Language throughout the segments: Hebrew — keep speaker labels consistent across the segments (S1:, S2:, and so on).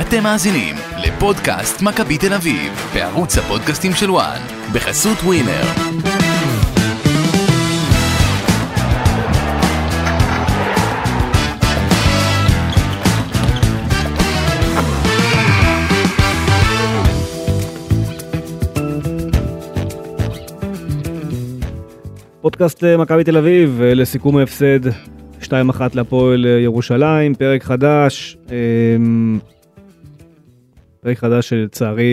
S1: אתם מאזינים לפודקאסט מכבי תל אביב, בערוץ הפודקאסטים של וואן, בחסות ווינר.
S2: פודקאסט אה, מכבי תל אביב, אה, לסיכום ההפסד 2-1 להפועל אה, ירושלים, פרק חדש. אמ, פרק חדש שלצערי,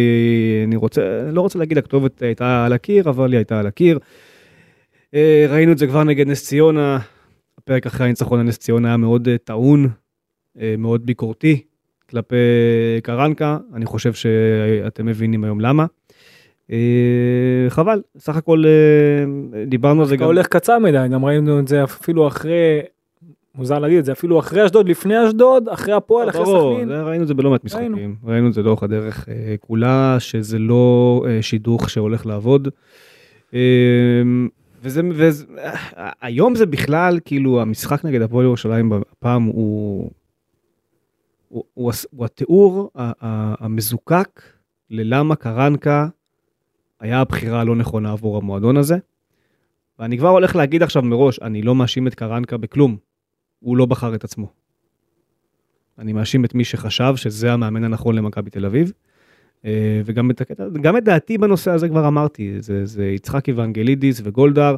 S2: אני רוצה, לא רוצה להגיד, הכתובת הייתה על הקיר, אבל היא הייתה על הקיר. אה, ראינו את זה כבר נגד נס ציונה, הפרק אחרי הניצחון על נס ציונה היה מאוד אה, טעון, אה, מאוד ביקורתי כלפי אה, קרנקה, אני חושב שאתם מבינים היום למה. אה, חבל, סך הכל אה, דיברנו על זה
S3: אתה
S2: גם...
S3: הולך קצר מדי, גם ראינו את זה אפילו אחרי, מוזר להגיד את זה, אפילו אחרי אשדוד, לפני אשדוד, אחרי הפועל, אחרי
S2: ברור,
S3: סכנין.
S2: זה- ראינו את זה בלא מעט
S3: ראינו.
S2: משחקים, ראינו את זה לאורך הדרך אה, כולה, שזה לא אה, שידוך שהולך לעבוד. אה, וזה, וזה, אה, היום זה בכלל, כאילו, המשחק נגד הפועל ירושלים הפעם הוא, הוא, הוא, הס- הוא התיאור ה- ה- המזוקק ללמה קרנקה היה הבחירה הלא נכונה עבור המועדון הזה. ואני כבר הולך להגיד עכשיו מראש, אני לא מאשים את קרנקה בכלום. הוא לא בחר את עצמו. אני מאשים את מי שחשב שזה המאמן הנכון למכבי תל אביב. אה, וגם את, הקטע- גם את דעתי בנושא הזה כבר אמרתי, זה, זה יצחקי ואנגלידיס וגולדהר,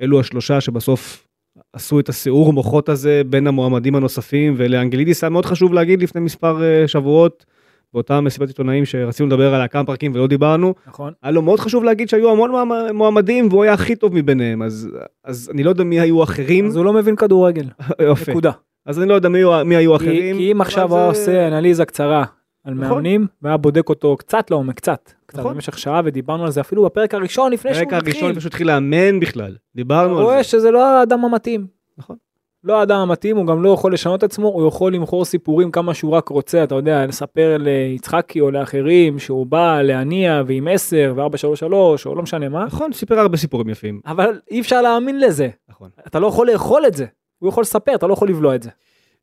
S2: אלו השלושה שבסוף עשו את הסיעור מוחות הזה בין המועמדים הנוספים, ולאנגלידיס היה מאוד חשוב להגיד לפני מספר אה, שבועות, באותה מסיבת עיתונאים שרצינו לדבר עליה כמה פרקים ולא דיברנו,
S3: נכון.
S2: היה לו מאוד חשוב להגיד שהיו המון מועמ- מועמדים והוא היה הכי טוב מביניהם, אז, אז אני לא יודע מי היו אחרים,
S3: אז הוא לא מבין כדורגל,
S2: יופי,
S3: נקודה.
S2: אז אני לא יודע מי, היו- מי היו
S3: כי-
S2: אחרים.
S3: כי אם
S2: אבל
S3: עכשיו
S2: זה-
S3: הוא עושה אנליזה קצרה על
S2: נכון.
S3: מאמנים, והיה בודק אותו קצת לעומק, קצת, קצת
S2: נכון.
S3: במשך שעה, ודיברנו על זה אפילו בפרק הראשון, לפני שהוא
S2: הרקע הראשון
S3: מתחיל.
S2: פשוט התחיל לאמן בכלל,
S3: הוא
S2: דיברנו על
S3: רואה
S2: זה.
S3: שזה לא האדם המתאים.
S2: נכון.
S3: לא האדם המתאים, הוא גם לא יכול לשנות את עצמו, הוא יכול למכור סיפורים כמה שהוא רק רוצה, אתה יודע, לספר ליצחקי או לאחרים שהוא בא להניע ועם 10 ו-433 או לא משנה מה,
S2: נכון, סיפר הרבה סיפורים יפים.
S3: אבל אי אפשר להאמין לזה,
S2: נכון.
S3: אתה לא יכול לאכול את זה, הוא יכול לספר, אתה לא יכול לבלוע את זה.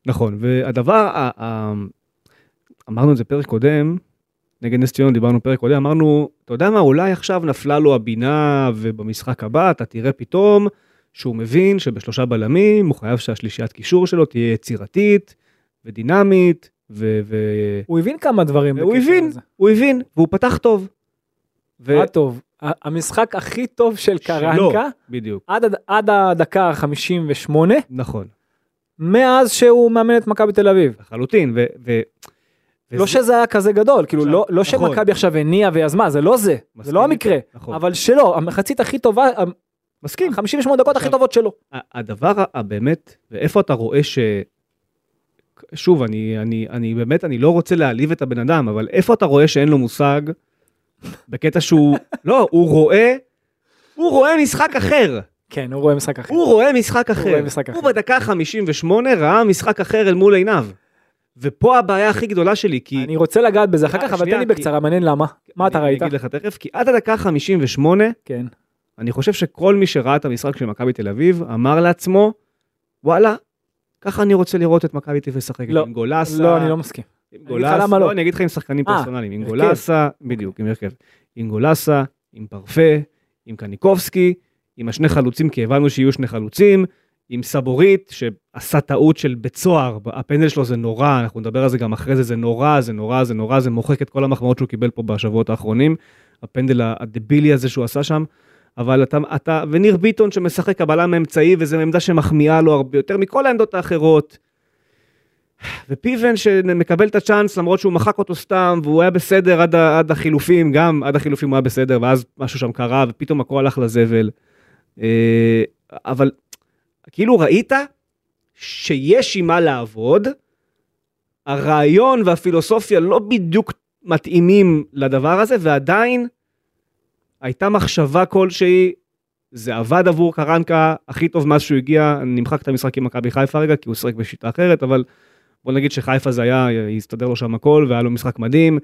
S2: נכון, והדבר, ה- ה- אמרנו את זה פרק קודם, נגד נס ציונה דיברנו פרק קודם, אמרנו, אתה יודע מה, אולי עכשיו נפלה לו הבינה ובמשחק הבא אתה תראה פתאום שהוא מבין שבשלושה בלמים הוא חייב שהשלישיית קישור שלו תהיה יצירתית ודינמית, ו- ו-
S3: הוא הבין כמה דברים.
S2: והוא
S3: בקשר
S2: הבין,
S3: לזה.
S2: הוא הבין, והוא פתח טוב. ו-
S3: היה טוב, ה- המשחק הכי טוב של
S2: שלו.
S3: קרנקה,
S2: בדיוק,
S3: עד הד- עד הדקה ה-58,
S2: נכון,
S3: מאז שהוא מאמן את מכבי תל אביב.
S2: לחלוטין, ו... ו-
S3: לא
S2: וזה-
S3: שזה היה כזה גדול, כאילו
S2: עכשיו,
S3: לא, לא
S2: נכון.
S3: שמכבי עכשיו הניעה ויזמה, זה לא זה, זה
S2: מסכים
S3: לא
S2: איתך,
S3: המקרה,
S2: נכון.
S3: אבל שלא, המחצית הכי טובה, ה-
S2: מסכים.
S3: 58 דקות הכי
S2: עכשיו-
S3: טובות שלו.
S2: ה- הדבר ה- הבאמת, ואיפה אתה רואה ש... שוב, אני, אני, אני באמת, אני לא רוצה להעליב את הבן אדם, אבל איפה אתה רואה שאין לו מושג? בקטע שהוא, לא, הוא רואה, הוא רואה משחק אחר.
S3: כן, הוא רואה משחק אחר.
S2: הוא רואה משחק אחר.
S3: רואה משחק
S2: הוא
S3: אחר.
S2: בדקה ה-58 ראה משחק אחר אל מול עיניו. ופה הבעיה הכי גדולה שלי, כי...
S3: אני רוצה לגעת בזה אחר
S2: אה,
S3: כך, אבל
S2: שנייה,
S3: תן לי
S2: כי-
S3: בקצרה, מעניין למה. מה אתה
S2: אני-
S3: ראית?
S2: אני אגיד לך תכף, כי עד הדקה ה-58,
S3: כן.
S2: אני חושב שכל מי שראה את המשחק של מכבי תל אביב אמר לעצמו, וואלה, ככה אני רוצה לראות את מכבי תל אביב משחקת
S3: לא,
S2: עם גולסה.
S3: לא, אני לא מסכים.
S2: עם
S3: אגיד לך
S2: גולסה, כן.
S3: למה לא.
S2: אני אגיד לך עם שחקנים
S3: אה,
S2: פרסונליים, עם
S3: הרכב.
S2: גולסה, בדיוק, עם הרכב. עם גולסה, עם פרפה, עם קניקובסקי, עם השני חלוצים, כי הבנו שיהיו שני חלוצים, עם סבורית, שעשה טעות של בית סוהר, הפנדל שלו זה נורא, אנחנו נדבר על זה גם אחרי זה, זה נורא, זה נורא, זה נורא, זה מוחק את כל המחמאות שהוא קיבל פה בשבועות האחרונים, הפנדל הדבילי הזה שהוא עשה שם. אבל אתה, אתה, וניר ביטון שמשחק הבלם האמצעי, וזו עמדה שמחמיאה לו הרבה יותר מכל העמדות האחרות. ופיבן שמקבל את הצ'אנס למרות שהוא מחק אותו סתם והוא היה בסדר עד, ה- עד החילופים, גם עד החילופים הוא היה בסדר ואז משהו שם קרה ופתאום הכל הלך לזבל. אה, אבל כאילו ראית שיש עם מה לעבוד, הרעיון והפילוסופיה לא בדיוק מתאימים לדבר הזה ועדיין הייתה מחשבה כלשהי, זה עבד עבור קרנקה הכי טוב מאז שהוא הגיע, נמחק את המשחק עם מכבי חיפה רגע כי הוא שיחק בשיטה אחרת אבל בוא נגיד שחיפה זה היה, הסתדר לו שם הכל, והיה לו משחק מדהים.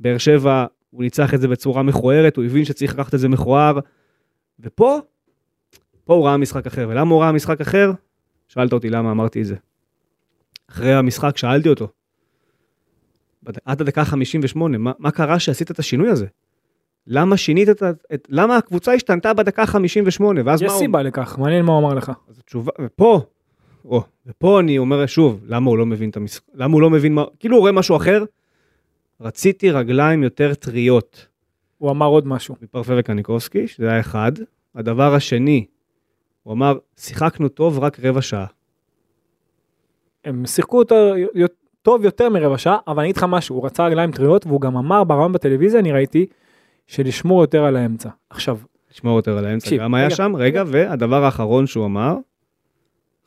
S2: באר שבע, הוא ניצח את זה בצורה מכוערת, הוא הבין שצריך לקחת את זה מכוער. ופה, פה הוא ראה משחק אחר. ולמה הוא ראה משחק אחר? שאלת אותי למה אמרתי את זה. אחרי המשחק שאלתי אותו, בד- עד הדקה 58, מה, מה קרה שעשית את השינוי הזה? למה שינית את, ה- את... למה הקבוצה השתנתה בדקה 58? ואז
S3: יש
S2: מה הוא-
S3: סיבה לכך, מעניין מה הוא אמר לך.
S2: אז התשובה, ופה, או, ופה אני אומר שוב, למה הוא לא מבין את המשחק, למה הוא לא מבין מה, כאילו הוא רואה משהו אחר, רציתי רגליים יותר טריות
S3: הוא אמר עוד משהו.
S2: מפרפה וקניקובסקי, שזה היה אחד. הדבר השני, הוא אמר, שיחקנו טוב רק רבע שעה.
S3: הם שיחקו יותר, י- טוב יותר מרבע שעה, אבל אני אגיד לך משהו, הוא רצה רגליים טריות, והוא גם אמר ברעיון בטלוויזיה, אני ראיתי, שלשמור יותר על האמצע. עכשיו,
S2: לשמור יותר על האמצע,
S3: תקשיב,
S2: גם היה
S3: רגע,
S2: שם, רגע, והדבר האחרון שהוא אמר,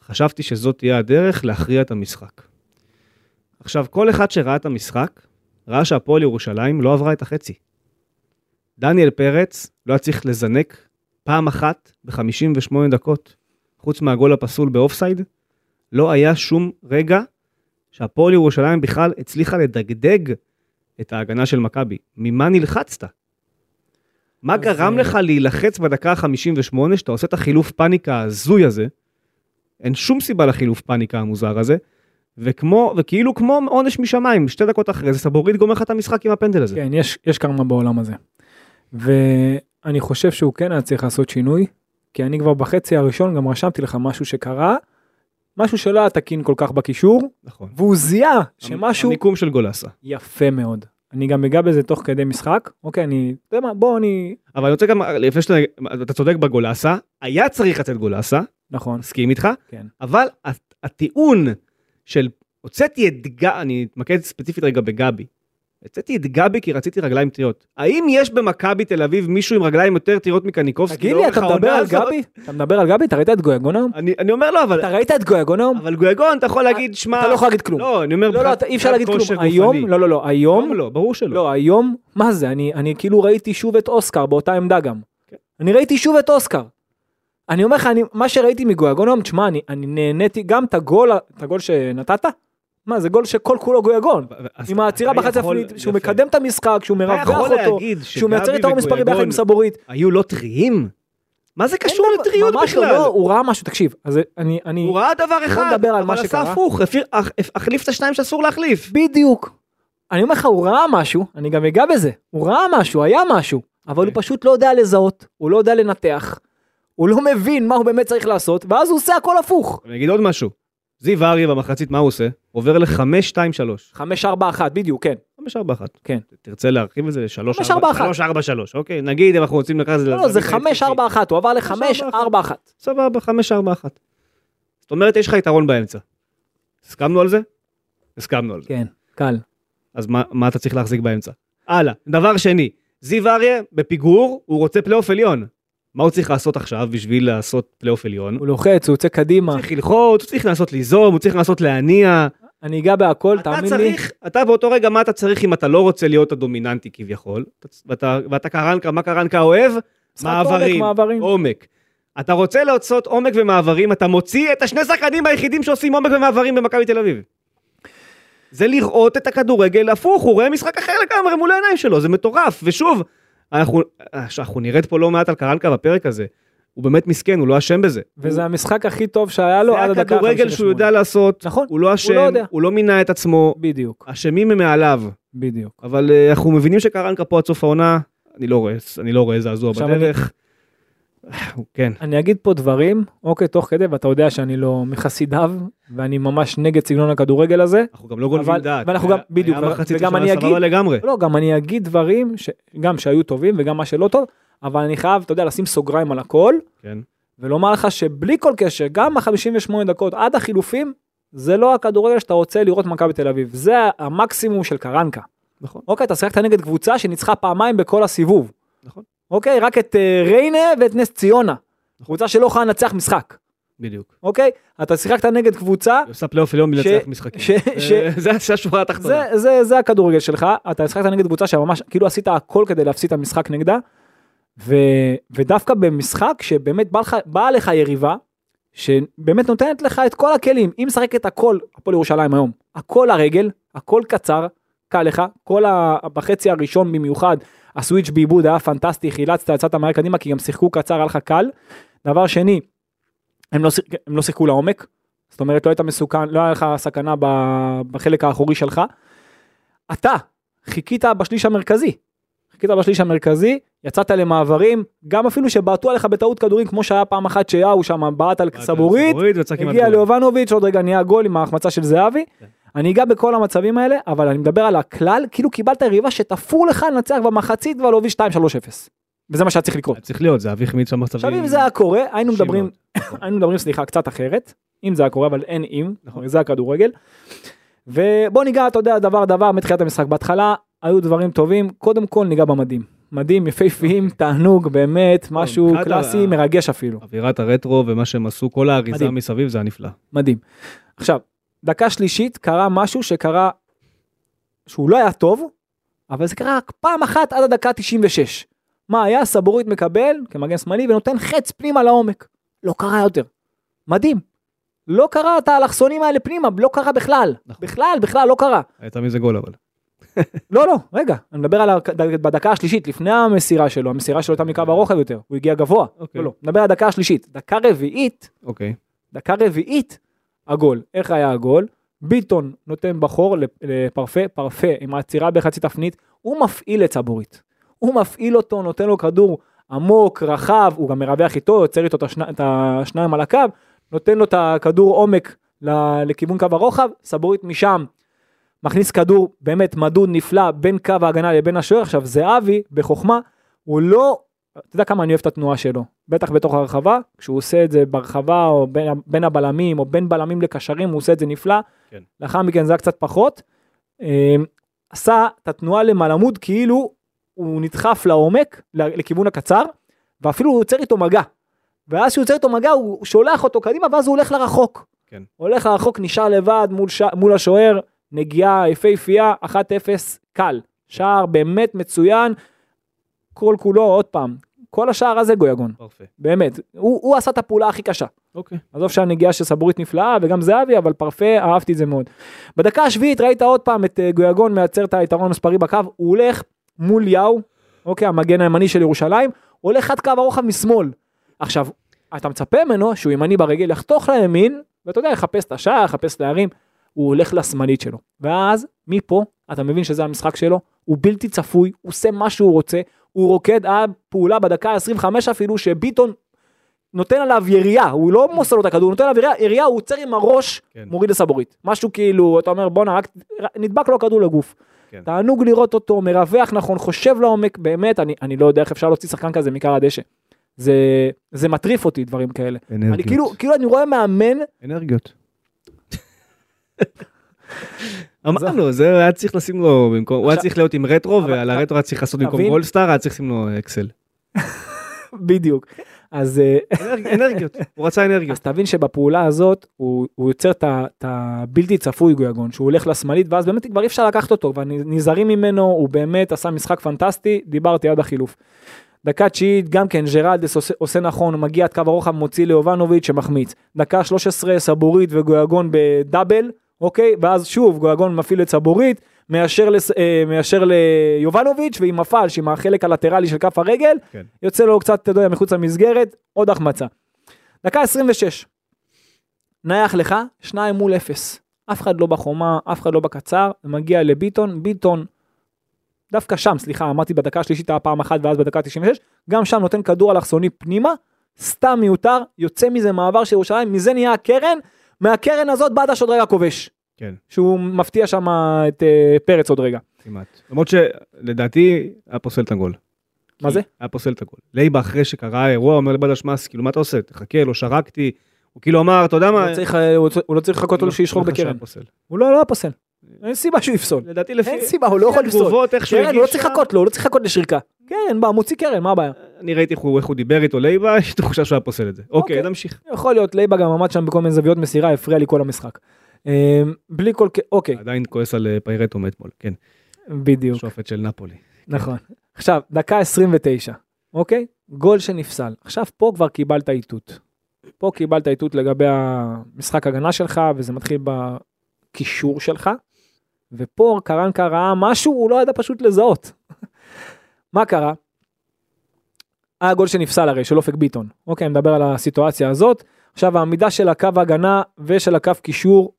S2: חשבתי שזאת תהיה הדרך להכריע את המשחק. עכשיו, כל אחד שראה את המשחק, ראה שהפועל ירושלים לא עברה את החצי. דניאל פרץ לא היה צריך לזנק פעם אחת ב-58 דקות. חוץ מהגול הפסול באופסייד, לא היה שום רגע שהפועל ירושלים בכלל הצליחה לדגדג את ההגנה של מכבי. ממה נלחצת? מה
S3: אז,
S2: גרם
S3: אה,
S2: לך להילחץ בדקה ה-58 שאתה עושה את החילוף פאניקה ההזוי הזה? אין שום סיבה לחילוף פאניקה המוזר הזה. וכמו, וכאילו כמו עונש משמיים, שתי דקות אחרי זה סבורית גומר לך את המשחק עם הפנדל הזה.
S3: כן, יש, יש קרמה בעולם הזה. ואני חושב שהוא כן היה צריך לעשות שינוי, כי אני כבר בחצי הראשון גם רשמתי לך משהו שקרה, משהו שלא היה תקין כל כך בקישור,
S2: נכון.
S3: והוא זיהה שמשהו
S2: המיקום של גולסה.
S3: יפה מאוד. אני גם אגע בזה תוך כדי משחק, אוקיי, אני, אתה יודע מה, בוא אני,
S2: אבל אני רוצה גם, לפני שאתה, אתה צודק בגולסה, היה צריך לצאת גולסה,
S3: נכון,
S2: מסכים איתך,
S3: כן.
S2: אבל הת- הטיעון של, הוצאתי את גבי, אני אתמקד ספציפית רגע בגבי, הוצאתי את גבי כי רציתי רגליים טריות. האם יש במכבי תל אביב מישהו עם רגליים יותר טריות מקניקובסקי?
S3: תגיד לי,
S2: לאורך
S3: אתה מדבר
S2: העונה
S3: על
S2: הזאת?
S3: גבי? אתה מדבר על גבי? אתה ראית את גויגון היום?
S2: אני, אני אומר לו, אבל,
S3: אתה ראית את גויגון היום?
S2: אבל גויגון, אתה יכול להגיד, שמע,
S3: אתה לא יכול להגיד כלום.
S2: לא, אני אומר,
S3: לא, לא,
S2: מבחינת-
S3: אתה- אי אפשר
S2: מבחינת
S3: להגיד
S2: כושר
S3: כלום.
S2: גופני.
S3: היום, לא, לא, לא, היום,
S2: היום לא, ברור שלא.
S3: לא, היום, מה זה, אני, אני כאילו ראיתי שוב את אוסקר באותה עמדה גם.
S2: כן.
S3: אני ראיתי שוב את אוסקר. אני אומר לך, אני- מה שראיתי מגויגון היום, תשמע, אני, אני נהניתי גם את הגול, את הגול שנתת, מה, זה גול שכל כולו גויגון.
S2: אז
S3: עם העצירה
S2: אתה
S3: בחצי
S2: יכול-
S3: הפנית, שהוא
S2: יפה.
S3: מקדם את המשחק, שהוא
S2: אתה
S3: מרווח
S2: יכול
S3: אותו,
S2: להגיד
S3: שהוא מייצר
S2: שגבי
S3: את האור מספרי ביחד
S2: וגויגון
S3: עם סבורית.
S2: היו לא טריים? מה זה קשור
S3: אין דבר-
S2: לטריות
S3: ממש
S2: בכלל?
S3: לא, הוא ראה משהו, תקשיב, אז אני, אני,
S2: הוא ראה דבר אחד,
S3: נדבר על מה
S2: אבל
S3: שקרה.
S2: עשה הפוך, הפיר- הח- החליף את השניים שאסור להחליף.
S3: בדיוק. אני אומר לך, הוא ראה משהו, אני גם אגע בזה. הוא ראה משהו, היה משהו, אבל הוא
S2: אוקיי.
S3: פשוט לא יודע לזהות, הוא לא יודע לנתח, הוא לא מבין מה הוא באמת צריך לעשות, ואז הוא עושה הכל הפוך.
S2: אני אגיד עוד משהו. זיו אריה במחצית, מה הוא עושה? עובר ל-5-2-3.
S3: 5, 4, 1, בדיוק, כן.
S2: 5-4-1.
S3: כן.
S2: תרצה להרחיב את זה ל-3-4-1.
S3: 5-4-1.
S2: 3-4-3, אוקיי? נגיד אם אנחנו רוצים לקחת את זה...
S3: לא, לא, זה
S2: לזווית
S3: 5, 4, 1, הוא עבר ל-5, 4, 1.
S2: סבבה, 5-4-1. זאת אומרת, יש לך יתרון באמצע. הסכמנו על זה? הסכמנו על זה.
S3: כן, קל.
S2: אז מה, מה אתה צריך להחזיק באמצע? הלאה, דבר שני, זיו אריה בפיגור, הוא רוצה פלייאוף עליון. מה הוא צריך לעשות עכשיו בשביל לעשות פלייאוף עליון? הוא
S3: הוא לוחץ, הוא יוצא קדימה.
S2: צריך ללחוץ, הוא צריך לנסות ליזום, הוא צריך לנסות להניע.
S3: אני אגע בהכל,
S2: אתה
S3: תאמין לי.
S2: צריך, אתה באותו רגע, מה אתה צריך אם אתה לא רוצה להיות הדומיננטי כביכול? ואתה, ואתה קרנקה, מה קרנקה אוהב?
S3: משחק עומק,
S2: מעברים,
S3: מעברים.
S2: עומק. אתה רוצה לעשות עומק ומעברים, אתה מוציא את השני שחקנים היחידים שעושים עומק ומעברים במכבי תל אביב. זה לראות את הכדורגל הפוך, הוא רואה משחק אחר לגמרי מול העיניים שלו, זה מטורף. ושוב, אנחנו, אנחנו נרד פה לא מעט על קרנקה בפרק הזה. הוא באמת מסכן, הוא לא אשם בזה.
S3: וזה המשחק הכי טוב שהיה לו
S2: זה
S3: לא, עד הדקה
S2: הכדורגל שהוא יודע
S3: 58.
S2: לעשות,
S3: נכון,
S2: הוא לא אשם,
S3: יודע.
S2: הוא לא מינה את עצמו,
S3: בדיוק,
S2: אשמים הם מעליו.
S3: בדיוק.
S2: אבל אה, אנחנו מבינים שקרנקה פה עד סוף העונה, אני לא רואה, אני לא רואה זעזוע
S3: עכשיו אני-
S2: בדרך. הוא- כן.
S3: אני אגיד פה דברים, אוקיי, תוך כדי, ואתה יודע שאני לא מחסידיו, ואני ממש נגד סגנון הכדורגל הזה.
S2: אנחנו גם לא גונבים
S3: אבל-
S2: דעת.
S3: ואנחנו
S2: היה-
S3: גם- בדיוק,
S2: היה מחצית
S3: וגם
S2: ראשונה
S3: אני אגיד-
S2: סבבה לגמרי.
S3: לא, גם אני אגיד דברים, ש... גם שהיו טובים וגם מה שלא טוב, אבל אני חייב, אתה יודע, לשים סוגריים על הכל,
S2: כן.
S3: ולומר לך שבלי כל קשר, גם ה-58 דקות עד החילופים, זה לא הכדורגל שאתה רוצה לראות מכבי תל אביב, זה המקסימום של קרנקה.
S2: נכון.
S3: אוקיי, אתה שיחקת נגד קבוצה שניצחה פעמיים בכל הסיבוב.
S2: נכון.
S3: אוקיי, רק את אה, ריינה ואת נס ציונה. קבוצה שלא יכולה לנצח משחק,
S2: בדיוק.
S3: אוקיי? אתה שיחקת נגד קבוצה
S2: היא עושה פלייאוף עליון
S3: ש-
S2: מלנצח משחקים.
S3: ש-
S2: זה-
S3: ש-
S2: זה זה השורה התחתונה.
S3: זה, זה, זה הכדורגל שלך, אתה השחקת נגד קבוצה שממש, כאילו עשית הכל כדי להפסיד את המשחק נגדה, ו, ודווקא במשחק שבאמת בא לך- באה לך יריבה, שבאמת נותנת לך את כל הכלים, היא משחקת הכל, הפועל ירושלים היום, הכל הרגל, הכל קצר, קל לך, כל ה... בחצי הראשון במיוחד, הסוויץ' בעיבוד היה פנטסטי, חילצת, יצאת מהר קדימה, כי גם שיחקו קצר, היה לך קל. דבר שני, הם לא, שיח- הם לא שיחקו לעומק, זאת אומרת לא היית מסוכן, לא היה לך סכנה ב- בחלק האחורי שלך. אתה חיכית בשליש המרכזי. חיכית בשליש המרכזי, יצאת למעברים, גם אפילו שבעטו עליך בטעות כדורים, כמו שהיה פעם אחת שיהו שם בעט על סבורית,
S2: וצריך כמעט
S3: הגיע
S2: גול.
S3: ליובנוביץ', עוד רגע נהיה גול עם ההחמצה של זהבי.
S2: כן.
S3: אני אגע בכל המצבים האלה, אבל אני מדבר על הכלל, כאילו קיבלת יריבה שתפור לך לנצח במחצית כבר להוביל 2-3-0. וזה מה שהיה צריך לקרות.
S2: צריך להיות, זה אבי החמיץ במצבים.
S3: עכשיו אם זה היה קורה, היינו
S2: קשים
S3: מדברים,
S2: מאוד.
S3: נכון, היינו מדברים סליחה קצת אחרת, אם זה היה קורה אבל אין אם,
S2: נכון.
S3: זה הכדורגל. ובוא ניגע, אתה יודע, דבר דבר מתחילת המשחק. בהתחלה היו דברים טובים, קודם כל ניגע במדים. מדים יפהפיים, תענוג, באמת, משהו
S2: אוקיי. מבחינת
S3: קלאסי,
S2: ה-
S3: מרגש אפילו.
S2: אווירת הרטרו ומה שהם עשו, כל האריזה
S3: מדהים.
S2: מסביב זה היה נפלא.
S3: מדהים. עכשיו, דקה שלישית קרה משהו שקרה, שהוא לא היה טוב, אבל זה קרה רק פעם אחת עד הדקה 96. מה היה? סבורית מקבל כמגן שמאלי ונותן חץ פנימה לעומק. לא קרה יותר. מדהים. לא קרה את האלכסונים האלה פנימה, לא קרה בכלל.
S2: נכון.
S3: בכלל, בכלל לא קרה.
S2: הייתה מזה גול אבל.
S3: לא, לא, רגע, אני מדבר על הק- בדקה השלישית, לפני המסירה שלו, המסירה שלו הייתה מקו הרוחב יותר, הוא הגיע גבוה.
S2: אוקיי.
S3: לא, לא, נדבר על הדקה השלישית. דקה רביעית,
S2: אוקיי.
S3: דקה רביעית, הגול. איך היה הגול? ביטון נותן בחור לפרפה, פרפה עם העצירה בחצי תפנית, הוא מפעיל את סבורית. הוא מפעיל אותו, נותן לו כדור עמוק, רחב, הוא גם מרווח איתו, יוצר איתו את השני- את השניים על הקו, נותן לו את הכדור עומק ל- לכיוון קו הרוחב, סבורית משם. מכניס כדור באמת מדוד נפלא בין קו ההגנה לבין השוער. עכשיו זהבי, בחוכמה, הוא לא אתה יודע כמה אני אוהב את התנועה שלו, בטח בתוך הרחבה, כשהוא עושה את זה ברחבה או בין, בין הבלמים או בין בלמים לקשרים, הוא עושה את זה נפלא.
S2: כן.
S3: לאחר מכן זה היה קצת פחות. אה, עשה את התנועה למלעמוד כאילו הוא נדחף לעומק, ל- לכיוון הקצר, ואפילו הוא יוצר איתו מגע. ואז שהוא יוצר איתו מגע הוא שולח אותו קדימה ואז הוא הולך לרחוק.
S2: כן.
S3: הולך לרחוק, נשאר לבד מול, ש... מול השוער, נגיעה יפהפייה, 1-0, קל. שער באמת מצוין, כל כולו, עוד פעם, כל השער הזה גויגון,
S2: פרפה.
S3: באמת. הוא, הוא עשה את הפעולה הכי קשה.
S2: אוקיי.
S3: עזוב שהנגיעה של סבורית נפלאה, וגם זהבי, אבל פרפה, אהבתי את זה מאוד. בדקה השביעית ראית עוד פעם את אה, גויגון מייצר את היתרון המספרי בקו, הוא הולך מול יאו, אוקיי, המגן הימני של ירושלים, הולך עד קו הרוחב משמאל. עכשיו, אתה מצפה ממנו שהוא ימני ברגל, יחתוך לימין, ואתה יודע, יחפש את השער, יחפש להרים, הוא הולך לשמאלית שלו. ואז, מפה, אתה מבין שזה המשחק שלו, הוא בלתי צפוי, הוא עושה מה שהוא רוצה, הוא רוקד על פעולה בדקה ה-25 אפילו, שביטון נותן עליו ירייה, הוא לא מוסר לו את הכדור, הוא נותן עליו ירייה, ירייה הוא עוצר עם הראש,
S2: כן.
S3: מוריד לסבורית. משהו כאילו, אתה אומר, בואנה, רק רק- נדבק לו הכדור לגוף.
S2: כן.
S3: תענוג לראות אותו, מרווח נכון, חושב לעומק, באמת, אני, אני לא יודע איך אפשר להוציא שחקן כזה מכר הדשא. זה, זה מטריף אותי, דברים כאלה.
S2: אנרגיות.
S3: אני כאילו, כאילו אני רואה מאמן,
S2: אנרגיות. אמרנו, זה היה צריך לשים לו במקום, הוא היה
S3: עכשיו-
S2: צריך להיות עם רטרו,
S3: אבל-
S2: ועל הרטרו היה צריך לעשות במקום
S3: תבין-
S2: גולדסטאר, היה צריך לשים לו אקסל.
S3: בדיוק. אז, אה,
S2: אנרג- אנרגיות, הוא רצה אנרגיות.
S3: אז תבין שבפעולה הזאת, הוא, הוא יוצר את ה- את הבלתי צפוי גויגון, שהוא הולך לשמאלית, ואז באמת כבר אי אפשר לקחת אותו, כבר נזהרים ממנו, הוא באמת עשה משחק פנטסטי, דיברתי עד החילוף. דקה תשיעית, גם כן, ג'רלדס עושה, עושה נכון, הוא מגיע עד קו הרוחב, מוציא ליובנוביץ' שמחמיץ. דקה 13, סבורית וגויגון בדאבל, אוקיי? ואז שוב, גויגון מפעיל את סבורית, מאשר, לס, אה, מאשר ליובנוביץ', ועם הפלש, עם החלק הלטרלי של כף הרגל,
S2: כן.
S3: יוצא לו קצת, אתה יודע, מחוץ למסגרת, עוד החמצה. דקה 26. נייח לך, שניים מול אפס. אף אחד לא בחומה, אף אחד לא בקצר, מגיע לביטון, ביטון, דווקא שם, סליחה, אמרתי בדקה השלישית היה פעם אחת ואז בדקה 96, גם שם נותן כדור אלכסוני פנימה, סתם מיותר, יוצא מזה מעבר של ירושלים, מזה נהיה הקרן, מהקרן הזאת בדש עוד רגע כובש.
S2: כן.
S3: שהוא מפתיע שם את אה, פרץ עוד רגע.
S2: כמעט. למרות שלדעתי היה פוסל את הגול.
S3: מה זה?
S2: היה פוסל את הגול. לייבה אחרי שקרה האירוע אומר לבדש מס, כאילו מה אתה עושה? תחכה, לא שרקתי. הוא כאילו אמר, אתה יודע
S3: הוא
S2: מה...
S3: לא צריך, אה, הוא צ- הוא לא צריך לחכות לו שישחוק
S2: אני חושב
S3: בקרן.
S2: שהיה פוסל.
S3: הוא לא, לא היה פוסל. אין סיבה שהוא יפסול.
S2: לדעתי לפי...
S3: אין סיבה, הוא לא יכול לפסול.
S2: התגובות, איך שהוא
S3: קרן, הוא לא
S2: הגיב
S3: צריך
S2: שם,
S3: לחכות לו, הוא לא צריך לחכות לשריקה. קרן, בא, מוציא קרן, מה הבעיה?
S2: אני ראיתי איך הוא איך הוא דיבר איתו לייבה, יש לי תחושה שהוא היה פוסל את זה. אוקיי,
S3: אוקיי.
S2: נמשיך.
S3: יכול להיות, לייבה גם עמד שם בכל מיני זוויות מסירה, הפריע לי כל המשחק. אה, בלי כל... ק- אוקיי,
S2: עדיין כועס על אה, פיירטו מאתמול, כן.
S3: בדיוק.
S2: שופט של נפולי.
S3: נכון. עכשיו, דקה 29, אוקיי? גול שנפסל. עכשיו, פה כבר קיבלת איתות. פה קיבלת איתות לגבי המשחק הגנה שלך, וזה מתחיל בקישור שלך, ופה קרנקה ראה משהו, הוא לא ידע פשוט לזהות. מה קרה? היה גול שנפסל הרי, של אופק ביטון. אוקיי, אני מדבר על הסיטואציה הזאת. עכשיו, העמידה של הקו ההגנה ושל הקו קישור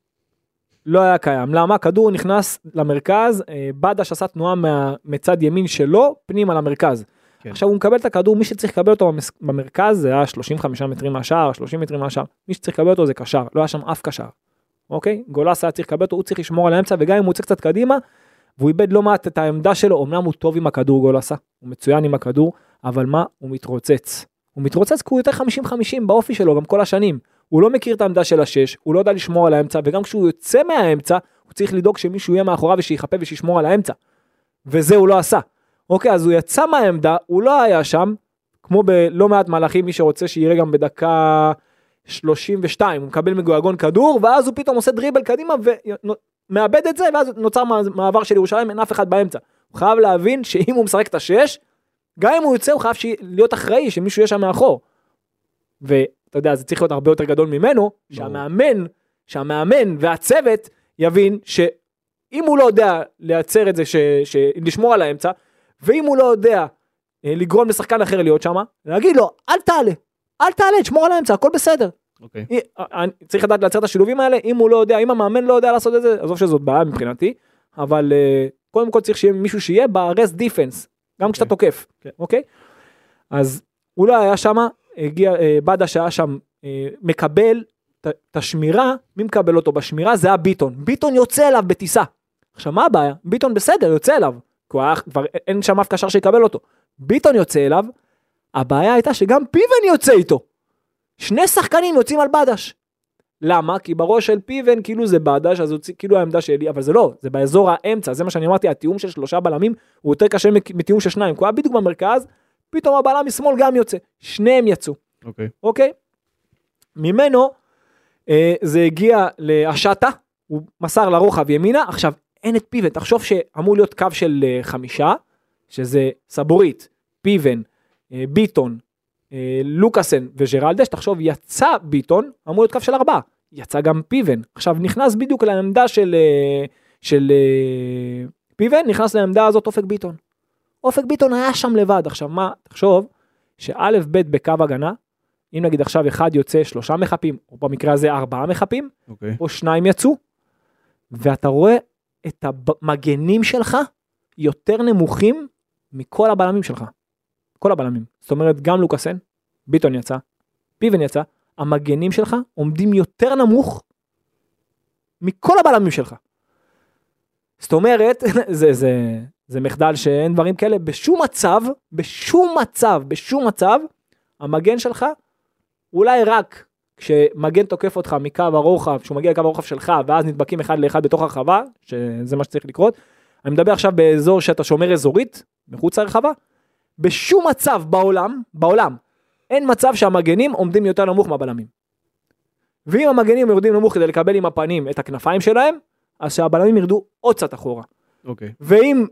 S3: לא היה קיים. למה? הכדור נכנס למרכז, אה, בדש עשה תנועה מה- מצד ימין שלו, פנימה למרכז.
S2: כן.
S3: עכשיו הוא מקבל את הכדור, מי שצריך לקבל אותו במס- במרכז זה היה 35 מטרים מהשער, 30 מטרים מהשער, מי שצריך לקבל אותו זה קשר, לא היה שם אף קשר. אוקיי? גולס היה צריך לקבל אותו, הוא צריך לשמור על האמצע, וגם אם הוא יוצא קצת קדימה, והוא איבד לא מעט את העמדה שלו, אמנם הוא טוב עם הכדור גולסה, הוא מצוין עם הכדור, אבל מה? הוא מתרוצץ. הוא מתרוצץ כי הוא יותר 50-50 באופי שלו גם כל השנים. הוא לא מכיר את העמדה של השש, הוא לא יודע לשמור על האמצע, וגם כשהוא יוצא מהאמצע, הוא צריך לדאוג שמישהו יהיה מאחוריו ושיחפה ושישמור על האמצע. וזה הוא לא עשה. אוקיי, אז הוא יצא מהעמדה, הוא לא היה שם, כמו בלא מעט מהלכים, מי שרוצה שיראה גם בדקה 32, הוא מקבל מגויגון כדור, ואז הוא פתאום עושה דריבל קדימה ומאבד את זה, ואז נוצר מעבר של ירושלים, אין אף אחד באמצע. הוא חייב להבין שאם הוא משחק את השש, גם אם הוא יוצא, הוא חייב שי- להיות אחראי שמישהו יהיה שם מאחור. ואתה יודע, זה צריך להיות הרבה יותר גדול ממנו, שהמאמן, שהמאמן והצוות יבין שאם הוא לא יודע לייצר את זה, ש... ש... לשמור על האמצע, ואם הוא לא יודע אה, לגרום לשחקן אחר להיות שם, להגיד לו, אל תעלה, אל תעלה, תשמור על האמצע, הכל בסדר.
S2: אוקיי.
S3: אי- אה, אני- צריך לדעת לייצר את השילובים האלה, אם הוא לא יודע, אם המאמן לא יודע לעשות את זה, עזוב שזאת בעיה מבחינתי, אבל אה, קודם כל צריך שיהיה מישהו שיהיה ב-rest defense, גם כשאתה תוקף,
S2: כן.
S3: אוקיי? אז הוא לא היה שם, הגיע אה, בדה שהיה שם, אה, מקבל את- את השמירה, מי מקבל אותו בשמירה? זה היה ביטון. ביטון יוצא אליו בטיסה. עכשיו מה הבעיה? ביטון בסדר, יוצא אליו. כי הוא היה, כבר אין שם אף קשר שיקבל אותו. ביטון יוצא אליו, הבעיה הייתה שגם פיבן יוצא איתו. שני שחקנים יוצאים על בדש. למה? כי בראש של פיבן כאילו זה בדש, אז הוא צי- כאילו העמדה שלי, אבל זה לא, זה באזור האמצע, זה מה שאני אמרתי, התיאום של שלושה בלמים הוא יותר קשה מק- מתיאום של שניים, כי הוא היה בדיוק במרכז, פתאום הבלם משמאל גם יוצא, שניהם יצאו.
S2: אוקיי.
S3: אוקיי? ממנו אה, זה הגיע להשטה, הוא מסר לרוחב ימינה, עכשיו אין את פיבן, תחשוב שאמור להיות קו של אה, חמישה, שזה סבורית, פיבן, אה, ביטון, אה, לוקאסן וג'רלדש, תחשוב יצא ביטון, אמור להיות קו של ארבעה, יצא גם פיבן, עכשיו נכנס בדיוק לעמדה של, אה, של אה, פיבן, נכנס לעמדה הזאת אופק ביטון. אופק ביטון היה שם לבד, עכשיו מה, תחשוב, שא' ב' בקו הגנה, אם נגיד עכשיו אחד יוצא שלושה מחפים, או במקרה הזה ארבעה מחפים,
S2: אוקיי.
S3: או שניים יצאו, ואתה רואה את המגנים שלך יותר נמוכים מכל הבלמים שלך. כל הבלמים. זאת אומרת, גם לוקאסן, ביטון יצא, פיבן יצא, המגנים שלך עומדים יותר נמוך מכל הבלמים שלך. זאת אומרת, זה, זה, זה מחדל שאין דברים כאלה, בשום מצב, בשום מצב, בשום מצב, המגן שלך, אולי רק כשמגן תוקף אותך מקו הרוחב, כשהוא מגיע לקו הרוחב שלך, ואז נדבקים אחד לאחד בתוך הרחבה, שזה מה שצריך לקרות. אני מדבר עכשיו באזור שאתה שומר אזורית, מחוץ לרחבה. בשום מצב בעולם, בעולם, אין מצב שהמגנים עומדים יותר נמוך מהבלמים. ואם המגנים יורדים נמוך כדי לקבל עם הפנים את הכנפיים שלהם, אז שהבלמים ירדו עוד קצת אחורה.
S2: אוקיי.
S3: ואם,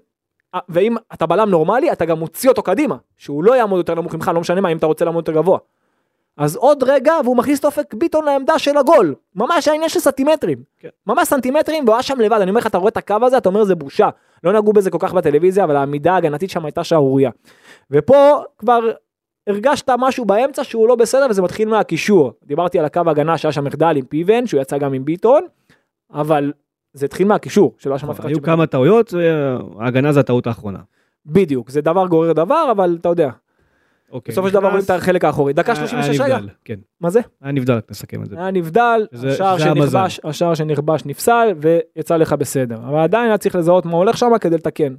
S3: אה, ואם אתה בלם נורמלי, אתה גם מוציא אותו קדימה, שהוא לא יעמוד יותר נמוך ממך, לא משנה מה, אם אתה רוצה לעמוד יותר גבוה. אז עוד רגע, והוא מכניס את אופק ביטון לעמדה של הגול. ממש העניין של סנטימטרים.
S2: כן.
S3: ממש סנטימטרים, והוא היה שם לבד. אני אומר לך, אתה רואה את הקו הזה, אתה אומר, זה בושה. לא נגעו בזה כל כך בטלוויזיה, אבל העמידה ההגנתית שם הייתה שערורייה. ופה כבר הרגשת משהו באמצע שהוא לא בסדר, וזה מתחיל מהקישור. דיברתי על הקו ההגנה שהיה שם מחדל עם פיבן, שהוא יצא גם עם ביטון, אבל זה התחיל מהקישור, שלא היה שם אף אחד
S2: היו
S3: שמטפל.
S2: כמה טעויות, אה, ההגנה זה הטעות האחרונה.
S3: בדיוק, זה דבר גורר דבר, אבל אתה יודע,
S2: אוקיי.
S3: בסופו של דבר רואים
S2: נכנס,
S3: את החלק האחורי. דקה
S2: היה-
S3: 36
S2: היה
S3: רגע,
S2: נבדל, כן.
S3: מה זה?
S2: היה נבדל, נסכם את זה.
S3: היה נבדל,
S2: זה-
S3: השער
S2: זה המזל.
S3: שנכבש, השער שנכבש נפסל, ויצא לך בסדר. אבל עדיין היה צריך לזהות מה הולך שם כדי לתקן.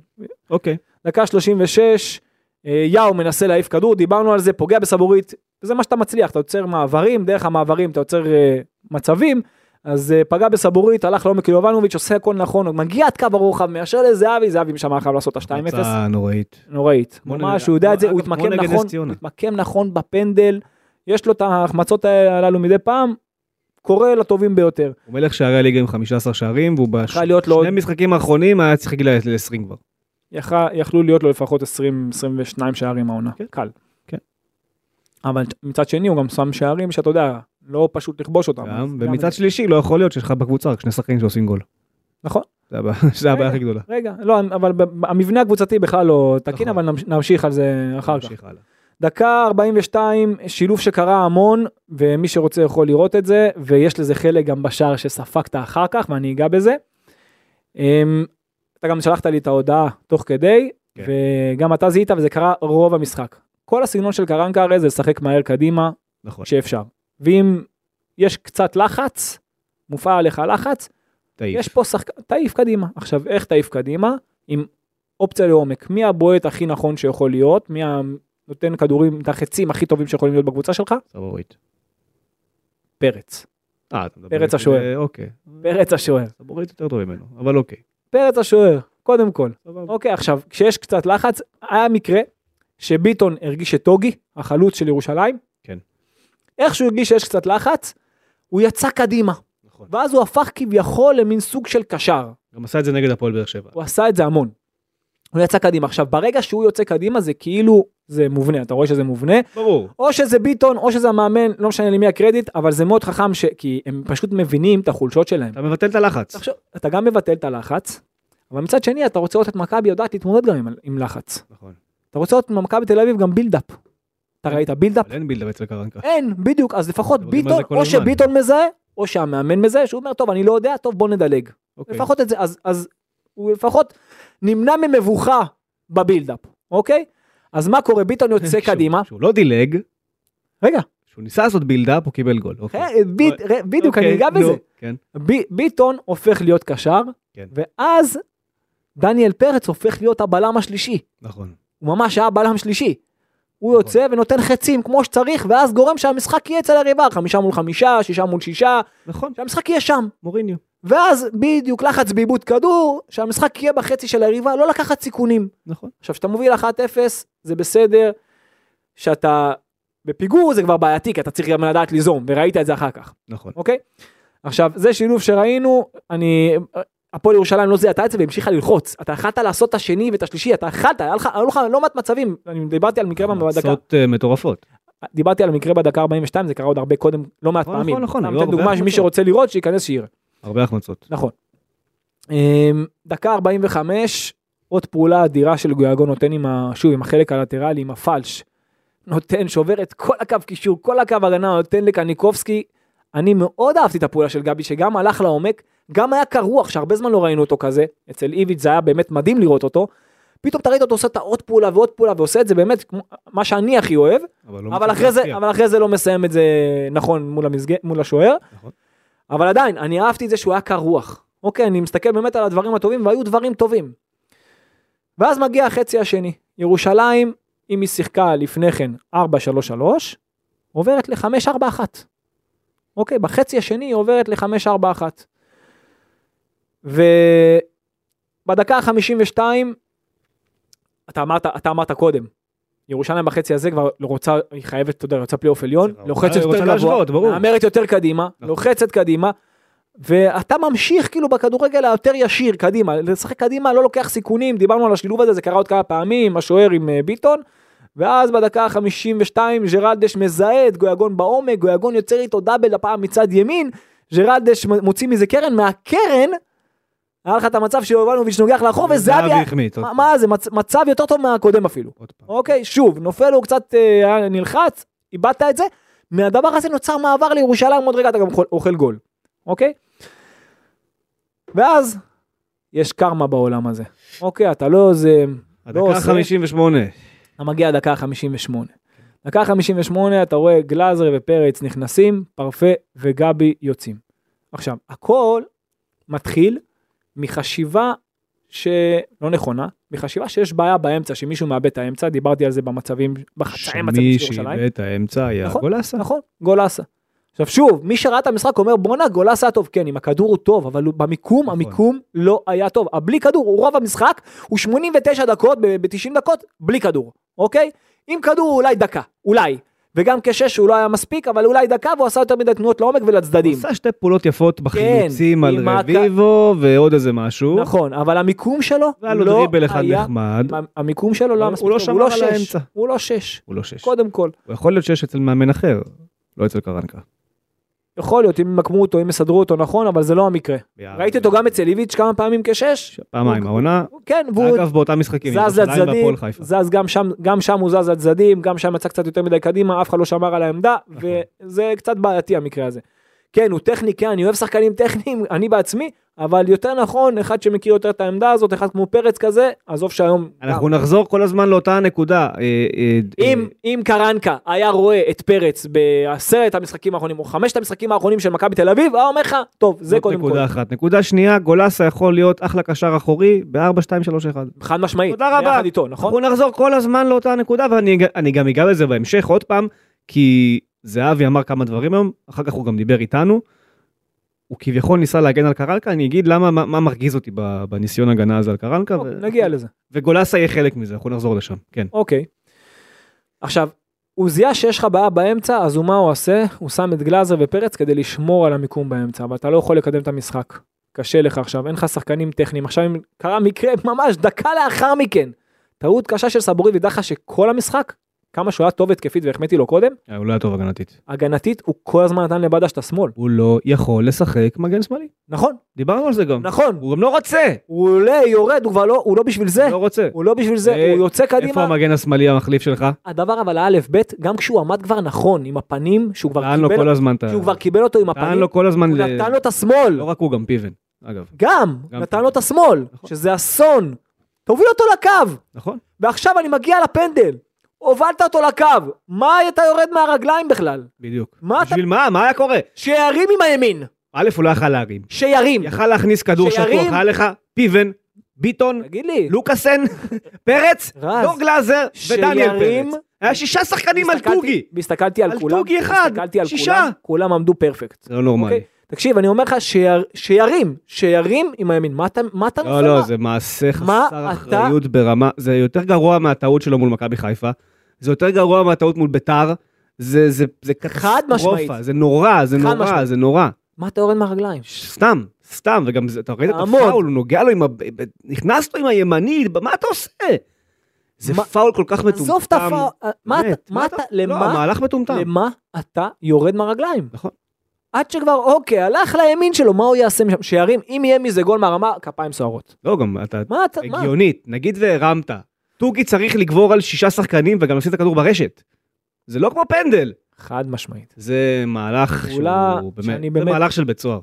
S2: אוקיי.
S3: דקה 36, אה, יאו מנסה להעיף כדור, דיברנו על זה, פוגע בסבורית, וזה מה שאתה מצליח, אתה יוצר מעברים, דרך המעברים אתה יוצר אה, מצבים, אז אה, פגע בסבורית, הלך לעומק יובנוביץ', עושה הכל נכון, הוא מגיע עד קו הרוחב, מיישר לזהבי, זהבי משם היה חייב לעשות את ה-2-0.
S2: הצעה נוראית.
S3: נוראית.
S2: כמו
S3: ממש,
S2: נגד-
S3: הוא יודע את זה,
S2: אגב,
S3: הוא
S2: כמו
S3: התמקם
S2: נגד נס
S3: נכון, הוא
S2: ציונה.
S3: התמקם נכון בפנדל, יש לו את ההחמצות הללו מדי פעם, קורא לטובים ביותר.
S2: הוא מלך שערי הליגה עם 15 שערים, והוא
S3: יכול להיות לו עוד-
S2: בשני משחקים האחרונים היה צריך להגיע ל-20 כבר.
S3: יכל- יכלו להיות לו לפחות 20-22 שערים העונה,
S2: כן.
S3: קל.
S2: כן.
S3: אבל מצד שני הוא גם שם שערים שאתה יודע, לא פשוט לכבוש אותם. אז
S2: גם,
S3: גם
S2: ומצד
S3: את-
S2: שלישי לא יכול להיות שיש לך בקבוצה רק שני שחקנים שעושים גול.
S3: נכון.
S2: זה הבעיה- זה הבעיה הכי גדולה.
S3: רגע, לא, אבל ב- המבנה הקבוצתי בכלל לא
S2: נכון.
S3: תקין, אבל נמש- נמשיך על זה אחר כך.
S2: נמשיך הלאה.
S3: דקה 42, שילוב שקרה המון, ומי שרוצה יכול לראות את זה, ויש לזה חלק גם בשער שספגת אחר כך, ואני אגע בזה. אמ, אתה גם שלחת לי את ההודעה תוך כדי,
S2: כן.
S3: וגם אתה זיהית, וזה קרה רוב המשחק. כל הסגנון של קרנקה הרי זה לשחק מהר קדימה,
S2: נכון,
S3: שאפשר. ואם יש קצת לחץ, מופעל עליך לחץ,
S2: תעיף.
S3: יש פה שחקן, תעיף קדימה. עכשיו, איך תעיף קדימה? עם אופציה לעומק. מי הבועט הכי נכון שיכול להיות? מי הנותן כדורים, את החצים הכי טובים שיכולים להיות בקבוצה שלך?
S2: סבורית.
S3: פרץ.
S2: אה, אתה מדבר...
S3: פרץ
S2: איתי,
S3: השוער.
S2: אה, אוקיי.
S3: פרץ השוער.
S2: סבורית יותר טוב ממנו, אבל אוקיי.
S3: פרץ השוער, קודם כל.
S2: סבבה.
S3: אוקיי, עכשיו, כשיש קצת לחץ, היה מקרה שביטון הרגיש את טוגי, החלוץ של ירושלים.
S2: כן.
S3: איך שהוא הרגיש שיש קצת לחץ, הוא יצא קדימה.
S2: נכון.
S3: ואז הוא הפך כביכול למין סוג של קשר.
S2: גם עשה את זה נגד הפועל באר שבע.
S3: הוא עשה את זה המון. הוא יצא קדימה. עכשיו, ברגע שהוא יוצא קדימה זה כאילו, זה מובנה, אתה רואה שזה מובנה.
S2: ברור.
S3: או שזה ביטון, או שזה המאמן, לא משנה למי הקרדיט, אבל זה מאוד חכם, ש... כי הם פשוט מבינים את החולשות שלהם.
S2: אתה מבטל את הלחץ.
S3: תחשוב, אתה גם מבטל את הלחץ, אבל מצד שני, אתה רוצה לראות את מכבי יודעת להתמודד גם עם, עם לחץ.
S2: נכון.
S3: אתה רוצה לראות ממכבי תל אביב גם בילדאפ. אתה ראית בילדאפ?
S2: אבל אין בילדה אצל קרנקה.
S3: אין, בדיוק, אז לפחות
S2: מדברים על
S3: ביטון,
S2: זה כל
S3: או
S2: הזמן.
S3: שביטון מזהה, או שהמאמן מזהה, שהוא אומר, טוב, אני לא יודע, טוב, בוא נדלג.
S2: אוקיי.
S3: לפחות את זה, אז, אז הוא לפחות נמנע ממבוכה בבילדאפ, אוקיי? אז מה קורה? ביטון יוצא
S2: שהוא-
S3: קדימה.
S2: שהוא לא דילג,
S3: רגע,
S2: שהוא ניסה לעשות בילדאפ, הוא קיבל גול. אוקיי.
S3: ר- ב- ר- כן, בדיוק, אני
S2: אוקיי,
S3: אגע
S2: נו,
S3: בזה.
S2: כן.
S3: ב- ביטון הופך להיות קשר,
S2: כן.
S3: ואז דניאל פרץ הופך להיות הבלם השלישי.
S2: נכון.
S3: הוא ממש היה בלם שלישי. הוא
S2: נכון.
S3: יוצא ונותן חצים כמו שצריך, ואז גורם שהמשחק יהיה אצל הריבה, חמישה מול חמישה, שישה מול שישה,
S2: נכון.
S3: שהמשחק יהיה שם.
S2: מוריניו.
S3: ואז בדיוק לחץ בעיבוד כדור, שהמשחק יהיה בחצי של הריבה, לא לקחת סיכונים.
S2: נכון.
S3: עכשיו, כשאתה מוביל 1-0, זה בסדר. שאתה בפיגור זה כבר בעייתי, כי אתה צריך גם לדעת ליזום, וראית את זה אחר כך,
S2: נכון.
S3: אוקיי? עכשיו, זה שילוב שראינו, אני... הפועל ירושלים לא זיהתה את זה והמשיכה ללחוץ. אתה יכלת לעשות את השני ואת השלישי, אתה יכלת, היה לך, היו לך לא מעט מצבים. אני דיברתי על מקרה בדקה,
S2: הצעות אה, מטורפות.
S3: דיברתי על מקרה בדקה 42, זה קרה עוד הרבה קודם, לא מעט
S2: נכון,
S3: פעמים.
S2: נכון, נכון,
S3: אני
S2: היו
S3: נותן
S2: הרבה
S3: דוגמה שמי
S2: החמצות.
S3: שרוצה לראות, שייכנס שיראה.
S2: הרבה החמצות.
S3: נכון. אמ, דקה 45, עוד פעולה אדירה של גויאגו נותן עם, ה... שוב, עם החלק הלטרלי, עם הפלש. נותן, שובר את כל הקו קישור, כל הקו הגנה, נותן לקניקובסקי. אני מאוד אהבתי את הפעולה של גבי, שגם הלך לעומק, גם היה קר רוח, שהרבה זמן לא ראינו אותו כזה. אצל איביץ' זה היה באמת מדהים לראות אותו. פתאום אתה ראית אותו עושה את העוד פעולה ועוד פעולה, ועושה את זה באמת כמו, מה שאני הכי אוהב.
S2: לא
S3: אבל
S2: מצליח
S3: אחרי זה,
S2: להפתיע.
S3: אבל אחרי זה לא מסיים את זה נכון מול, המסג... מול השוער.
S2: נכון.
S3: אבל עדיין, אני אהבתי את זה שהוא היה קר רוח. אוקיי, אני מסתכל באמת על הדברים הטובים, והיו דברים טובים. ואז מגיע החצי השני. ירושלים, אם היא שיחקה לפני כן 4-3-3, עוברת ל-5-4-1. אוקיי, בחצי השני היא עוברת ל-5-4-1. ובדקה ה-52, אתה אמרת, אתה אמרת קודם, ירושלים בחצי הזה כבר לא רוצה, היא חייבת, אתה יודע, רוצה פלייאוף עליון,
S2: רוצה-
S3: לוחצת
S2: רוצה
S3: יותר
S2: להשוות,
S3: גבוה,
S2: ברור.
S3: מהמרת יותר קדימה,
S2: נכון.
S3: לוחצת קדימה, ואתה ממשיך כאילו בכדורגל היותר ישיר קדימה, לשחק קדימה לא לוקח סיכונים, דיברנו על השילוב הזה, זה קרה עוד כמה פעמים, השוער עם אה, ביטון, ואז בדקה ה-52 ג'רלדש מזהה את גויגון בעומק, גויגון יוצר איתו דאבל הפעם מצד ימין, ג'רלדש מ- מוציא מזה קרן, מהקרן, היה לך את המצב שיובנוביץ' נוגח לאחור, וזהבי,
S2: זהבי החמיץ. עוד
S3: מה-
S2: פעם.
S3: מה זה, מצ- מצב יותר טוב מהקודם אפילו.
S2: עוד פעם.
S3: אוקיי, שוב, נופל הוא קצת אה, היה נלחץ, איבדת את זה, מהדבר הזה נוצר מעבר לירושלים, עוד רגע אתה גם אוכל- אוכל גול, אוקיי? ואז, יש קרמה בעולם הזה, אוקיי, אתה לא זה, לא
S2: הדקה
S3: עושה.
S2: 58.
S3: אתה מגיע דקה ה-58. דקה ה-58 אתה רואה גלאזר ופרץ נכנסים, פרפה וגבי יוצאים. עכשיו, הכל מתחיל מחשיבה שלא נכונה, מחשיבה שיש בעיה באמצע, שמישהו מאבד את האמצע, דיברתי על זה במצבים, בחצאי מצבים
S2: שמי
S3: של ירושלים.
S2: שאיבד את האמצע היה
S3: נכון,
S2: גולסה.
S3: נכון, גולסה. עכשיו שוב, מי שראה את המשחק אומר בואנה גולסה היה טוב, כן אם הכדור הוא טוב, אבל הוא- במיקום,
S2: נכון.
S3: המיקום לא היה טוב. הבלי כדור, הוא רוב המשחק, הוא 89 דקות ב-90 דקות, בלי כדור, אוקיי? עם כדור הוא אולי דקה, אולי. וגם כשש הוא לא היה מספיק, אבל אולי דקה והוא עשה יותר מדי תנועות לעומק
S2: הוא
S3: ולצדדים.
S2: עשה שתי פעולות יפות בחילוצים על
S3: כן, עם הק-
S2: רביבו ועוד איזה משהו.
S3: נכון, אבל המיקום שלו
S2: והיה לו
S3: לא
S2: דריבל אחד
S3: היה,
S2: נחמד.
S3: המיקום שלו לא היה
S2: הוא
S3: מספיק
S2: לא
S3: טוב,
S2: שמר על
S3: שש,
S2: האמצע.
S3: הוא לא שש,
S2: הוא לא שש.
S3: קודם כל.
S2: הוא יכול להיות שש אצל מאמן אחר, לא אצל קרנקה.
S3: יכול להיות, אם ימקמו אותו, אם יסדרו אותו נכון, אבל זה לא המקרה. ראיתי אותו גם אצל איביץ' כמה פעמים כשש.
S2: פעמיים
S3: הוא-
S2: העונה,
S3: הוא- כן, והוא
S2: אגב באותם משחקים,
S3: זז
S2: ירושלים
S3: לצדדים,
S2: והפועל חיפה.
S3: זז גם שם, גם שם הוא זז לצדדים, גם שם יצא קצת יותר מדי קדימה, אף אחד לא שמר על העמדה,
S2: נכון.
S3: וזה קצת בעייתי המקרה הזה. כן, הוא טכני, כן, אני אוהב שחקנים טכניים, אני בעצמי, אבל יותר נכון, אחד שמכיר יותר את העמדה הזאת, אחד כמו פרץ כזה, עזוב שהיום...
S2: אנחנו נחזור כל הזמן לאותה הנקודה. אה, אה,
S3: אם, אם קרנקה היה רואה את פרץ בעשרת המשחקים האחרונים, או חמשת המשחקים האחרונים של מכבי תל אביב, היה אומר לך, טוב, זה
S2: זאת
S3: קודם כל.
S2: נקודה אחת. נקודה שנייה, גולסה יכול להיות אחלה קשר אחורי ב-4, 2, 3, 1.
S3: חד משמעית.
S2: תודה רבה.
S3: ביחד איתו, נכון?
S2: אנחנו נחזור כל הזמן לאותה הנקודה, ואני אג- אני גם אגע בזה בהמשך עוד פעם, כי זהבי אמר כמה דברים היום, אחר כך הוא גם דיבר איתנו. הוא כביכול ניסה להגן על קרלקה, אני אגיד למה, מה, מה מרגיז אותי ב- בניסיון הגנה הזה על קרלקה,
S3: טוב,
S2: ו-
S3: נגיע לזה.
S2: וגולסה יהיה חלק מזה, אנחנו נחזור לשם, כן.
S3: אוקיי. עכשיו, הוא זיהה שיש לך בעיה באמצע, אז הוא מה הוא עושה? הוא שם את גלאזר ופרץ כדי לשמור על המיקום באמצע, אבל אתה לא יכול לקדם את המשחק. קשה לך עכשיו, אין לך שחקנים טכניים. עכשיו אם קרה מקרה ממש דקה לאחר מכן. טעות קשה של סבורי ודחה שכל המשחק, כמה שהוא היה טוב התקפית והחמאתי לו קודם,
S2: אה, הוא לא היה טוב הגנתית.
S3: הגנתית הוא כל הזמן נתן לבדש את השמאל.
S2: הוא לא יכול לשחק מגן שמאלי,
S3: נכון,
S2: דיברנו על זה גם.
S3: נכון.
S2: הוא גם לא רוצה,
S3: הוא עולה, יורד, הוא כבר לא, הוא לא בשביל זה.
S2: הוא לא רוצה.
S3: הוא לא בשביל זה,
S2: אה,
S3: הוא יוצא
S2: איפה
S3: קדימה.
S2: המגן השמאלי המחליף שלך?
S3: הדבר אבל האלף בית, גם כשהוא עמד כבר נכון, עם הפנים, שהוא כבר
S2: טען לו
S3: קיבל
S2: כל הזמן, את ה-
S3: שהוא כבר קיבל אותו עם
S2: טען
S3: הפנים,
S2: אה, לו כל הזמן,
S3: הוא
S2: ל-
S3: נתן לו את השמאל,
S2: לא רק הוא, גם פיבן, אגב,
S3: גם,
S2: גם
S3: נתן
S2: כן.
S3: לו את השמאל,
S2: נכון.
S3: שזה אסון. תוביל אותו לקו,
S2: נכון?
S3: ועכשיו אני מגיע לפנדל. הובלת אותו לקו, מה אתה יורד מהרגליים בכלל?
S2: בדיוק.
S3: מה אתה-
S2: בשביל מה? מה היה קורה?
S3: שירים עם הימין,
S2: א', הוא לא יכל להרים.
S3: שירים.
S2: יכל להכניס כדור
S3: שירים.
S2: שטוח, היה לך פיבן, ביטון,
S3: תגיד לי,
S2: לוקאסן, פרץ,
S3: רז.
S2: דור גלאזר ודניאל
S3: שירים.
S2: פרץ. היה שישה שחקנים על
S3: הסתכלתי-
S2: טוגי.
S3: הסתכלתי על
S2: על
S3: כולם,
S2: טוגי אחד,
S3: הסתכלתי על
S2: שישה.
S3: כולם, כולם עמדו פרפקט.
S2: זה לא נורמלי.
S3: אוקיי? תקשיב, אני אומר לך, שיר- שירים, שירים עם הימין, מה אתה מה אתה
S2: לא,
S3: נופל?
S2: לא,
S3: מה?
S2: זה מעשה
S3: מה
S2: חסר
S3: אתה-
S2: אחריות ברמה, זה יותר גרוע מהטעות שלו מול מכבי חיפה, זה יותר גרוע מהטעות מול ביתר, זה- זה זה
S3: משמעית.
S2: קטסטרופה, זה נורא, זה
S3: חד
S2: נורא,
S3: משמעית.
S2: זה נורא.
S3: מה אתה יורד מהרגליים?
S2: סתם, סתם, וגם זה, אתה ראית את
S3: תעמוד.
S2: הפאול, הוא נוגע לו עם ה... ב- ב- נכנס לו עם הימנית, ב- מה אתה עושה? זה
S3: מה-
S2: פאול כל כך מטומטם.
S3: עזוב את הפאול, מה אתה,
S2: באמת,
S3: מה אתה,
S2: לא,
S3: למה
S2: המהלך מטומטם.
S3: למה אתה יורד מהרגליים?
S2: נכון.
S3: עד שכבר, אוקיי, הלך לימין שלו, מה הוא יעשה משם? שירים, אם יהיה מזה גול מהרמה, כפיים סוערות.
S2: לא, גם אתה...
S3: מה אתה, מה?
S2: הגיונית, נגיד והרמת. טוגי צריך לגבור על שישה שחקנים וגם לשים את הכדור ברשת. זה לא כמו פנדל.
S3: חד משמעית.
S2: זה מהלך
S3: פעולה
S2: שהוא
S3: שאני
S2: באמת, זה
S3: באמת-
S2: מהלך של בית סוהר.
S3: הוא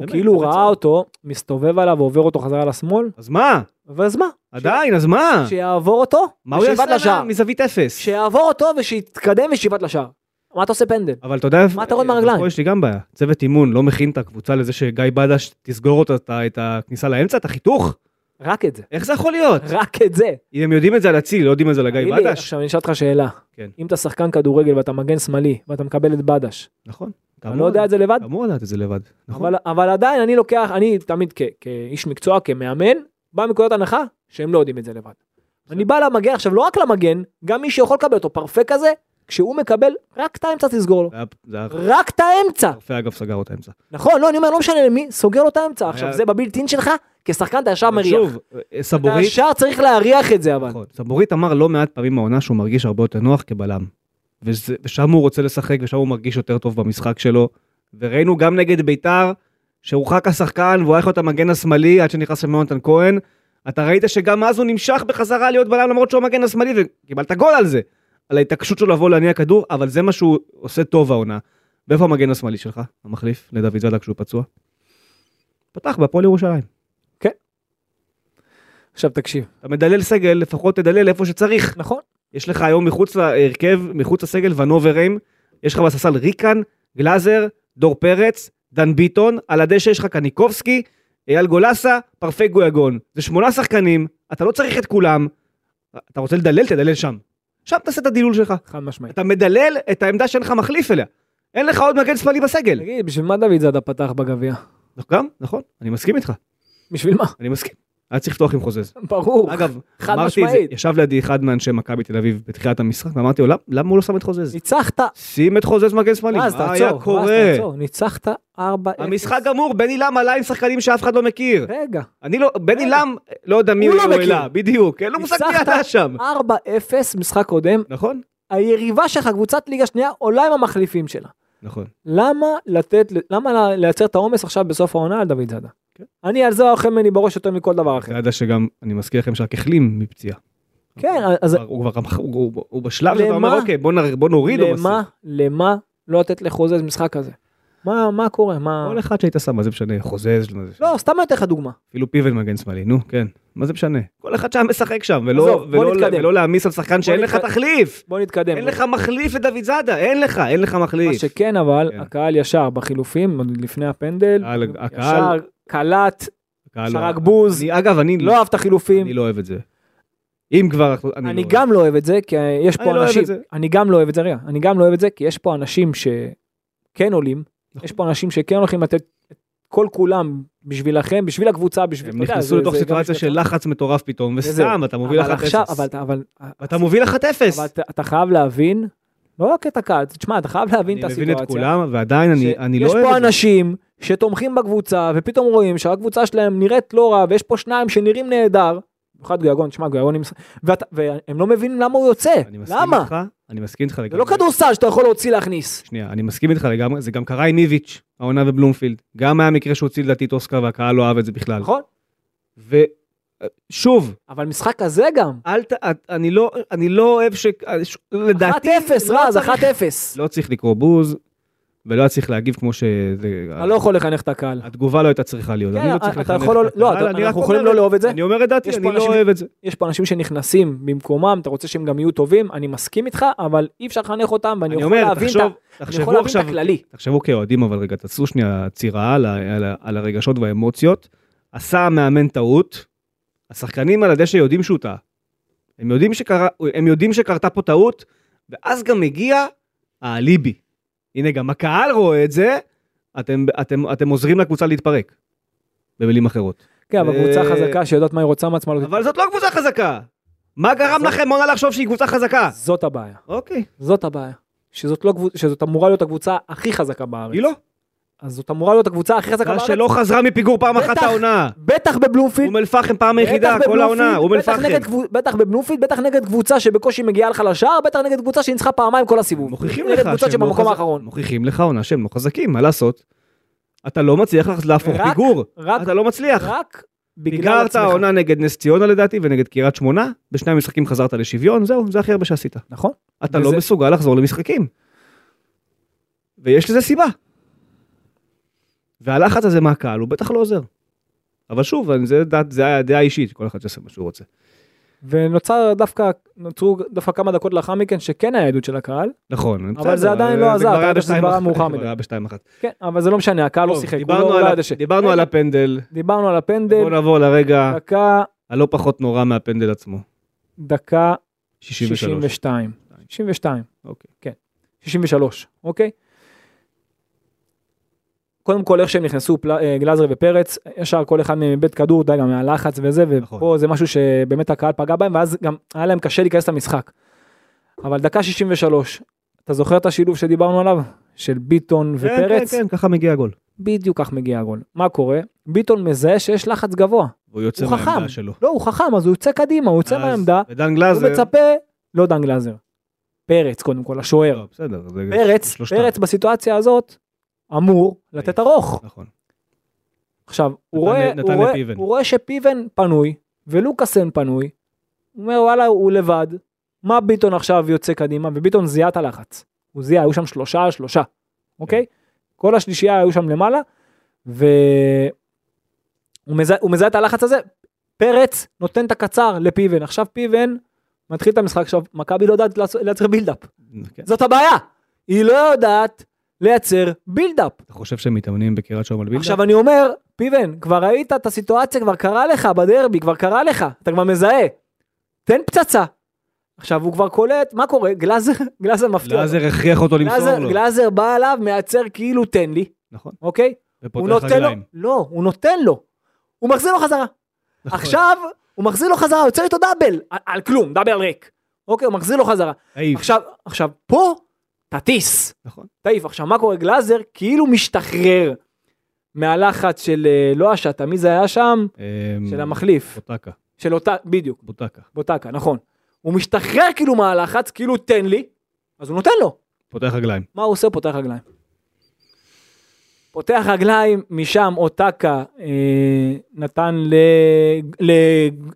S2: באמת,
S3: כאילו
S2: זה בית
S3: ראה
S2: סוהר.
S3: אותו, מסתובב עליו ועובר אותו חזרה לשמאל,
S2: אז מה?
S3: ואז מה?
S2: עדיין, אז מה?
S3: ש- שיעבור אותו,
S2: אה. מה הוא יעשה
S3: ושיבעט לשער.
S2: עליו מזווית אפס?
S3: שיעבור אותו ושיתקדם ושיבעט לשער. מה אתה עושה פנדל?
S2: אבל אתה יודע,
S3: מה אתה רואה
S2: אבל
S3: מהרגליים?
S2: פה יש לי גם בעיה. צוות אימון לא מכין את הקבוצה לזה שגיא בדש תסגור אותה, את ה- את הכניסה לאמצע, את החיתוך?
S3: רק את זה.
S2: איך זה יכול להיות?
S3: רק את זה.
S2: אם הם יודעים את זה על אציל, לא יודעים את זה על גיא
S3: תגיד לי,
S2: בדש?
S3: עכשיו אני אשאל אותך שאלה.
S2: כן.
S3: אם אתה שחקן כדורגל ואתה מגן שמאלי ואתה מקבל את בדש,
S2: נכון. אתה
S3: אתה
S2: אמור-
S3: לא יודע את זה לבד?
S2: אתה אמור לדעת את זה לבד. נכון.
S3: אבל, אבל עדיין אני לוקח, אני תמיד כ, כאיש מקצוע, כמאמן, בא מנקודת הנחה שהם לא יודעים את זה לבד. אני בא למגן, עכשיו לא רק למגן, גם מי שיכול לקבל אותו פרפה כזה, כשהוא מקבל, רק את האמצע תסגור לו.
S2: זה היה- זה היה...
S3: רק את האמצע.
S2: הרופא אגב סגר אותה אמצע.
S3: נכון, לא, אני אומר, לא משנה למי, סוגר לו את האמצע. עכשיו
S2: היה-
S3: זה בבילטין שלך, כשחקן אתה ישר מריח.
S2: אה, שוב, אה,
S3: אתה
S2: סבורית,
S3: ישר צריך להריח את זה אבל.
S2: נכון. סבורית אמר לא מעט פעמים העונה שהוא מרגיש הרבה יותר נוח כבלם. וזה- ושם הוא רוצה לשחק, ושם הוא מרגיש יותר טוב במשחק שלו. וראינו גם נגד ביתר, שהורחק השחקן והוא היה יכול להיות המגן השמאלי עד שנכנס שם יונתן כהן. אתה ראית שגם אז הוא נמשך בחזרה להיות בלם למרות שהוא המגן השמאלי וקיבלת גול על זה. על ההתעקשות שלו לבוא להניע כדור, אבל זה מה שהוא עושה טוב העונה. ואיפה המגן השמאלי שלך, המחליף, לדוד זאדה כשהוא פצוע? פתח בהפועל ירושלים.
S3: עכשיו תקשיב.
S2: אתה מדלל סגל, לפחות תדלל איפה שצריך.
S3: נכון.
S2: יש לך היום מחוץ להרכב, מחוץ לסגל ונוברים, יש לך בססל ריקן, גלאזר, דור פרץ, דן ביטון, על הדשא יש לך קניקובסקי, אייל גולסה, פרפה גויגון. זה שמונה שחקנים, אתה לא צריך את כולם. אתה רוצה לדלל, תדלל שם. שם תעשה את הדילול שלך.
S3: חד משמעית.
S2: אתה מדלל את העמדה שאין לך מחליף אליה. אין לך עוד מגן שמאלי בסגל.
S3: תגיד, בשביל מה דוד זאדה פתח בגביע?
S2: גם, נכון, אני מסכים איתך,
S3: בשביל מה?
S2: אני מסכים. היה צריך לפתוח עם חוזז.
S3: ברור.
S2: אגב,
S3: חד
S2: אמרתי את זה,
S3: משמעית.
S2: ישב לידי אחד מאנשי מכבי תל אביב בתחילת המשחק, ואמרתי לו, "למה- למה הוא לא שם את חוזז?
S3: ניצחת,
S2: שים את חוזז מגן שמאלי,
S3: אז
S2: מה היה
S3: תעצור, אז
S2: קורה?
S3: תעצור, ניצחת 4
S2: המשחק גמור, בני לם עלה עם שחקנים שאף אחד לא מכיר.
S3: רגע,
S2: אני לא, בני
S3: רגע.
S2: לם, לא יודע מי
S3: אה, הוא
S2: הוא
S3: לא מכיר.
S2: העלה, בדיוק, אין לו מושג מי
S3: ניצחת.
S2: אתה שם.
S3: 4-0 משחק קודם,
S2: נכון?
S3: היריבה שלך, קבוצת ליגה שנייה, עולה עם המחליפים שלה.
S2: נכון.
S3: למה לתת, למה לייצר את העומס עכשיו בסוף העונה על דוד זאדה?
S2: כן.
S3: אני על זה אוכל ממני בראש יותר מכל דבר אחר.
S2: אתה יודע שגם, אני מזכיר לכם שרק החלים מפציעה.
S3: כן, אז
S2: הוא כבר, הוא כבר- הוא- הוא- הוא בשלב שאתה אומר,
S3: למה?
S2: אוקיי, בוא נר- בוא נוריד עומסים.
S3: למה, למה לא לתת לחוזז משחק כזה? מה, מה קורה? מה...
S2: כל אחד שהיית שם, מה זה משנה? חוזז, מה זה-
S3: לא, סתם אני אתן לך דוגמה.
S2: אפילו פיבל מגן שמאלי, נו, כן. מה זה משנה? כל אחד שם משחק שם, ולא-
S3: עזוב, בוא
S2: ולא-
S3: נתקדם.
S2: ולא להעמיס על שחקן שאין לך
S3: נתקדם.
S2: תחליף.
S3: בוא נתקדם.
S2: אין לך מחליף לדוד זאדה, אין לך, אין לך
S3: מה
S2: מחליף.
S3: שכן, אבל
S2: כן.
S3: הקהל ישר בחילופים, עוד לפני הפנדל,
S2: הקהל-
S3: ישר
S2: הקהל,
S3: קלט,
S2: הקהל-
S3: שרק בוז,
S2: אני- אגב, אני
S3: לא אהב את החילופים.
S2: אני לא אוהב את זה. אם כבר, אני לא
S3: אני
S2: אוהב.
S3: גם לא אוהב את זה, כי אה, יש
S2: אני לא
S3: פה
S2: אוהב
S3: אנשים,
S2: את זה.
S3: אני גם לא אוהב את זה, רגע, אני גם לא אוהב את זה, כי יש פה אנשים שכן עולים,
S2: נכון.
S3: יש פה אנשים שכן הולכים לתת את כל כולם בשבילכם, בשביל הקבוצה, בשביל,
S2: הם
S3: אתה יודע,
S2: נכנסו
S3: זה-
S2: לתוך
S3: זה גם
S2: סיטואציה
S3: בשבילכם.
S2: של לחץ מטורף פתאום, וסתם,
S3: וזהו.
S2: אתה מוביל
S3: אבל עכשיו, אבל
S2: 1-0.
S3: אתה- אבל-
S2: ואתה מוביל 1-0.
S3: אבל אתה- אתה חייב להבין, לא רק את הקהל, תשמע, אתה חייב להבין את
S2: אני
S3: הסיטואציה.
S2: מבין את כולם, ועדיין אני- אני לא
S3: יש
S2: אוהב
S3: פה
S2: את זה.
S3: אנשים שתומכים בקבוצה, ופתאום רואים שהקבוצה שלהם נראית לא רע, ויש פה שניים שנראים נהדר, במיוחד גויגון, תשמע, גויגון, עם- ואת- והם לא מבינים למה הוא יוצא,
S2: אני מסכים
S3: למה?
S2: איתך, אני מסכים איתך
S3: זה
S2: לגמרי.
S3: לא כדורסל שאתה יכול להוציא להכניס.
S2: שנייה, אני מסכים איתך לגמרי, זה גם קרה עם איביץ', העונה בבלומפילד. גם היה מקרה שהוציא לדעתי את אוסקר והקהל לא אהב את זה בכלל.
S3: נכון?
S2: ושוב,
S3: אבל משחק כזה גם.
S2: אל ת... את- אני לא, אני לא אוהב ש... ש- לדעתי...
S3: 1-0,
S2: לא
S3: רז,
S2: צריך-
S3: 1-0.
S2: לא צריך לקרוא בוז, ולא היה צריך להגיב כמו שזה...
S3: אתה לא יכול לחנך את הקהל.
S2: התגובה לא הייתה צריכה להיות. אני
S3: כן,
S2: לא צריך
S3: אתה
S2: לחנך
S3: יכול לא-
S2: את
S3: לא,
S2: הקהל,
S3: אתה-
S2: אני רק
S3: אנחנו
S2: אומר
S3: יכולים
S2: את-
S3: לא לאהוב את זה.
S2: אני אומר את דעתי,
S3: יש פה
S2: אני לא
S3: אנשים-
S2: אוהב את זה.
S3: יש פה אנשים שנכנסים במקומם, אתה רוצה שהם גם יהיו טובים, אני מסכים איתך, אבל אי אפשר לחנך אותם, ואני
S2: אני
S3: יכול
S2: אומר,
S3: להבין את
S2: תחשוב,
S3: ה- אני יכול
S2: תחשבו
S3: להבין
S2: עכשיו,
S3: את הכללי.
S2: תחשבו כאוהדים אבל רגע, תעשו שנייה צירה על, ה- על, ה- על הרגשות והאמוציות. עשה המאמן טעות, השחקנים על הדשא יודעים שהוא טעה. הם יודעים, שקרה, הם יודעים שקרתה פה טעות, ואז גם מגיע האליבי. הנה גם הקהל רואה את זה, אתם, אתם, אתם עוזרים לקבוצה להתפרק. במילים אחרות.
S3: כן, אבל
S2: אה,
S3: קבוצה חזקה שיודעת מה היא רוצה מעצמה, לא תתפרק.
S2: אבל זאת לא קבוצה חזקה! מה גרם
S3: זאת-
S2: לכם עונה לחשוב שהיא קבוצה חזקה?
S3: זאת הבעיה.
S2: אוקיי,
S3: זאת הבעיה. שזאת, לא קבוצ... שזאת אמורה להיות הקבוצה הכי חזקה בארץ.
S2: היא לא.
S3: אז זאת אמורה להיות הקבוצה הכי חזקה
S2: מה
S3: בארץ.
S2: שלא חזרה מפיגור פעם אחת
S3: בטח.
S2: העונה.
S3: בטח בבלומפילד.
S2: אום אל פחם פעם היחידה,
S3: בטח
S2: כל העונה,
S3: בבלומפילד,
S2: אום אל
S3: בטח
S2: פחם.
S3: נגד קבוצ- בטח בבלומפילד, בטח נגד קבוצה שבקושי מגיעה לך לשער, בטח נגד קבוצה שניצחה פעמיים כל הסיבוב.
S2: מוכיחים
S3: נגד
S2: לך
S3: קבוצות
S2: שהם לא
S3: שבמקום
S2: חזק-
S3: האחרון.
S2: מוכיחים לך עונה שהם לא חזקים, מה לעשות? אתה לא מצליח לך להפוך
S3: רק-
S2: פיגור,
S3: רק,
S2: אתה לא מצליח.
S3: רק בגלל
S2: פיגרת
S3: עצמך.
S2: העונה נגד נס ציונה לדעתי ונגד קריית שמונה, בשני המשחקים חזרת לשוויון, זהו, זה הכי הרבה שעשית.
S3: נכון.
S2: אתה
S3: וזה-
S2: לא מסוגל לחזור למשחקים. ויש לזה סיבה. והלחץ הזה מהקהל הוא בטח לא עוזר. אבל שוב, אני- זה דעת- זה הדעה האישית, כל אחד שעושה מה שהוא רוצה.
S3: ונוצר דווקא, נוצרו דווקא כמה דקות לאחר מכן שכן היה עדות של הקהל.
S2: נכון.
S3: אבל זה
S2: בסדר,
S3: עדיין לא עזר,
S2: כבר
S3: אתה
S2: היה
S3: יודע שזה
S2: בשתיים
S3: כבר
S2: אחת,
S3: היה מאוחר
S2: כבר
S3: מדי.
S2: היה בשתיים אחת.
S3: כן, אבל זה לא משנה, הקהל לא
S2: טוב,
S3: שיחק. הוא
S2: דיברנו
S3: לא-
S2: על
S3: לא
S2: ה-
S3: היה דשא.
S2: דיברנו על הפנדל,
S3: דיברנו על הפנדל,
S2: בואו נעבור לרגע
S3: דקה,
S2: הלא פחות נורא מהפנדל עצמו.
S3: דקה
S2: 63.
S3: 62. 62.
S2: אוקיי.
S3: 63, אוקיי? קודם כל, איך שהם נכנסו, פל... אה, גלאזר ופרץ, ישר כל אחד מהם איבד כדור, די, גם מהלחץ וזה, ופה
S2: נכון.
S3: זה משהו שבאמת הקהל פגע בהם, ואז גם היה להם קשה להיכנס למשחק. אבל דקה 63, אתה זוכר את השילוב שדיברנו עליו? של ביטון
S2: כן,
S3: ופרץ?
S2: כן, כן, ככה מגיע הגול.
S3: בדיוק כך מגיע הגול. מה קורה? ביטון מזהה שיש לחץ גבוה.
S2: והוא יוצא
S3: הוא חכם.
S2: מהעמדה שלו.
S3: לא, הוא חכם, אז הוא יוצא קדימה, הוא יוצא
S2: אז-
S3: מהעמדה,
S2: ודן
S3: הוא
S2: גלאזר.
S3: מצפה, לא דן גלאזר. פרץ, קודם כל, השוער.
S2: לא, בסדר. זה-
S3: פרץ,
S2: שלושתם.
S3: פרץ בסיטואציה הזאת אמור לתת ארוך.
S2: נכון.
S3: עכשיו, הוא
S2: נתן-
S3: רואה,
S2: נתן
S3: הוא, רואה,
S2: לפיבן.
S3: הוא רואה שפיבן פנוי ולוקאסן פנוי, הוא אומר וואלה הוא לבד, מה ביטון עכשיו יוצא קדימה וביטון זיהה את הלחץ. הוא זיהה, היו שם שלושה על שלושה, אוקיי? כל השלישייה היו שם למעלה, והוא מזהה, הוא מזהה את הלחץ הזה, פרץ נותן את הקצר לפיבן, עכשיו פיבן מתחיל את המשחק, עכשיו מכבי לא יודעת לעשות- לייצר בילדאפ.
S2: כן.
S3: זאת הבעיה. היא לא יודעת לייצר בילדאפ.
S2: אתה חושב שהם מתאמנים בקריית שלום על בילדה?
S3: עכשיו אני אומר, פיבן, כבר ראית את הסיטואציה, כבר קרה לך בדרבי, כבר קרה לך, אתה כבר מזהה. תן פצצה. עכשיו הוא כבר קולט, מה קורה? גלאזר, גלאזר מפתיע. אותו.
S2: גלאזר הכריח אותו
S3: גלאזר-
S2: למסור לו.
S3: גלאזר בא אליו, מייצר כאילו תן לי,
S2: נכון.
S3: אוקיי? הוא
S2: ופותח
S3: נותן לו,
S2: רגליים.
S3: לא, הוא נותן לו. הוא מחזיר לו חזרה.
S2: נכון.
S3: עכשיו, הוא מחזיר לו חזרה, יוצא איתו דאבל, על- על כלום, דאבל ריק. אוקיי, הוא מחזיר לו חזרה.
S2: נכון. העיף.
S3: עכשיו, עכשיו, פה, תטיס.
S2: נכון.
S3: תעיף. עכשיו, מה קורה? גלאזר כאילו משתחרר מהלחץ של אה, לא השטה, מי זה היה שם?
S2: אמ,
S3: של המחליף,
S2: בוטקה.
S3: של אותה, בדיוק,
S2: בוטקה.
S3: בוטקה, נכון. הוא משתחרר כאילו מהלחץ, כאילו תן לי, אז הוא נותן לו.
S2: פותח רגליים.
S3: מה הוא עושה? פותח רגליים. פותח רגליים, משם אוטקה אה, נתן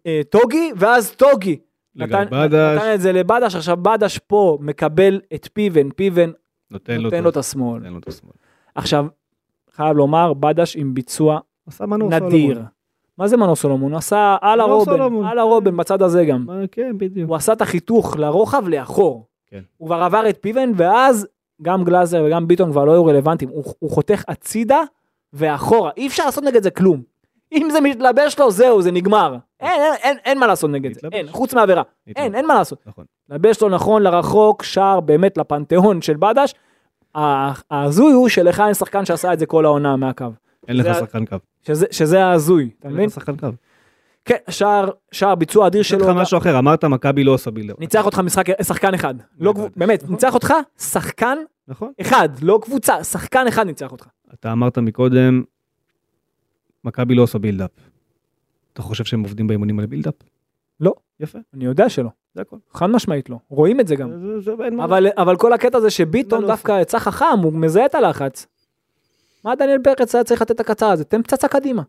S3: לטוגי, ואז טוגי נתן,
S2: לגל בדש,
S3: נתן את זה לבדש, עכשיו בדש פה מקבל את פיבן, פיבן
S2: נותן לו
S3: נותן לו את השמאל.
S2: נותן לו את השמאל.
S3: עכשיו, חייב לומר, בדש עם ביצוע
S2: עשה מנור
S3: נדיר. מה זה מנור סולומון? הוא עשה על
S2: מנור
S3: הרובן,
S2: סולומון.
S3: על הרובן בצד הזה גם.
S2: סולומון. כן, בדיוק.
S3: הוא עשה את החיתוך לרוחב לאחור.
S2: כן.
S3: הוא כבר עבר את פיבן, ואז גם גלאזר וגם ביטון כבר לא היו רלוונטיים. הוא, הוא חותך הצידה ואחורה. אי אפשר לעשות נגד זה כלום. אם זה מתלבש לו, זהו, זה נגמר. אין, אין, אין, אין מה לעשות נגד זה.
S2: מתלבש.
S3: אין, חוץ מעבירה. אין, אין מה לעשות.
S2: נכון.
S3: מתלבש לו נכון לרחוק, שער באמת לפנתיאון של בדש. ה- ההזוי הוא שלך אין שחקן שעשה את זה כל העונה מהקו.
S2: אין לך
S3: זה-
S2: שחקן קו.
S3: שזה, שזה ההזוי, אתה
S2: אין
S3: מבין?
S2: לך שחקן קו.
S3: כן, שער, שער ביצוע אדיר
S2: יש
S3: שלו.
S2: לך משהו אחר, אמרת מכבי לא עושה בילדר.
S3: ניצח אותך משחק, שחקן אחד. לא,
S2: גדול.
S3: גבו- באמת, ניצח אותך שחקן
S2: נכון.
S3: אחד, לא קבוצה, שחקן אחד ניצח אותך.
S2: אתה אמרת מקודם, מכבי לא עושה בילדאפ. אתה חושב שהם עובדים באימונים על בילדאפ?
S3: לא.
S2: יפה,
S3: אני יודע שלא,
S2: זה הכל.
S3: חד משמעית לא, רואים את זה גם.
S2: זה- זה- אין מה-
S3: אבל, אבל כל הקטע זה
S2: מה
S3: שביטון
S2: לא
S3: דווקא יצא חכם, הוא מזהה את הלחץ. מה דניאל פרץ היה צריך לתת את הקצר הזה? תן פצצה קדימה.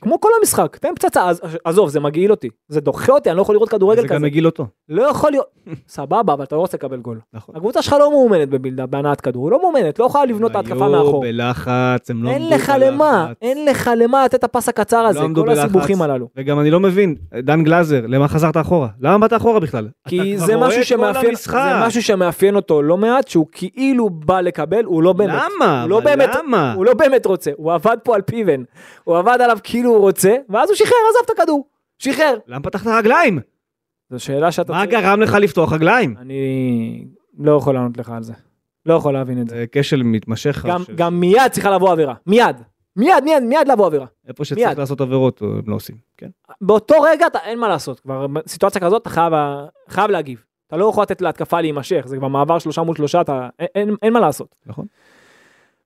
S3: כמו כל המשחק, תן פצצה, אז- עזוב, זה מגעיל אותי, זה דוחה אותי, אני לא יכול לראות כדורגל
S2: זה גם
S3: כזה.
S2: מגיל אותו.
S3: לא יכול להיות, סבבה, אבל אתה לא רוצה לקבל גול.
S2: נכון.
S3: הקבוצה שלך לא מאומנת בבילדה, בהנעת כדור, היא לא מאומנת, לא יכולה לבנות את ההתקפה מאחור.
S2: היו בלחץ, הם לא עמדו
S3: אין לך למה,
S2: בלחץ.
S3: אין לך למה לתת את הפס הקצר הזה,
S2: עמדו
S3: כל
S2: בלחץ.
S3: הסיבוכים הללו.
S2: וגם אני לא מבין, דן גלאזר, למה חזרת אחורה? למה באת אחורה בכלל?
S3: כי
S2: אתה
S3: זה
S2: כבר רואה
S3: משהו,
S2: את כל
S3: שמאפיין,
S2: המשחק.
S3: זה משהו שמאפיין אותו לא מעט, שהוא כאילו בא לקבל, הוא לא באמת.
S2: למה?
S3: הוא לא
S2: אבל
S3: באמת-
S2: למה?
S3: הוא לא באמת רוצה, הוא עבד פה על פיבן, הוא עבד עליו כאילו הוא רוצה, ואז הוא שחרר, עזב את הכדור, שחרר.
S2: למה פתחת רגליים?
S3: זו שאלה שאתה
S2: מה גרם לך לפתוח רגליים?
S3: אני לא יכול לענות לך על זה. לא יכול להבין את זה.
S2: זה כשל מתמשך.
S3: גם-
S2: ש-
S3: גם מיד צריכה לבוא עבירה, מיד. מיד, מיד, מיד לבוא עבירה.
S2: איפה שצריך
S3: מיד.
S2: לעשות עבירות, הם לא עושים. כן.
S3: באותו רגע אתה אין מה לעשות כבר בסיטואציה כזאת אתה חייב, חייב להגיב. אתה לא יכול לתת להתקפה להימשך זה כבר מעבר שלושה מול שלושה אתה אין, אין, אין מה לעשות.
S2: נכון.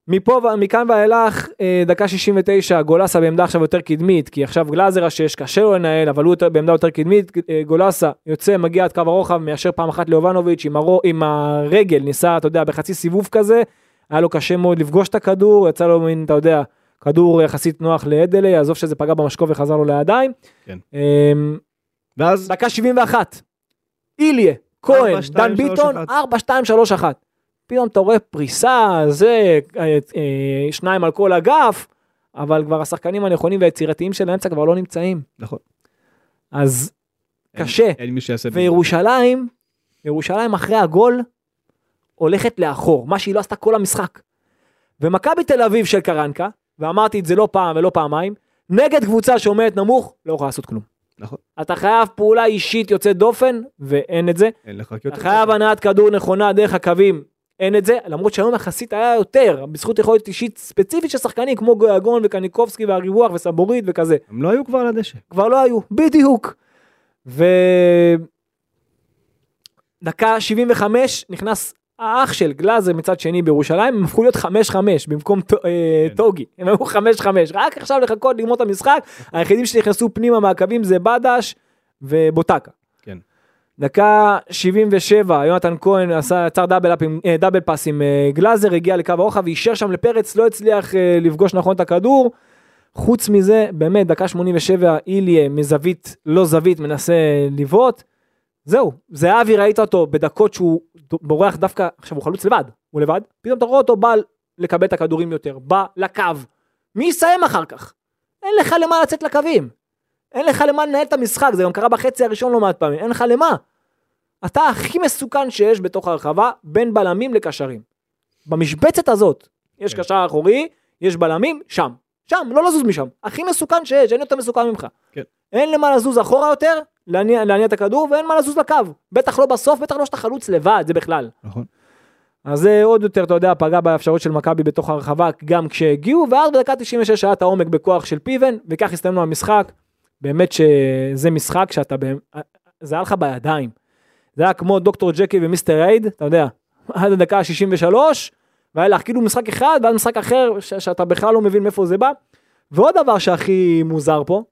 S3: מפה ו- מכאן ואילך אה, דקה 69 גולסה בעמדה עכשיו יותר קדמית כי עכשיו גלאזר השש קשה לו לנהל אבל הוא יותר, בעמדה יותר קדמית אה, גולסה יוצא מגיע עד קו הרוחב מאשר פעם אחת ליובנוביץ' עם, הרו, עם הרגל ניסה אתה יודע בחצי סיבוב כזה היה לו קשה מאוד לפגוש את הכדור יצא לו מין אתה יודע כדור יחסית נוח לאדלי עזוב שזה פגע במשקוף וחזר לו לידיים.
S2: כן.
S3: אמ,
S2: ואז
S3: דקה 71. איליה, כהן,
S2: ארבע, שתיים,
S3: דן
S2: שלוש,
S3: ביטון,
S2: אחת.
S3: 4, 2, 3, 1. פתאום אתה רואה פריסה, זה, אה, אה, שניים על כל אגף, אבל כבר השחקנים הנכונים והיצירתיים של האמצע כבר לא נמצאים.
S2: נכון.
S3: אז
S2: אין-
S3: קשה.
S2: אין מי שיעשה בילדאפ.
S3: וירושלים, ירושלים אחרי הגול, הולכת לאחור, מה שהיא לא עשתה כל המשחק. ומכבי תל אביב של קרנקה, ואמרתי את זה לא פעם ולא פעמיים, נגד קבוצה שעומדת נמוך, לא יכולה לעשות כלום.
S2: נכון.
S3: אתה חייב פעולה אישית יוצאת דופן, ואין את זה.
S2: אין לך
S3: אתה
S2: יותר.
S3: חייב הנעת כדור נכונה דרך הקווים, אין את זה. למרות שהיום יחסית היה יותר, בזכות יכולת אישית ספציפית של שחקנים, כמו גויגון וקניקובסקי והריווח וסבורית וכזה.
S2: הם לא היו כבר על הדשא.
S3: כבר לא היו, בדיוק. ו... דקה 75 נכנס האח של גלאזר מצד שני בירושלים, הם הפכו להיות 5-5 במקום ט- אה,
S2: כן.
S3: טוגי, הם היו 5-5, רק עכשיו לחכות לגמור את המשחק, היחידים שנכנסו פנימה מהקווים זה בדש ובוטקה.
S2: כן.
S3: דקה 77, יונתן כהן עשה, יצר דאבל, אפ עם, אה, דאבל פאס עם אה, גלאזר, הגיע לקו הרוחב, אישר שם לפרץ, לא הצליח אה, לפגוש נכון את הכדור. חוץ מזה, באמת, דקה 87, איליה מזווית, לא זווית, מנסה לבעוט. זהו, זהבי ראית אותו בדקות שהוא ד- בורח דווקא, עכשיו הוא חלוץ לבד, הוא לבד, פתאום אתה רואה אותו בא לקבל את הכדורים יותר, בא לקו. מי יסיים אחר כך? אין לך למה לצאת לקווים. אין לך למה לנהל את המשחק, זה גם קרה בחצי הראשון לא מעט פעמים, אין לך למה. אתה הכי מסוכן שיש בתוך הרחבה בין בלמים לקשרים. במשבצת הזאת, יש
S2: כן.
S3: קשר אחורי, יש בלמים, שם. שם, לא לזוז משם. הכי מסוכן שיש, אין יותר מסוכן ממך.
S2: כן.
S3: אין למה לזוז אחורה יותר, להניע, להניע את הכדור, ואין מה לזוז לקו. בטח לא בסוף, בטח לא שאתה חלוץ לבד, זה בכלל.
S2: נכון.
S3: אז זה עוד יותר, אתה יודע, פגע באפשרות של מכבי בתוך הרחבה גם כשהגיעו, ואז בדקה 96 היה את העומק בכוח של פיבן, וכך הסתיימנו המשחק. באמת שזה משחק שאתה, בהם- זה היה לך בידיים. זה היה כמו דוקטור ג'קי ומיסטר אייד, אתה יודע, עד הדקה ה-63, והיה לך כאילו משחק אחד, ואז משחק אחר ש- שאתה בכלל לא מבין מאיפה זה בא. ועוד דבר שהכי מוזר פה,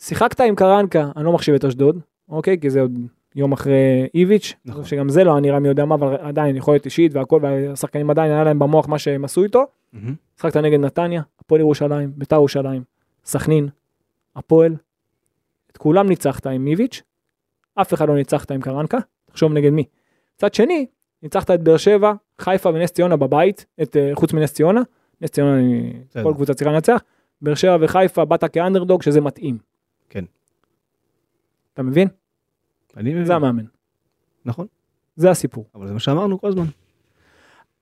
S3: שיחקת עם קרנקה, אני לא מחשיב את אשדוד, אוקיי? כי זה עוד יום אחרי איביץ',
S2: נכון.
S3: שגם זה לא היה נראה מי יודע מה, אבל עדיין יכולת אישית והכל, והשחקנים עדיין היה להם במוח מה שהם עשו איתו.
S2: מהמם.
S3: שחקת נגד נתניה, הפועל ירושלים, ביתר ירושלים, סכנין, הפועל. את כולם ניצחת עם איביץ', אף אחד לא ניצחת עם קרנקה, תחשוב נגד מי. מצד שני, ניצחת את באר שבע, חיפה ונס ציונה בבית, את, אה, חוץ מנס ציונה, נס ציונה אני-
S2: בסדר.
S3: כל קבוצה צריכה לנצח, באר שבע וחיפה באת כאנדרדוג שזה מתאים.
S2: כן.
S3: אתה מבין?
S2: אני מבין.
S3: זה המאמן,
S2: נכון,
S3: זה הסיפור.
S2: אבל זה מה שאמרנו כל הזמן.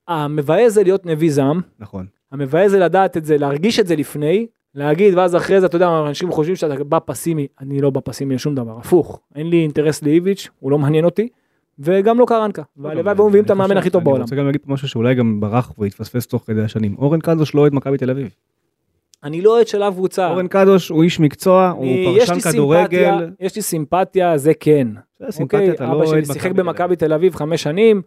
S3: המבאס זה להיות נביא זעם,
S2: נכון.
S3: המבאס זה לדעת את זה, להרגיש את זה לפני, להגיד, ואז אחרי זה, אתה יודע, אנשים חושבים שאתה בא פסימי, אני לא בא פסימי לשום דבר, הפוך, אין לי אינטרס לאיביץ', הוא לא מעניין אותי, וגם לא קרנקה, והלוואי והיו מביאים את
S2: אני
S3: המאמן
S2: חושב-
S3: הכי טוב בעולם.
S2: אני רוצה גם להגיד פה משהו שאולי גם ברח והתפספס תוך כדי השנים. אורן קדוש לא אוהד מכבי תל אביב.
S3: אני לא אוהד של אף קבוצה,
S2: אורן קדוש הוא איש מקצוע, הוא
S3: אני- יש לי
S2: פרשן כדורגל.
S3: סימפתיה, אוקיי, יש לי סימפתיה, זה כן.
S2: זה סימפתיה,
S3: אוקיי,
S2: אתה לא אוהד
S3: אבא שלי שיחק
S2: תל אביב.
S3: במכבי תל אביב חמש שנים,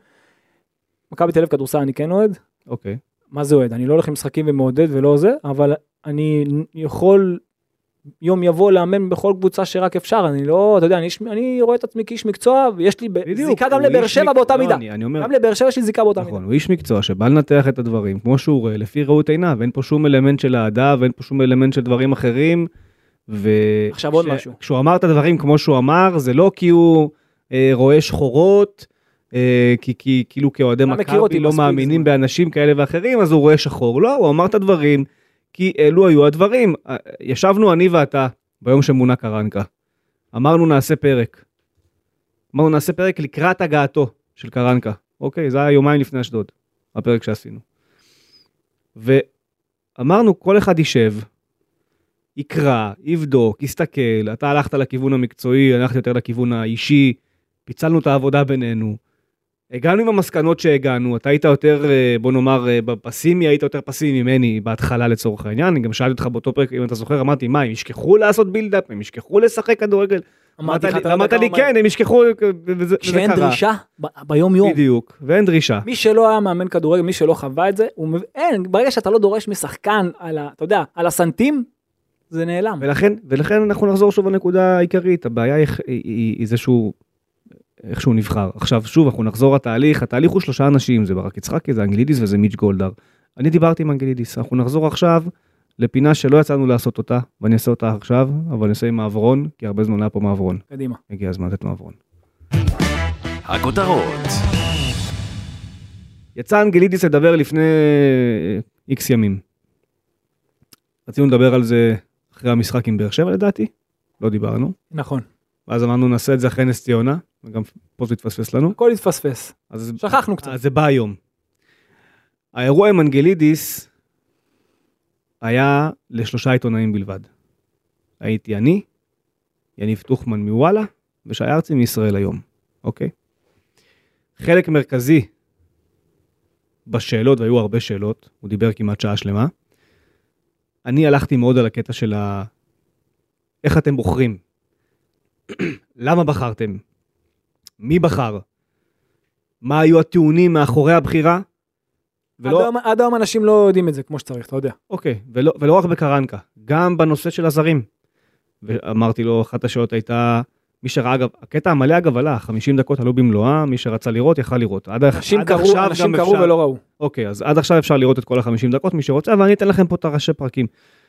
S3: מכבי תל אביב כדורסל אני כן אוהד,
S2: אוקיי.
S3: מה זה אוהד? אני לא הולך למשחקים ומעודד ולא זה, אבל אני יכול יום יבוא לאמן בכל קבוצה שרק אפשר, אני לא, אתה יודע, אני, איש- אני רואה את עצמי כאיש מקצוע, ויש לי ב- זיקה גם
S2: הוא
S3: לבאר
S2: איש
S3: שבע
S2: מק-
S3: באותה
S2: לא,
S3: מידה.
S2: אני אני אומר,
S3: גם לבאר שבע יש לי זיקה באותה מידה.
S2: נכון, הוא איש מקצוע שבא לנתח את הדברים כמו שהוא רואה, לפי ראות עיניו, אין פה שום אלמנט של אהדה ואין פה שום אלמנט של דברים אחרים. ו...
S3: עכשיו עוד
S2: כש-
S3: משהו.
S2: כשהוא אמר את הדברים כמו שהוא אמר, זה לא כי הוא אה, רואה שחורות, אה, כי, כי כאילו כאוהדי
S3: אתה מכיר אותי
S2: מכבי לא
S3: מספיק
S2: מאמינים
S3: זמן.
S2: באנשים כאלה ואחרים, אז הוא רואה שחור. לא, הוא אמר את הדברים, כי אלו היו הדברים. אה, ישבנו אני ואתה ביום שמונה קרנקה. אמרנו נעשה פרק. אמרנו נעשה פרק לקראת הגעתו של קרנקה. אוקיי, זה היה יומיים לפני אשדוד, הפרק שעשינו. ואמרנו, כל אחד יישב, יקרא, יבדוק, יסתכל, אתה הלכת לכיוון המקצועי, הלכתי יותר לכיוון האישי, פיצלנו את העבודה בינינו. הגענו עם המסקנות שהגענו, אתה היית יותר, אה, בוא נאמר, אה, פסימי, היית יותר פסימי ממני בהתחלה לצורך העניין, אני גם שאלתי אותך באותו פרק, אם אתה זוכר, אמרתי, מה, הם ישכחו לעשות בילדאפ, הם ישכחו לשחק כדורגל? אמרת
S3: אמרתי לך,
S2: לי-
S3: אתה לא יודע
S2: אמרת
S3: כמה
S2: לי,
S3: אמרתי.
S2: כן, הם ישכחו, וזה וזה קרה.
S3: כשאין דרישה, ב- ביום יום.
S2: בדיוק, ואין דרישה.
S3: מי שלא היה מאמן כדורגל, מי שלא חווה את זה, הוא מב- אין, ברגע שאתה לא דורש משחקן על ה... אתה יודע, על הסנטים, זה נעלם.
S2: ולכן, ולכן אנחנו נחזור שוב לנקודה העיקרית, הבעיה היא, היא, היא, היא זה שהוא, איך שהוא נבחר. עכשיו שוב, אנחנו נחזור לתהליך, התהליך הוא שלושה אנשים, זה ברק יצחקי, זה אנגלידיס וזה מיץ' גולדהר. אני דיברתי עם אנגלידיס, אנחנו נחזור עכשיו לפינה שלא יצאנו לעשות אותה, ואני אעשה אותה עכשיו, אבל אני אעשה עם מעברון, כי הרבה זמן לא היה פה מעברון.
S3: קדימה.
S2: הגיע הזמן לתת מעברון.
S1: הכותרות,
S2: יצא אנגלידיס לדבר לפני איקס ימים. רצינו לדבר על זה אחרי המשחק עם באר שבע לדעתי, לא דיברנו.
S3: נכון.
S2: ואז אמרנו נעשה את זה אחרי נס ציונה, וגם פה זה התפספס לנו.
S3: הכל התפספס.
S2: אז,
S3: שכחנו קצת.
S2: אז זה בא היום. האירוע עם אנגלידיס היה לשלושה עיתונאים בלבד. הייתי אני, יניב טוחמן מוואלה, ושי ארצי מישראל היום, אוקיי? חלק מרכזי בשאלות, והיו הרבה שאלות, הוא דיבר כמעט שעה שלמה. אני הלכתי מאוד על הקטע של ה... איך אתם בוחרים? למה בחרתם? מי בחר? מה היו הטיעונים מאחורי הבחירה?
S3: עד היום- עד היום אנשים לא יודעים את זה כמו שצריך, אתה יודע.
S2: אוקיי, ולא, ולא רק בקרנקה, גם בנושא של הזרים. ואמרתי לו, אחת השאלות הייתה, מי שראה, אגב, הקטע המלא אגב עלה, 50 דקות עלו במלואה, מי שרצה לראות יכל לראות. עד,
S3: אנשים
S2: עד
S3: קראו,
S2: עכשיו
S3: אנשים
S2: גם
S3: קראו
S2: אפשר-
S3: ולא ראו.
S2: אוקיי, אז עד עכשיו אפשר לראות את כל ה-50 דקות, מי שרוצה, ואני אתן לכם פה את הראשי פרקים.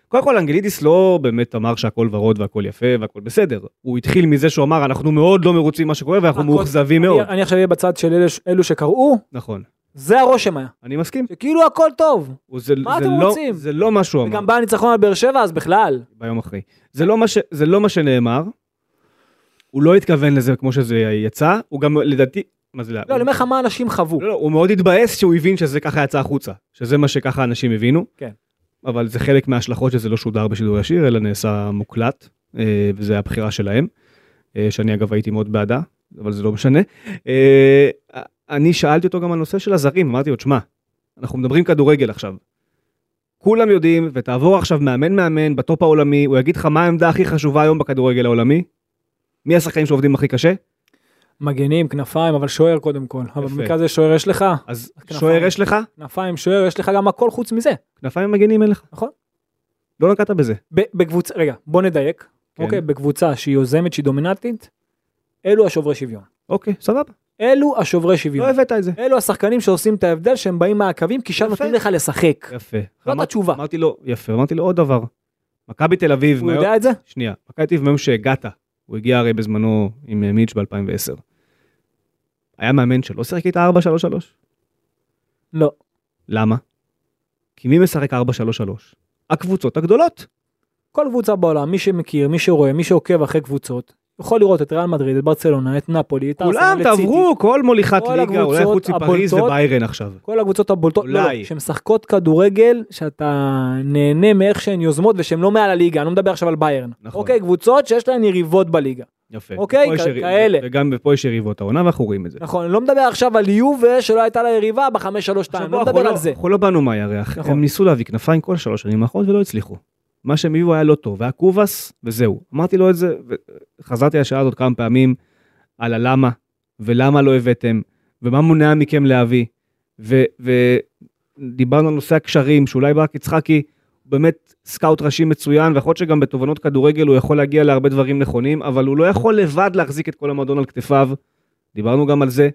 S2: קודם כל, אנגלידיס לא באמת אמר שהכל ורוד והכל יפה והכל בסדר. הוא התחיל מזה שהוא אמר, אנחנו מאוד לא מרוצים ממה שקורה ואנחנו
S3: הכל-
S2: מאוכזבים מאוד.
S3: אני, אני עכשיו אהיה בצד של אלו, ש- אלו שקראו,
S2: נכון,
S3: זה הרושם היה.
S2: אני מסכים.
S3: שכאילו הכל טוב.
S2: הוא- זה-
S3: מה
S2: זה
S3: אתם
S2: לא-
S3: רוצים?
S2: זה לא מה שהוא אמר.
S3: וגם בא הניצחון על באר שבע, אז בכלל.
S2: ביום אחרי. זה לא מה, ש... זה לא מה שנאמר, הוא לא התכוון לזה כמו שזה יצא, הוא גם לדעתי, מה זה,
S3: לא,
S2: הוא...
S3: אני אומר לך מה אנשים חוו.
S2: לא, לא, הוא מאוד התבאס שהוא הבין שזה ככה יצא החוצה, שזה מה שככה אנשים הבינו.
S3: כן.
S2: אבל זה חלק מההשלכות שזה לא שודר בשידור ישיר, אלא נעשה מוקלט, אה, וזה הבחירה שלהם, אה, שאני אגב הייתי מאוד בעדה, אבל זה לא משנה. אה, אני שאלתי אותו גם על נושא של הזרים, אמרתי לו, תשמע, אנחנו מדברים כדורגל עכשיו. כולם יודעים, ותעבור עכשיו מאמן-מאמן בטופ העולמי, הוא יגיד לך מה העמדה הכי חשובה היום בכדורגל העולמי, מי השחקנים שעובדים הכי קשה,
S3: מגנים, כנפיים, אבל שוער קודם כל. אבל
S2: יפה.
S3: במקרה הזה שוער יש לך,
S2: אז
S3: כנפיים.
S2: שוער יש לך,
S3: כנפיים, שוער, יש לך גם הכל חוץ מזה.
S2: כנפיים מגנים אין לך.
S3: נכון.
S2: לא נגעת בזה.
S3: ב- בקבוצה, רגע, בוא נדייק.
S2: כן.
S3: אוקיי, בקבוצה שהיא יוזמת, שהיא דומיננטית, אלו השוברי שוויון.
S2: אוקיי, סבבה.
S3: אלו השוברי שוויון.
S2: לא הבאת את זה.
S3: אלו השחקנים שעושים את ההבדל שהם באים מהקווים כי שם
S2: יפה.
S3: נותנים לך לשחק.
S2: יפה.
S3: זאת
S2: אמרתי-
S3: התשובה.
S2: אמרתי לו, יפה, אמרתי לו עוד דבר. מכבי תל אביב,
S3: הוא
S2: מהיום-
S3: יודע את זה?
S2: שנייה, מכבי תל אביב מהיום שהגעת, הוא הגיע הרי בזמנו עם אה, מיץ' ב-2010. היה מאמן שלא שיחק איתה 4-3-3?
S3: לא.
S2: למה? כי מי משחק 4-3-3? הקבוצות הגדולות.
S3: כל קבוצה בעולם, מי שמכיר, מי שרואה, מי שעוקב אחרי קבוצות, יכול לראות את ריאל מדריד, את ברצלונה, את נפולי, את
S2: כולם
S3: ארסנל, את סיטי.
S2: תעברו, כל מוליכת
S3: כל
S2: ליגה, אולי
S3: הקבוצות
S2: חוץ מפריז
S3: הבולטות.
S2: וביירן עכשיו.
S3: כל הקבוצות הבולטות, לא,
S2: אולי.
S3: לא, שמשחקות כדורגל, שאתה נהנה מאיך שהן יוזמות ושהן לא מעל הליגה, אני לא מדבר עכשיו על ביירן.
S2: נכון.
S3: אוקיי, קבוצות שיש להן יריבות בליגה.
S2: יפה.
S3: אוקיי,
S2: ופה יש
S3: כ-
S2: יריב-
S3: כאלה.
S2: וגם פה יש יריבות העונה ואנחנו רואים את זה.
S3: נכון, אני לא מדבר עכשיו על יובה שלא הייתה לה יריבה ב-5-3-2,
S2: עכשיו,
S3: אני
S2: בוא,
S3: לא
S2: אנחנו
S3: מדבר על זה.
S2: אנחנו לא באנו מהירח,
S3: נכון.
S2: הם ניסו להביא כנפיים כל שלוש שנים האחרונות ולא הצליחו. מה שהם הביאו היה לא טוב, היה קובס וזהו. אמרתי לו את זה, וחזרתי לשאלה הזאת כמה פעמים, על הלמה, ולמה לא הבאתם, ומה מונע מכם להביא. ו- ודיברנו על נושא הקשרים, שאולי ברק יצחקי הוא באמת סקאוט ראשי מצוין, ויכול להיות שגם בתובנות כדורגל הוא יכול להגיע להרבה דברים נכונים, אבל הוא לא יכול לבד להחזיק את כל המועדון על כתפיו. דיברנו גם על זה.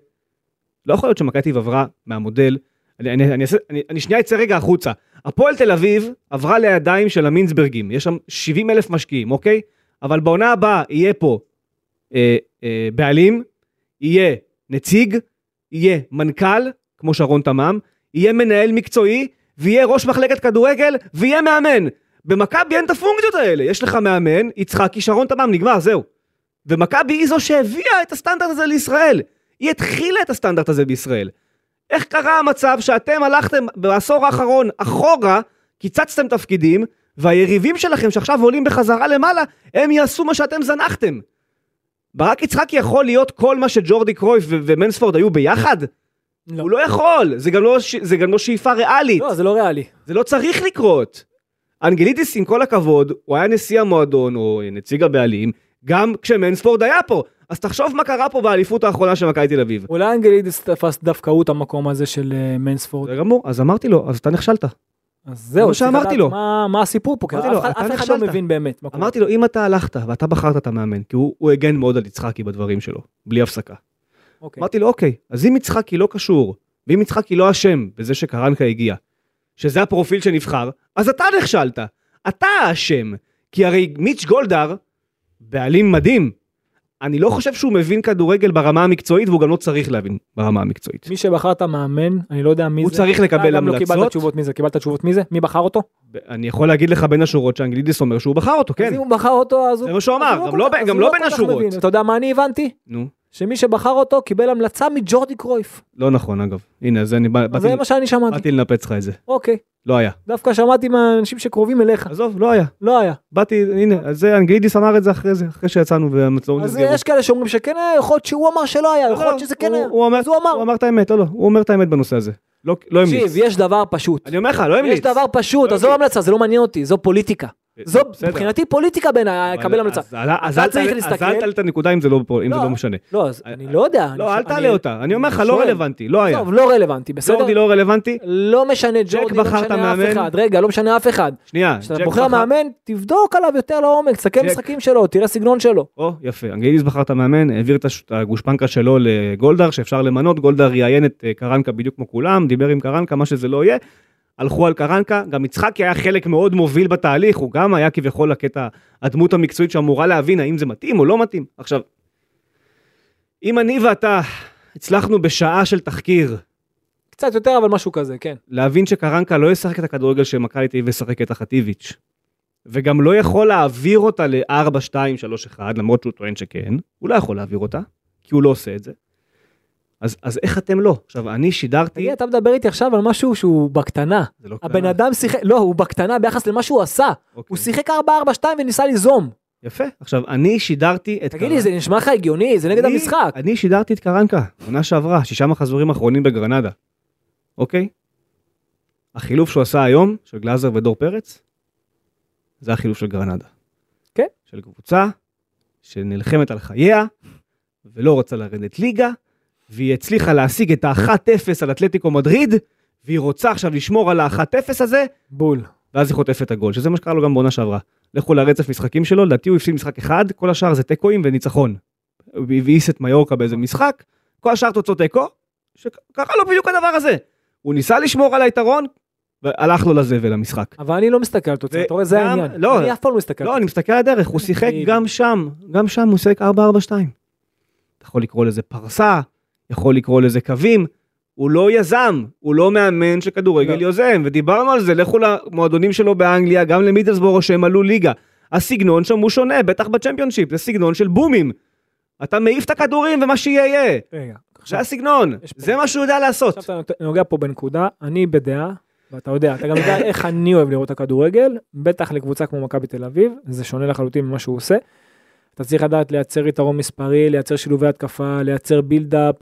S2: לא יכול להיות שמכבי תל אביב עברה מהמודל, אני, אני, אני, אעשה- אני, אני שנייה אצא רגע החוצה. הפועל תל אביב עברה לידיים של המינצברגים, יש שם 70 אלף משקיעים, אוקיי? אבל בעונה הבאה יהיה פה אה, אה, בעלים, יהיה נציג, יהיה מנכ"ל, כמו שרון תמם, יהיה מנהל מקצועי, ויהיה ראש מחלקת כדורגל, ויהיה מאמן. במכבי אין את הפונקציות האלה, יש לך מאמן, יצחקי, שרון תמם, נגמר, זהו. ומכבי היא זו שהביאה את הסטנדרט הזה לישראל. היא התחילה את הסטנדרט הזה בישראל. איך קרה המצב שאתם הלכתם בעשור האחרון אחורה, קיצצתם תפקידים, והיריבים שלכם שעכשיו עולים בחזרה למעלה, הם יעשו מה שאתם זנחתם. ברק יצחקי יכול להיות כל מה שג'ורדי קרויף ו- ומנספורד היו ביחד?
S3: לא.
S2: הוא לא יכול, זה גם לא, ש- זה גם לא שאיפה ריאלית.
S3: לא, זה לא ריאלי.
S2: זה לא צריך לקרות. אנגלידיס, עם כל הכבוד, הוא היה נשיא המועדון, או נציג הבעלים, גם כשמנספורד היה פה. אז תחשוב מה קרה פה באליפות האחרונה של מכבי תל אביב.
S3: אולי אנגלידיס תפס דווקא הוא את המקום הזה של אה, מנספורד.
S2: זה גמור, אז אמרתי לו, אז אתה נכשלת.
S3: אז זהו,
S2: מה
S3: צריך
S2: שאמרתי
S3: לדעת
S2: לו.
S3: מה- מה הסיפור פה, כי
S2: אמרתי
S3: אף
S2: לו,
S3: אחד-
S2: אתה
S3: אף אחד
S2: נכשלת.
S3: לא מבין באמת. מה קורה.
S2: אמרתי לו, אם אתה הלכת ואתה בחרת את המאמן, כי הוא הוא הגן מאוד על יצחקי בדברים שלו, בלי הפסקה.
S3: אוקיי.
S2: אמרתי לו, אוקיי, אז אם יצחקי לא קשור, ואם יצחקי לא אשם בזה שקרנקה הגיע, שזה הפרופיל שנבחר, אז אתה נכשלת. אתה האשם. כי הרי מיץ' גולדהר, בעלים מדהים, אני לא חושב שהוא מבין כדורגל ברמה המקצועית, והוא גם לא צריך להבין ברמה המקצועית.
S3: מי שבחר את המאמן, אני לא יודע מי
S2: הוא
S3: זה.
S2: צריך לקבל
S3: אתה גם לא קיבלת
S2: המלצות.
S3: תשובות מי זה, קיבלת תשובות מי זה? מי בחר אותו?
S2: אני יכול להגיד לך בין השורות שאנגלידיס אומר שהוא בחר אותו,
S3: אז
S2: כן.
S3: אם הוא בחר אותו, אז הוא...
S2: זה מה שהוא
S3: אז
S2: אמר,
S3: הוא
S2: גם
S3: כל
S2: לא
S3: כך-
S2: ב-
S3: אז
S2: גם
S3: הוא
S2: לא בין
S3: כל כך
S2: השורות.
S3: מבין. אתה יודע מה אני הבנתי?
S2: נו,
S3: שמי שבחר אותו קיבל המלצה מג'ורדי קרויף.
S2: לא נכון אגב. הנה, אז אני בא-
S3: אז
S2: באתי-
S3: זה מה שאני שמעתי.
S2: באתי לנפץ לך את זה.
S3: אוקיי.
S2: לא היה.
S3: דווקא שמעתי מהאנשים שקרובים אליך.
S2: עזוב, לא היה.
S3: לא היה.
S2: באתי, הנה, אז זה אנגלידיס אמר את זה אחרי זה, אחרי שיצאנו והמצלמות
S3: אז
S2: נסגרו.
S3: יש כאלה שאומרים שכן היה, יכול להיות שהוא אמר שלא היה,
S2: לא,
S3: יכול להיות שזה כן
S2: הוא-
S3: היה.
S2: הוא אומר-
S3: אז הוא אמר.
S2: הוא אמר את האמת, לא, לא, הוא אומר את האמת בנושא הזה. לא לא המליץ.
S3: תקשיב, יש דבר פשוט.
S2: אני אומר לך, לא המליץ.
S3: יש דבר פשוט,
S2: לא
S3: עזוב
S2: המליץ.
S3: המלצה, זה לא מעניין אותי, זו פוליטיקה. זו
S2: בסדר.
S3: מבחינתי פוליטיקה בין ה-
S2: אבל-
S3: לקבל המלצה.
S2: אז אל- אז
S3: אתה
S2: אל
S3: צריך
S2: תעלה- אז
S3: להסתכל-
S2: אל תעלה את הנקודה אם זה לא פה- אם זה
S3: לא.
S2: לא משנה.
S3: לא, אז
S2: אני-
S3: אני לא יודע.
S2: לא,
S3: אני-
S2: אל תעלה
S3: אני-
S2: אותה. אני אומר לך,
S3: אני
S2: לא
S3: שואל.
S2: רלוונטי, לא היה.
S3: טוב, לא רלוונטי, בסדר?
S2: ג'ורדי לא רלוונטי.
S3: לא משנה ג'ורדי, לא
S2: בחר את
S3: משנה אף
S2: המאמן.
S3: אחד. רגע, לא משנה אף אחד.
S2: שנייה.
S3: כשאתה
S2: ג'ק
S3: בוחר
S2: בחר-
S3: מאמן, תבדוק עליו יותר לעומק, תסתכל
S2: ג'ק.
S3: משחקים שלו, תראה סגנון שלו.
S2: או, יפה. אנגלידיס בחר את המאמן, העביר את הש- את הגושפנקה שלו לגולדהר, שאפשר למנות. גולדהר ראיין את אה, קרנקה בדיוק כמו כולם, דיבר עם קרנקה, מה שזה לא יהיה. הלכו על קרנקה, גם יצחקי היה חלק מאוד מוביל בתהליך, הוא גם היה כביכול הקטע, הדמות המקצועית שאמורה להבין האם זה מתאים או לא מתאים. עכשיו, אם אני ואתה הצלחנו בשעה של תחקיר
S3: קצת יותר, אבל משהו כזה, כן.
S2: להבין שקרנקה לא ישחק את הכדורגל שמכבי תל אביב ישחק תחת איביץ', וגם לא יכול להעביר אותה ל-4, 2, 3, 1, למרות שהוא טוען שכן, הוא לא יכול להעביר אותה, כי הוא לא עושה את זה. אז, אז איך אתם לא? עכשיו, אני שידרתי...
S3: תגיד, אתה מדבר איתי עכשיו על משהו שהוא בקטנה.
S2: זה לא
S3: הבן
S2: קטנה.
S3: אדם שיחק, לא, הוא בקטנה ביחס למה שהוא עשה.
S2: אוקיי.
S3: הוא שיחק 4-4-2 וניסה ליזום.
S2: יפה. עכשיו, אני שידרתי את...
S3: תגיד לי, זה נשמע לך הגיוני? זה נגד
S2: אני-
S3: המשחק.
S2: אני שידרתי את קרנקה, עונה שעברה, שישה מחזורים אחרונים בגרנדה, אוקיי? החילוף שהוא עשה היום, של גלאזר ודור פרץ, זה החילוף של גרנדה.
S3: כן.
S2: של קבוצה שנלחמת על חייה, ולא רוצה לרדת ליגה, והיא הצליחה להשיג את ה-1-0 על אתלטיקו מדריד, והיא רוצה עכשיו לשמור על ה-1-0 הזה,
S3: בול.
S2: ואז היא חוטפת את הגול, שזה מה שקרה לו גם בעונה שעברה. לכו לרצף משחקים שלו, לדעתי הוא הפסיד משחק אחד, כל השאר זה תיקואים וניצחון. הוא הבאיס את מיורקה באיזה משחק, כל השאר תוצאות תיקו, שקרה לו לא בדיוק הדבר הזה. הוא ניסה לשמור על היתרון, והלך לו לזבל המשחק.
S3: אבל אני לא מסתכל על תוצאה,
S2: ו-
S3: אתה רואה, זה
S2: גם-
S3: העניין.
S2: לא.
S3: אני אף פעם לא מסתכל.
S2: לא, אני מסתכל על הדרך, הוא שיחק
S3: בדיוק.
S2: גם שם, גם שם הוא שיחק 4-4-2. אתה יכול לקרוא לזה פרסה, יכול לקרוא לזה קווים, הוא לא יזם, הוא לא מאמן שכדורגל
S3: לא.
S2: יוזם, ודיברנו על זה, לכו למועדונים שלו באנגליה, גם למידלסבורו שהם עלו ליגה. הסגנון שם הוא שונה, בטח בצ'מפיונשיפ, זה סגנון של בומים. אתה מעיף את הכדורים ומה שיהיה יהיה,
S3: רגע,
S2: לא. זה
S3: עכשיו
S2: הסגנון,
S3: יש פה-
S2: זה מה שהוא יודע לעשות.
S3: עכשיו אתה נות- נוגע פה בנקודה, אני בדעה, ואתה יודע, אתה גם יודע איך אני אוהב לראות את הכדורגל, בטח לקבוצה כמו מכבי תל אביב, זה שונה לחלוטין ממה שהוא עושה. אתה צריך לדעת לייצר יתרון מספרי, לייצר שילובי התקפה, לייצר בילדאפ,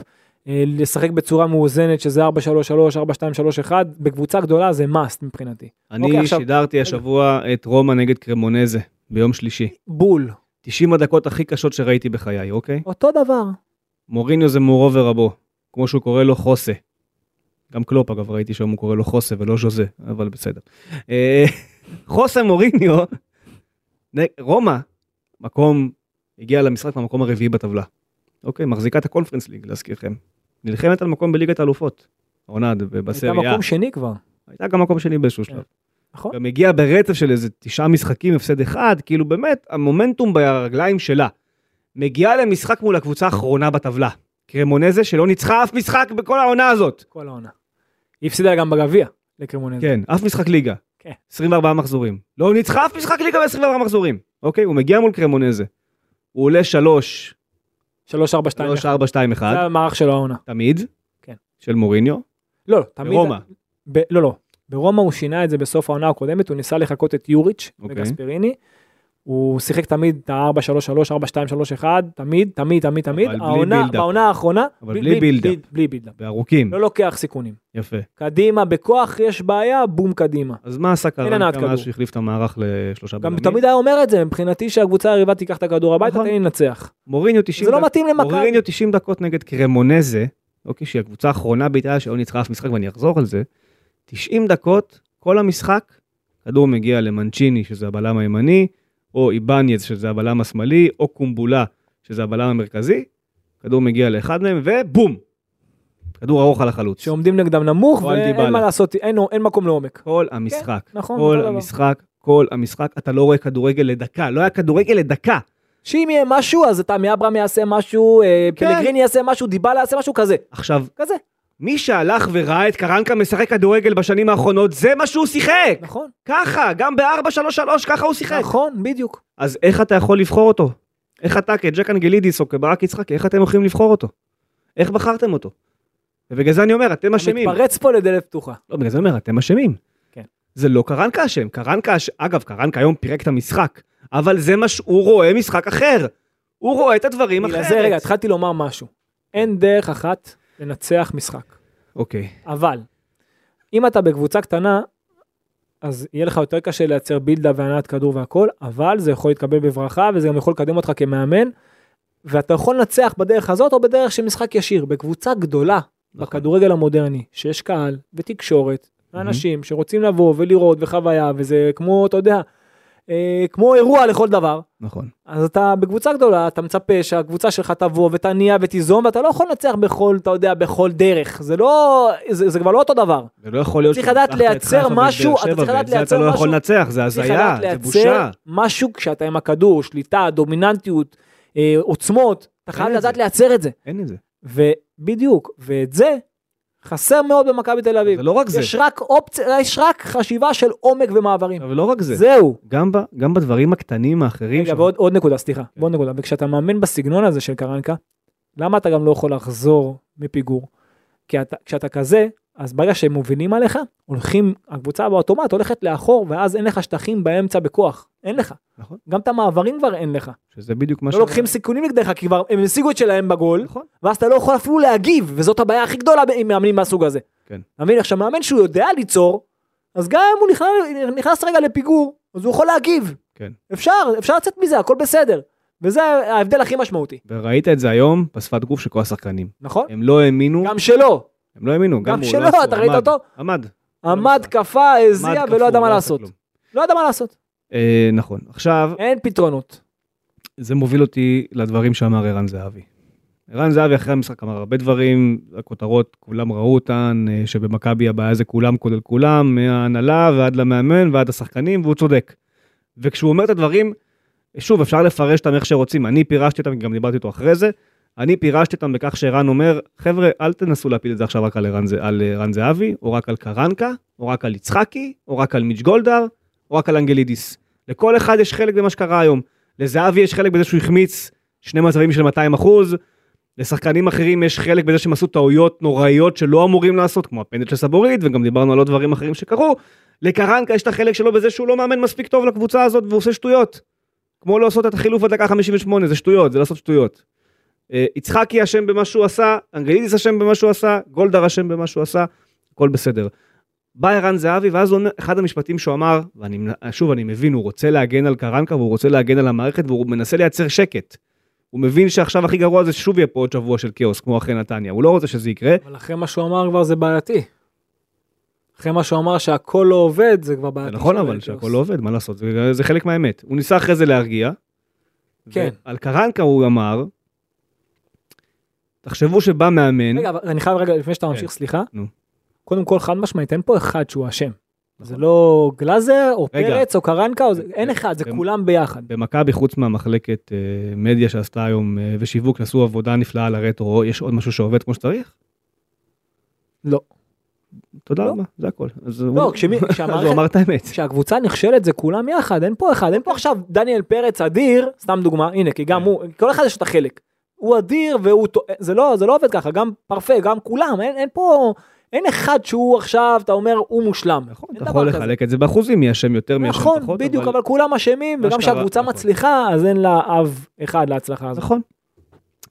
S3: אה, לשחק בצורה מאוזנת, שזה 4-3-3, 4-2-3-1, בקבוצה גדולה זה must מבחינתי. אוקיי,
S2: אני
S3: עכשיו-
S2: שידרתי השבוע את רומא נגד קרמונזה, ביום שלישי.
S3: בול,
S2: 90 הדקות הכי קשות שראיתי בחיי, אוקיי?
S3: אותו דבר.
S2: מוריניו זה מורו ורבו, כמו שהוא קורא לו חוסה. גם קלופ אגב ראיתי שהיום הוא קורא לו חוסה ולא ז'וזה, אבל בסדר. אה, חוסה מוריניו, נ- רומא, מקום, הגיע למשחק מהמקום הרביעי בטבלה. אוקיי, מחזיקה את הקונפרנס ליג, להזכירכם. נלחמת על מקום בליגת האלופות. העונה ב-
S3: הייתה
S2: בסריה.
S3: מקום שני כבר,
S2: הייתה גם מקום שני באיזשהו
S3: כן.
S2: שלב.
S3: נכון?
S2: גם הגיעה ברצף של איזה תשעה משחקים, הפסד אחד, כאילו באמת, המומנטום ברגליים שלה. מגיעה למשחק מול הקבוצה האחרונה בטבלה. קרמונזה שלא ניצחה אף משחק בכל העונה הזאת.
S3: כל העונה. היא הפסידה גם בגביע לקרמונז.
S2: כן, אף משחק ליגה.
S3: כן.
S2: 24 מחזורים. לא ניצחה אף משחק ליגה ב-24 מחזורים. אוקיי, הוא מגיע מול קרמונזה. הוא עולה 3,
S3: 3-4-2.
S2: 3, 4, 2, 1,
S3: זה המערך של העונה.
S2: תמיד.
S3: כן.
S2: של מוריניו.
S3: לא, לא, תמיד...
S2: ברומא.
S3: ב... לא, לא. ברומא הוא שינה את זה בסוף העונה הקודמת, הוא ניסה לחקות את יוריץ'
S2: אוקיי.
S3: וגספריני. הוא שיחק תמיד את ה-4-3-3, 4-2-3-1, תמיד, תמיד, תמיד, תמיד.
S2: בלי
S3: העונה,
S2: בילדאפ.
S3: בעונה האחרונה,
S2: אבל בלי בילדאפ.
S3: בלי, בלי בילדאפ.
S2: בארוכים.
S3: לא לוקח סיכונים.
S2: יפה.
S3: קדימה, בכוח יש בעיה, בום קדימה.
S2: אז מה עשה
S3: הנעת
S2: קרנקה מאז
S3: כדור.
S2: שהחליף את המערך לשלושה
S3: גם
S2: בלמים?
S3: תמיד היה אומר את זה, מבחינתי שהקבוצה היריבה תיקח את הכדור הביתה,
S2: נכון.
S3: תן לי לנצח.
S2: מוריניו 90
S3: זה לא מתאים למכבי.
S2: מוריניו 90 דקות נגד קרמונזה, אוקיי, שהיא הקבוצה האחרונה באיטליה שלא ניצחה אף משחק ואני אחזור על זה, 90 דקות, כל המשחק, כדור מגיע למנצ'יני שזה הבלם הימני, או איבניאז שזה הבלם השמאלי, או קומבולה שזה הבלם המרכזי, כדור מגיע לאחד מהם ובום! כדור ארוך על החלוץ.
S3: שעומדים נגדם נמוך,
S2: או על
S3: ואין
S2: דיבלה.
S3: מה לעשות, אין, אין מקום לעומק.
S2: כל המשחק,
S3: נכון,
S2: כל
S3: אותו דבר.
S2: המשחק, כל המשחק, אתה לא רואה כדורגל לדקה, לא היה כדורגל לדקה.
S3: שאם יהיה משהו, אז תמי אברהם יעשה משהו, אה,
S2: כן.
S3: פלגריני יעשה משהו, דיבלה יעשה משהו כזה.
S2: עכשיו,
S3: כזה.
S2: מי שהלך וראה את קרנקה משחק כדורגל בשנים האחרונות, זה מה שהוא שיחק!
S3: נכון,
S2: ככה, גם ב-4-3-3 ככה הוא שיחק.
S3: נכון, בדיוק.
S2: אז איך אתה יכול לבחור אותו? איך אתה כג'ק אנגלידיס או כברק יצחקי, איך אתם יכולים לבחור אותו? איך בחרתם אותו? ובגלל זה אני אומר, אתם
S3: אתה
S2: אשמים.
S3: מתפרץ פה לדלת פתוחה.
S2: לא, בגלל זה אני אומר, אתם אשמים.
S3: כן.
S2: זה לא קרנקה אשם, קרנקה, אש- אגב, קרנקה היום פירק את המשחק, אבל זה מה שהוא רואה משחק אחר. הוא רואה את הדברים
S3: בגלל
S2: אחרת.
S3: זה רגע, התחלתי לומר משהו. אין דרך אחת לנצח משחק.
S2: אוקיי,
S3: אבל, אם אתה בקבוצה קטנה, אז יהיה לך יותר קשה לייצר בילדה והנעת כדור והכל, אבל זה יכול להתקבל בברכה וזה גם יכול לקדם אותך כמאמן. ואתה יכול לנצח בדרך הזאת או בדרך של משחק ישיר, בקבוצה גדולה,
S2: נכון.
S3: בכדורגל המודרני, שיש קהל ותקשורת, אנשים שרוצים לבוא ולראות וחוויה, וזה כמו, אתה יודע, אה, כמו אירוע לכל דבר.
S2: נכון.
S3: אז אתה בקבוצה גדולה, אתה מצפה שהקבוצה שלך תבוא ותניע ותיזום, ואתה לא יכול לנצח בכל, אתה יודע, בכל דרך. זה לא, זה, זה כבר לא אותו דבר.
S2: ולא יכול להיות
S3: צריך
S2: שניצחת
S3: לדעת
S2: את
S3: לייצר
S2: חיפה ואת באר
S3: משהו, אתה
S2: שבע, ואת
S3: צריך לדעת
S2: זה
S3: לייצר
S2: אתה לא
S3: משהו.
S2: יכול לנצח, זה
S3: צריך
S2: הזיה,
S3: לדעת
S2: זה
S3: לייצר
S2: בושה.
S3: משהו כשאתה עם הכדור, שליטה, דומיננטיות, אה, עוצמות, אתה חייב
S2: אין את
S3: לדעת
S2: זה.
S3: לייצר את זה.
S2: אין את זה.
S3: ובדיוק, ואת זה חסר מאוד במכבי תל אביב.
S2: זה לא רק זה,
S3: יש רק אופציה, יש רק חשיבה של עומק ומעברים.
S2: אבל לא רק זה.
S3: זהו.
S2: גם, ב, גם בדברים הקטנים האחרים.
S3: רגע,
S2: שם.
S3: ועוד עוד נקודה, סליחה,
S2: כן.
S3: ועוד נקודה. וכשאתה מאמן בסגנון הזה של קרנקה, למה אתה גם לא יכול לחזור מפיגור? כי אתה, כשאתה כזה, אז ברגע שהם מובילים עליך, הולכים, הקבוצה באוטומט הולכת לאחור, ואז אין לך שטחים באמצע בכוח. אין לך.
S2: נכון.
S3: גם את המעברים כבר אין לך.
S2: שזה בדיוק מה
S3: לא לוקחים סיכונים נגדך, כי כבר הם השיגו את שלהם בגול,
S2: נכון.
S3: ואז אתה לא יכול אפילו להגיב, וזאת הבעיה הכי גדולה עם מאמנים מהסוג הזה.
S2: כן.
S3: אתה מבין? עכשיו, מאמן שהוא יודע ליצור, אז גם אם הוא נכנס, נכנס רגע לפיגור, אז הוא יכול להגיב.
S2: כן.
S3: אפשר, אפשר לצאת מזה, הכל בסדר. וזה ההבדל הכי משמעותי,
S2: וראית את זה היום בשפת גוף של כל השחקנים.
S3: נכון?
S2: הם לא האמינו,
S3: גם שלו,
S2: הם לא האמינו. גם
S3: גם
S2: הוא,
S3: שלו,
S2: לא עשו,
S3: אתה ראית
S2: עמד,
S3: אותו?
S2: עמד.
S3: עמד,
S2: עשה.
S3: קפא,
S2: עמד,
S3: הזיע
S2: קפוא,
S3: ולא ידע מה
S2: לא עשה
S3: לעשות.
S2: כלום.
S3: לא ידע מה לעשות.
S2: אה, נכון. עכשיו,
S3: אין פתרונות.
S2: זה מוביל אותי לדברים שאמר ערן זהבי. ערן זהבי אחרי המשחק אמר הרבה דברים, הכותרות, כולם ראו אותן, אה, שבמכבי הבעיה זה כולם כולל כולם, מההנהלה ועד למאמן ועד השחקנים, והוא צודק. וכשהוא אומר את הדברים, שוב, אפשר לפרש אותם איך שרוצים. אני פירשתי אותם, גם דיברתי איתו אחרי זה, אני פירשתי אותם בכך שערן אומר, חבר'ה, אל תנסו להפיל את זה עכשיו רק על ערן, זה- על ערן זהבי, או רק על קרנקה, או רק על יצחקי, או רק על מיץ' גולדהר, או רק על אנגלידיס. לכל אחד יש חלק במה שקרה היום. לזהבי יש חלק בזה שהוא החמיץ שני מצבים של 200 אחוז, לשחקנים אחרים יש חלק בזה שהם עשו טעויות נוראיות שלא אמורים לעשות, כמו הפנדל של סבורית, וגם דיברנו על עוד דברים אחרים שקרו. לקרנקה יש את החלק שלו בזה שהוא לא מאמן מספיק טוב לקבוצה הזאת והוא עושה שטויות. כמו לא לעשות את החילוף עד דקה 58, זה שטויות, זה לעשות שטויות. אה, יצחקי אשם במה שהוא עשה, אנגלידיס אשם במה שהוא עשה, גולדהר אשם במה שהוא עשה, הכל בסדר. בא ערן זהבי, ואז הוא אומר, אחד המשפטים שהוא אמר, ואני, מנ- שוב, אני מבין, הוא רוצה להגן על קרנקה והוא רוצה להגן על המערכת והוא מנסה לייצר שקט. הוא מבין שעכשיו הכי גרוע זה ששוב יהיה פה עוד שבוע של כאוס, כמו אחרי נתניה, הוא לא רוצה שזה יקרה.
S3: אבל אחרי מה שהוא אמר כבר זה בעייתי. אחרי מה שהוא אמר שהכל לא עובד זה כבר
S2: זה
S3: בעייתי.
S2: נכון
S3: שם
S2: אבל
S3: בלטוס.
S2: שהכל לא עובד, מה לעשות, זה, זה חלק מהאמת. הוא ניסה אחרי זה להרגיע.
S3: כן.
S2: על קרנקה הוא אמר, תחשבו שבא מאמן,
S3: רגע, אבל אני חייב רגע לפני שאתה ממשיך, סליחה.
S2: כן. נו.
S3: קודם כל חד משמעית אין פה אחד שהוא אשם. זה
S2: נכון.
S3: לא גלאזר או
S2: רגע.
S3: פרץ או קרנקה, או זה- אין
S2: אה,
S3: אחד, זה
S2: אה,
S3: כולם ביחד.
S2: במכבי חוץ מהמחלקת אה, מדיה שעשתה היום אה, ושיווק שעשו עבודה נפלאה על הרטרו יש עוד משהו שעובד כמו שצריך?
S3: לא.
S2: תודה
S3: לא.
S2: רבה זה הכל. אז
S3: לא,
S2: הוא-
S3: כשמי-
S2: אז הוא
S3: כשהמערכת
S2: אמר את האמת.
S3: כשהקבוצה נכשלת זה כולם יחד, אין פה אחד, אין פה עכשיו דניאל פרץ אדיר, סתם דוגמה, הנה, כי גם
S2: כן.
S3: הוא, כל אחד יש את החלק. הוא אדיר והוא, טוע- זה לא, זה לא עובד ככה, גם פרפה, גם כולם, אין, אין פה, אין אחד שהוא עכשיו, אתה אומר, הוא מושלם.
S2: נכון
S3: אין
S2: אתה
S3: דבר
S2: יכול
S3: כזה.
S2: לחלק את זה באחוזים מי אשם יותר מי אשם פחות.
S3: נכון, בדיוק, אבל כולם אשמים,
S2: מה
S3: וגם
S2: שקרה-
S3: כשהקבוצה
S2: נכון.
S3: מצליחה, אז אין לה אב אחד להצלחה הזאת.
S2: נכון.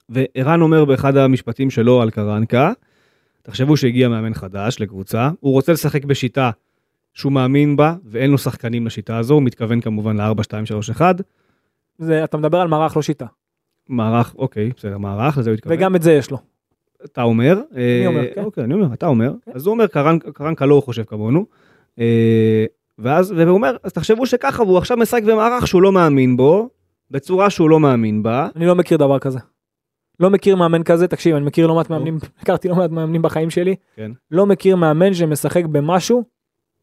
S2: וערן אומר באחד המשפטים שלו על קרנקה, תחשבו שהגיע מאמן חדש לקבוצה, הוא רוצה לשחק בשיטה שהוא מאמין בה ואין לו שחקנים לשיטה הזו, הוא מתכוון כמובן ל-4, 2, 3, 1,
S3: זה, אתה מדבר על מערך לא שיטה,
S2: מערך, אוקיי, בסדר, מערך, לזה הוא התכוון.
S3: וגם את זה יש לו.
S2: אתה אומר. אני
S3: אומר, כן.
S2: אוקיי, אני אומר, אתה אומר.
S3: כן.
S2: אז הוא אומר, קרנק- קרנקה לא חושב כמונו. אה, ואז, והוא אומר, אז תחשבו שככה, והוא עכשיו משחק במערך שהוא לא מאמין בו, בצורה שהוא לא מאמין בה.
S3: אני לא מכיר דבר כזה. לא מכיר מאמן כזה, תקשיב, אני מכיר לא מעט מאמנים, הכרתי לא מעט מאמנים בחיים שלי.
S2: כן.
S3: לא מכיר מאמן שמשחק במשהו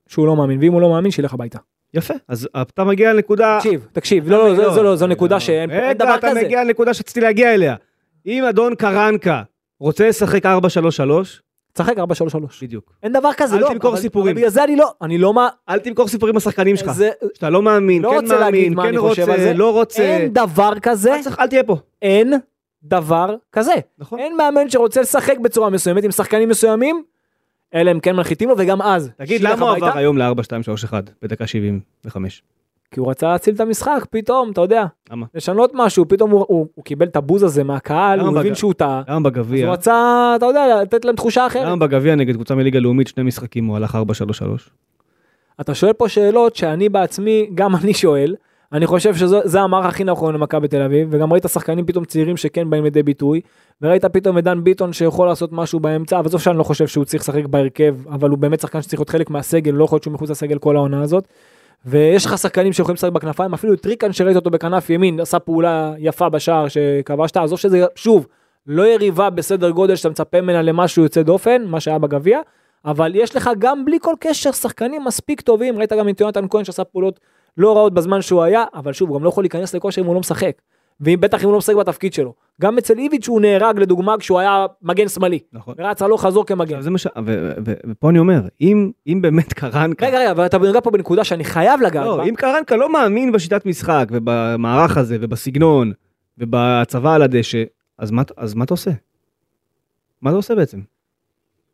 S3: שהוא לא מאמין, ואם הוא לא מאמין, שילך הביתה.
S2: יפה, אז אתה מגיע לנקודה... אה,
S3: תקשיב, תקשיב, לא, לא, זה- זה לא, זו נקודה שאין אין
S2: רגע,
S3: דבר
S2: אתה
S3: כזה.
S2: מגיע לנקודה שרציתי להגיע אליה. אם אדון קרנקה רוצה לשחק 4-3-3,
S3: תשחק 4-3-3.
S2: בדיוק.
S3: אין דבר כזה,
S2: אל
S3: לא.
S2: תמכור
S3: אבל-
S2: סיפורים.
S3: אבל בגלל זה אני לא, אני לא מה...
S2: אל תמכור סיפורים לשחקנים שלך.
S3: זה-
S2: שאתה לא מאמין,
S3: לא
S2: כן
S3: רוצה להגיד
S2: מאמין,
S3: מה
S2: כן
S3: אני חושב על
S2: רוצה,
S3: זה.
S2: לא רוצה.
S3: אין דבר כזה,
S2: אל תשחק- אל תהיה פה.
S3: אין דבר כזה.
S2: נכון.
S3: אין מאמן שרוצה לשחק בצורה מסוימת עם שחקנים מסוימים, אלא אם כן מנחיתים לו, וגם אז.
S2: תגיד,
S3: שילך
S2: למה הוא
S3: הביתה.
S2: עבר היום ל-4-2-3-1 בדקה 75?
S3: כי הוא רצה להציל את המשחק, פתאום, אתה יודע.
S2: למה?
S3: לשנות משהו, פתאום הוא- הוא הוא קיבל את הבוז הזה מהקהל,
S2: למה
S3: הוא הבין
S2: בגב?
S3: שהוא טעה.
S2: למה
S3: אז הוא
S2: בגביע,
S3: רצה, אתה יודע, לתת להם תחושה אחרת.
S2: למה בגביע נגד קבוצה מליגה לאומית שני משחקים הוא הלך 4-3-3?
S3: אתה שואל פה שאלות שאני בעצמי, גם אני שואל. אני חושב שזה המערך הכי נכון למכבי תל אביב, וגם ראית שחקנים פתאום צעירים שכן באים לידי ביטוי, וראית פתאום את דן ביטון שיכול לעשות משהו באמצע, אבל עזוב שאני לא חושב שהוא צריך לשחק בהרכב, אבל הוא באמת שחקן שצריך להיות חלק מהסגל, לא יכול להיות שהוא מחוץ לסגל כל העונה הזאת. ויש לך שחקנים שיכולים לשחק בכנפיים, אפילו את ריקן שראית אותו בכנף ימין, עשה פעולה יפה בשער שכבשת, עזוב שזה, שוב, לא יריבה בסדר גודל שאתה מצפה ממנה למשהו יוצא דופן, מה שהיה בגביע, אבל יש לך גם בלי כל קשר שחקנים מספיק טובים, ראית גם את יונתן כהן שעשה פעולות לא רעות בזמן שהוא היה, אבל שוב, הוא גם לא יכול להיכנס לכושר אם הוא לא משחק, ובטח אם הוא לא משחק בתפקיד שלו. גם אצל איביץ' הוא נהרג לדוגמה כשהוא היה מגן שמאלי,
S2: נכון.
S3: רץ הלוך חזור כמגן.
S2: עכשיו זה מה ש... ו- ו- ו- ופה אני אומר, אם אם באמת קרנקה...
S3: רגע, רגע, אבל אתה נוגע פה בנקודה שאני חייב לגעת בה.
S2: לא, אם קרנקה לא מאמין בשיטת משחק ובמערך הזה ובסגנון ובהצבה על הדשא, אז מה- אז מה אתה עושה? מה אתה עושה בעצם?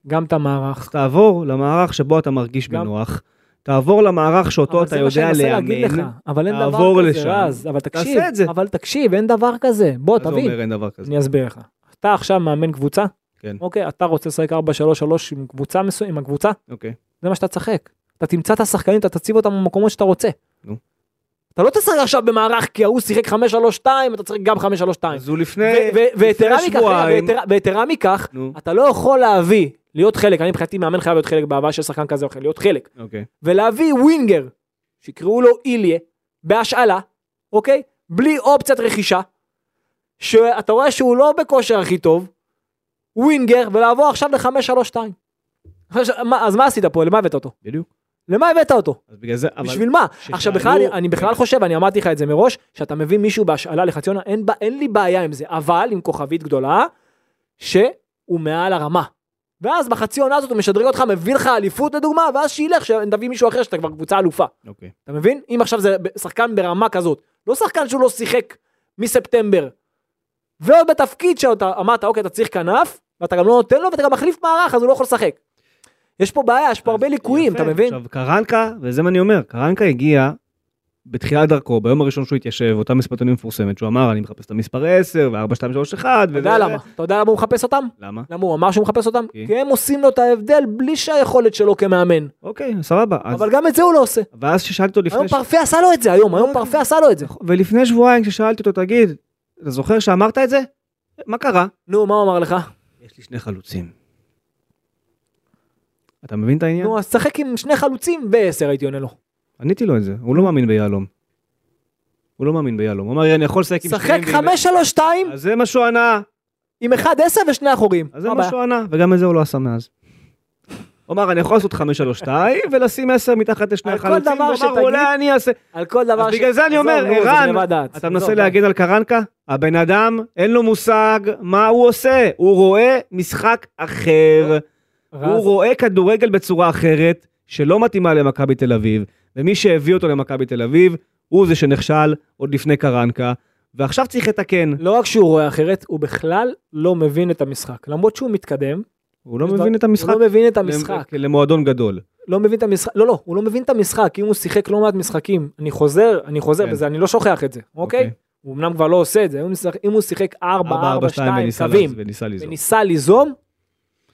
S3: גם את המערך.
S2: אז תעבור למערך שבו אתה מרגיש
S3: גם-
S2: בנוח, תעבור למערך שאותו
S3: אבל
S2: אתה
S3: זה מה
S2: יודע
S3: שאני מנסה להגיד לך, לא,
S2: לאמן.
S3: אבל אין דבר
S2: תעבור
S3: כזה,
S2: לשם,
S3: רז, אבל
S2: תעשה
S3: תקשיב,
S2: את זה.
S3: אבל תקשיב, אין דבר כזה. בוא,
S2: מה זה
S3: תבין.
S2: אומר אין דבר כזה?
S3: אני אסביר לך. אתה עכשיו מאמן קבוצה,
S2: כן.
S3: אוקיי, אתה רוצה לשחק 4-3-3 עם קבוצה מסוימת, עם הקבוצה,
S2: אוקיי.
S3: זה מה שאתה תשחק. אתה תמצא את השחקנים, אתה תציב אותם במקומות שאתה רוצה.
S2: נו.
S3: אתה לא תשחק עכשיו במערך כי ההוא שיחק 5-3-2, אתה תשחק גם 5-3-2.
S2: אז הוא לפני
S3: אוקיי. ו- ו-
S2: לפני
S3: ויתרה מכך,
S2: שבועיים-
S3: רגע, ויתרה- ויתרה מכך,
S2: נו,
S3: אתה לא יכול להביא, להיות חלק, אני מבחינתי מאמן חייב להיות חלק בהבאה של שחקן כזה או אחר, להיות חלק.
S2: אוקיי.
S3: ולהביא ווינגר, שיקראו לו איליה, בהשאלה, אוקיי? בלי אופציית רכישה, שאתה רואה שהוא לא בכושר הכי טוב, ווינגר, ולעבור עכשיו ל-5-3-2. עכשיו, מה- אז מה עשית פה? למה הבאת אותו?
S2: בדיוק.
S3: למה הבאת אותו?
S2: אז בגלל זה, אבל...
S3: בשביל מה?
S2: שתעלו-
S3: עכשיו בכלל, אני- אני בכלל חושב, אני אמרתי לך את זה מראש, שאתה מביא מישהו בהשאלה לחצי עונה, אין, ב- אין לי בעיה עם זה, אבל עם כוכבית גדולה, שהוא מעל הרמה. ואז בחצי עונה הזאת הוא משדרג אותך, מביא לך אליפות לדוגמה, ואז שילך, שתביא מישהו אחר שאתה כבר קבוצה אלופה.
S2: אוקיי.
S3: אתה מבין? אם עכשיו זה ב- שחקן ברמה כזאת, לא שחקן שהוא לא שיחק מספטמבר, ועוד בתפקיד שאתה אמרת, אוקיי, אתה צריך כנף, ואתה גם לא נותן לו, ואתה גם מחליף מערך, אז הוא לא יכול לשחק. יש פה בעיה, יש פה הרבה
S2: אז
S3: ליקויים,
S2: יפה.
S3: אתה מבין?
S2: עכשיו, קרנקה, וזה מה אני אומר, קרנקה הגיע בתחילת דרכו, ביום הראשון שהוא התיישב, אותה מספטונים מפורסמת, שהוא אמר, אני מחפש את המספר 10, ו-4, 2, 3, 1,
S3: אתה יודע למה? אתה יודע למה הוא מחפש אותם?
S2: למה?
S3: למה הוא אמר שהוא מחפש אותם?
S2: כי?
S3: כי הם עושים לו את ההבדל בלי שהיכולת שלו כמאמן.
S2: אוקיי, סבבה. אז-
S3: אבל גם את זה הוא לא עושה.
S2: ואז כששאלתי אותו
S3: היום
S2: לפני... ש- לא,
S3: פרפה עשה לו את זה, היום, היום פרפה עשה לו את זה.
S2: ולפני שבועיים כששאלתי אותו, תגיד, אתה זוכר שאמרת את זה? מה קרה?
S3: נו, מה הוא אמר לך?
S2: יש לי שני חלוצים. אתה מבין את העניין?
S3: נו, אז שחק עם שני חלוצים ועשר הייתי עונה לו.
S2: עניתי לו את זה, הוא לא מאמין ביהלום. הוא לא מאמין ביהלום, הוא אמר, אני יכול לשחק עם
S3: שחק
S2: שניים ועם-
S3: 5-3-2
S2: אז זה מה שהוא ענה,
S3: עם 1-10 ושני אחורים.
S2: אז זה
S3: מה
S2: מה
S3: הבעיה?
S2: שהוא ענה, וגם את זה הוא לא עשה מאז. הוא אמר, אני יכול לעשות 5-3-2 ולשים 10 מתחת לשני
S3: על כל
S2: החלוצים, הוא
S3: דבר
S2: אמר,
S3: שתגיד-
S2: אולי אני אעשה...
S3: על כל דבר
S2: אז בגלל זה אני אומר,
S3: עזוב, נו, זה
S2: ערן,
S3: גניבת דעת.
S2: אתה
S3: עזוב,
S2: מנסה
S3: די.
S2: להגן על קרנקה? הבן אדם, אין לו מושג מה הוא עושה. הוא רואה משחק אחר, הוא
S3: רז,
S2: רואה כדורגל בצורה אחרת, שלא מתאימה למכבי תל אביב, ומי שהביא אותו למכבי תל אביב, הוא זה שנכשל עוד לפני קרנקה, ועכשיו צריך לתקן.
S3: לא רק שהוא רואה אחרת, הוא בכלל לא מבין את המשחק. למרות שהוא מתקדם,
S2: הוא לא
S3: יש דבר-
S2: מבין את המשחק.
S3: הוא לא מבין את המשחק.
S2: למועדון גדול.
S3: לא מבין את המשחק, לא לא, הוא לא מבין את המשחק, אם הוא שיחק לא מעט משחקים, אני חוזר, אני חוזר
S2: כן.
S3: וזה, אני לא שוכח את זה, אוקיי?
S2: אוקיי.
S3: הוא אמנם כבר לא עושה את זה, אם הוא משחק- אם הוא שיחק 4, 4, 2
S2: וניסה
S3: קווים,
S2: לז- וניסה ליזום.
S3: וניסה ליזום,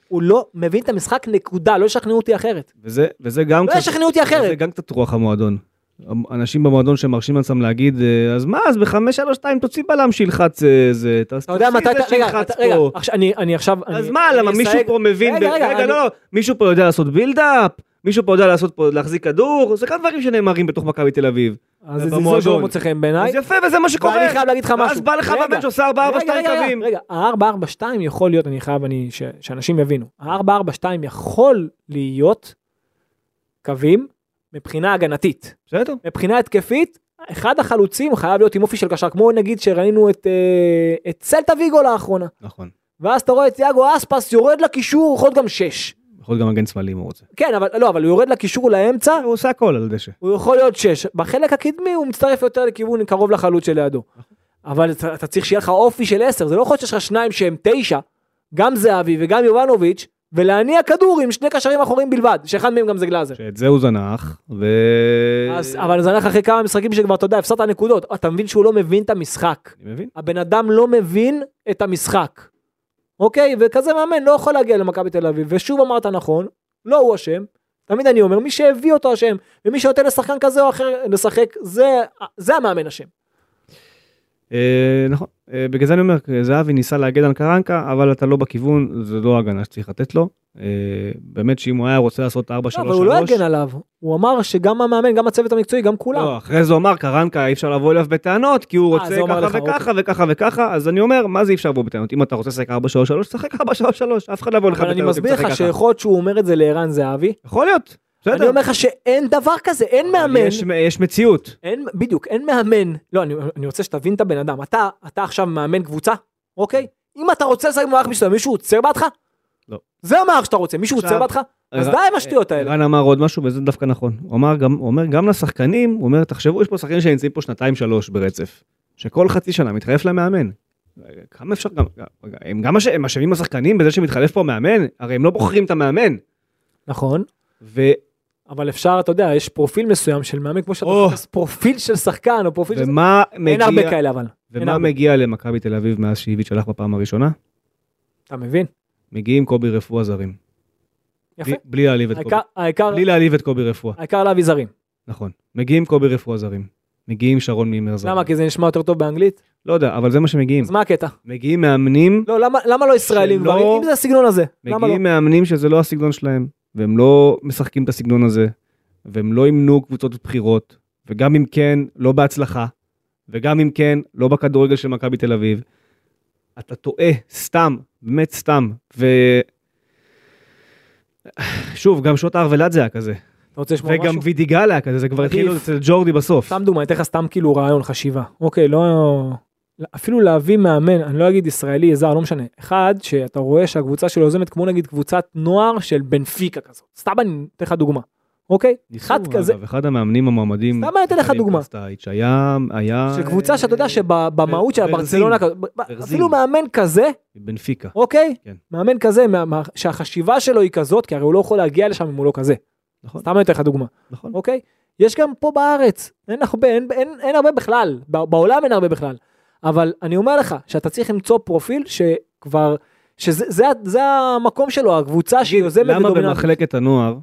S3: הוא לא מבין את המשחק נקודה, לא ישכנעו אותי אחרת.
S2: וזה- וזה גם...
S3: לא
S2: קצת-
S3: ישכנעו אותי
S2: זה
S3: אחרת.
S2: גם קצת רוח המועדון. אנשים במועדון שמרשים לעצמם להגיד, אה, אז מה, אז בחמש, שלוש, שתיים, תוציא בלם שילחץ אה, זה, ת-
S3: אתה יודע
S2: תוציא
S3: מתי,
S2: זה
S3: אתה- רגע,
S2: שילחץ
S3: אתה- רגע,
S2: פה.
S3: עכשיו- אני אני עכשיו,
S2: אז
S3: אני-
S2: מה,
S3: אני
S2: למה מישהו
S3: אסייג-
S2: פה מבין, ב-
S3: רגע, רגע,
S2: רגע,
S3: אני-
S2: לא, לא, מישהו פה יודע לעשות בילדאפ, מישהו פה יודע לעשות פה, להחזיק כדור, זה כאן דברים שנאמרים בתוך מכבי תל אביב.
S3: אז זה זלזול
S2: במועדון.
S3: שלא מוצא חן בעיניי.
S2: אז יפה, וזה מה שקורה.
S3: ואני חייב להגיד לך משהו.
S2: אז בא לך
S3: רגע,
S2: בבן שעושה ארבע, ארבע,
S3: רגע,
S2: שתיים
S3: רגע, רגע,
S2: קווים.
S3: רגע, ה-442 יכול להיות, אני חייב, אני, ש, שאנשים יבינו, ה-442 יכול להיות קווים מבחינה הגנתית.
S2: בסדר,
S3: מבחינה התקפית, אחד החלוצים חייב להיות עם אופי של קשר, כמו נגיד שראינו את, אה, את סלטה ויגו לאחרונה.
S2: נכון.
S3: ואז אתה רואה את תיאגו אספס יורד לקישור, הוא יכול להיות גם 6.
S2: יכול גם מגן שמאלי אם הוא רוצה.
S3: כן, אבל לא, אבל הוא יורד לקישור לאמצע,
S2: הוא עושה הכל על הדשא.
S3: הוא יכול להיות 6. בחלק הקדמי הוא מצטרף יותר לכיוון קרוב לחלוץ שלידו. אבל אתה, אתה צריך שיהיה לך אופי של 10, זה לא יכול להיות שיש לך שניים שהם 9, גם זהבי וגם יובנוביץ', ולהניע כדור עם שני קשרים אחורים בלבד, שאחד מהם גם זה גלאזר.
S2: שאת זה הוא זנח, ו... אה,
S3: אז, אבל זה הלך אחרי כמה משחקים שכבר, אתה יודע, הפסדת נקודות. אתה מבין שהוא לא מבין את המשחק.
S2: אני מבין.
S3: הבן אדם לא מבין את המשחק. אוקיי? וכזה מאמן לא יכול להגיע למכבי תל אביב. ושוב אמרת נכון, לא הוא אשם. תמיד אני אומר, מי שהביא אותו אשם, ומי שנותן לשחקן כזה או אחר לשחק, זה, זה המאמן אשם.
S2: אה, נכון, אה, בגלל זה אני אומר, זהבי ניסה להגן על קרנקה, אבל אתה לא בכיוון, זה לא הגנה שצריך לתת לו. אה, באמת שאם הוא היה רוצה לעשות 4-3-3,
S3: לא, אבל הוא לא הגן עליו. הוא אמר שגם המאמן, גם הצוות המקצועי, גם כולם.
S2: לא, אחרי זה הוא אמר, קרנקה אי אפשר לבוא אליו בטענות, כי הוא
S3: אה,
S2: רוצה
S3: זה הוא
S2: ככה
S3: אמר לך,
S2: וככה וככה וככה, אז אני אומר, מה זה אי אפשר לבוא בטענות? אם אתה רוצה לשחק 4-3-3, תשחק 4-3-3, אף אחד לא יבוא לך
S3: אבל אני
S2: בטענות אם
S3: מסביר
S2: תשחק
S3: לך
S2: ככה.
S3: שיכול להיות שהוא אומר את זה לערן זהבי.
S2: יכול להיות,
S3: אני
S2: בסדר.
S3: אומר לך שאין דבר כזה, אין
S2: אבל
S3: מאמן.
S2: יש- יש מציאות.
S3: אין, בדיוק, אין מאמן. לא, אני, אני רוצה שתבין את הבן אדם. אתה, אתה עכשיו מאמן קבוצה, אוקיי? אם אתה רוצה לשחק במערך מסוים, מישהו עוצר בעדך?
S2: לא.
S3: זה המערך שאתה רוצה, מישהו
S2: עכשיו-
S3: עוצר בעדך? אז
S2: אה,
S3: די עם השטויות האלה.
S2: רן אמר עוד משהו וזה דווקא נכון. הוא אמר גם, הוא אומר גם לשחקנים, הוא אומר תחשבו יש פה שחקנים שנמצאים פה שנתיים שלוש ברצף, שכל חצי שנה מתחלף להם מאמן. כמה אפשר גם, רגע, הם גם אש- הם אשמים השחקנים בזה שמתחלף פה המאמן, הרי הם לא בוחרים את המאמן.
S3: נכון,
S2: ו-
S3: אבל אפשר, אתה יודע, יש פרופיל מסוים של מאמן, כמו שאתה
S2: או.
S3: מחפש פרופיל של שחקן, או פרופיל של...
S2: ומה
S3: אין הרבה
S2: מגיע,
S3: כאלה אבל, אין
S2: ומה
S3: הרבה.
S2: מגיע למכבי תל אביב מאז שאיביץ' הלך בפעם הראשונה?
S3: אתה מבין?
S2: מגיעים קובי רפואה זרים.
S3: יפה.
S2: בלי- בלי להעליב את קובי.
S3: העיקר- העיקר-
S2: בלי להעליב את קובי רפואה,
S3: העיקר להביא זרים.
S2: נכון. מגיעים קובי רפואה זרים. מגיעים שרון מימר זרים.
S3: למה? כי זה נשמע יותר טוב באנגלית?
S2: לא יודע, אבל זה מה שמגיעים.
S3: אז מה הקטע?
S2: מגיעים מאמנים
S3: לא, למה- למה לא ישראלים
S2: שלא-
S3: גברים? אם זה הסגנון הזה, למה לא?
S2: מגיעים מאמנים שזה לא הסגנון שלהם, והם לא משחקים את הסגנון הזה, והם לא ימנו קבוצות בחירות, וגם אם כן, לא בהצלחה, וגם אם כן, לא בכדורגל של מכבי תל אביב. אתה טועה סתם, באמת סתם. ושוב, גם שוט הארוולד זה היה כזה,
S3: אתה רוצה לשמוע משהו?
S2: וגם וידיגל היה כזה, זה כבר
S3: עדיף.
S2: התחיל אצל ג'ורדי בסוף.
S3: סתם דוגמא, אני אתן לך סתם כאילו רעיון, חשיבה. אוקיי, לא... אפילו להביא מאמן, אני לא אגיד ישראלי, זר, לא משנה. אחד, שאתה רואה שהקבוצה שלו יוזמת כמו נגיד קבוצת נוער של בנפיקה כזאת. סתם אני אתן לך דוגמה. אוקיי?
S2: ניסו,
S3: אחד כזה,
S2: אגב, אחד המאמנים המועמדים,
S3: סתם אני אתן לך
S2: קטנים
S3: דוגמה.
S2: קוסטאיץ', היה, היה, אה,
S3: של קבוצה שאתה יודע שבמהות שלה
S2: ברזין.
S3: ברצלונה, כזאת, ב- ב-
S2: ברזין.
S3: אפילו מאמן כזה,
S2: בנפיקה.
S3: אוקיי?
S2: כן.
S3: מאמן כזה, מה- מה- שהחשיבה שלו היא כזאת, כי הרי הוא לא יכול להגיע לשם אם הוא לא כזה.
S2: נכון,
S3: סתם אני אתן לך דוגמה.
S2: נכון.
S3: אוקיי? יש גם פה בארץ, אין הרבה, אין, אין, אין הרבה בכלל, בע- בעולם אין הרבה בכלל. אבל אני אומר לך, שאתה צריך למצוא פרופיל שכבר, שזה זה, ה- זה המקום שלו, הקבוצה שיוזמת
S2: למה
S3: ודומיננטית.
S2: במחלקת הנוער,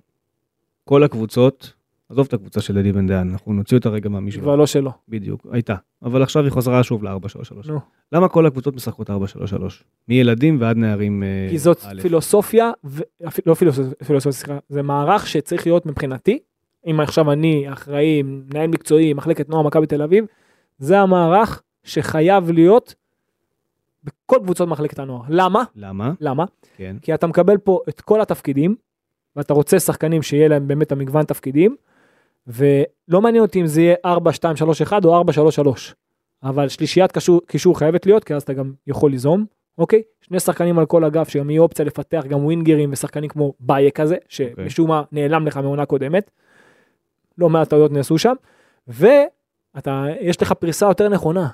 S2: כל הקבוצות, עזוב את הקבוצה של אלי בן דיין, אנחנו נוציא אותה רגע מהמשוואה.
S3: כבר לא שלו.
S2: בדיוק, הייתה. אבל עכשיו היא חזרה שוב ל-433.
S3: נו.
S2: למה כל הקבוצות משחקות 433? מילדים ועד נערים אה,
S3: כי זאת
S2: א'.
S3: פילוסופיה, ו... אפי- לא פילוסופיה, פילוסופיה, סליחה, זה מערך שצריך להיות מבחינתי, אם עכשיו אני אחראי, מנהל מקצועי, מחלקת נוער מכבי תל אביב, זה המערך שחייב להיות בכל קבוצות מחלקת הנוער. למה?
S2: למה?
S3: למה?
S2: כן.
S3: כי אתה מקבל פה את כל התפקידים, ואתה רוצה שחקנים שיהיה להם באמת המגוון תפקידים, ולא מעניין אותי אם זה יהיה 4, 2, 3, 1 או 4, 3, 3. אבל שלישיית קשור- קישור חייבת להיות, כי אז אתה גם יכול ליזום, אוקיי? שני שחקנים על כל אגף, שגם יהיה אופציה לפתח גם ווינגרים ושחקנים כמו באיה כזה,
S2: אוקיי.
S3: שמשום מה נעלם לך מעונה קודמת. לא מעט טעויות נעשו שם, ואתה, יש לך פריסה יותר נכונה.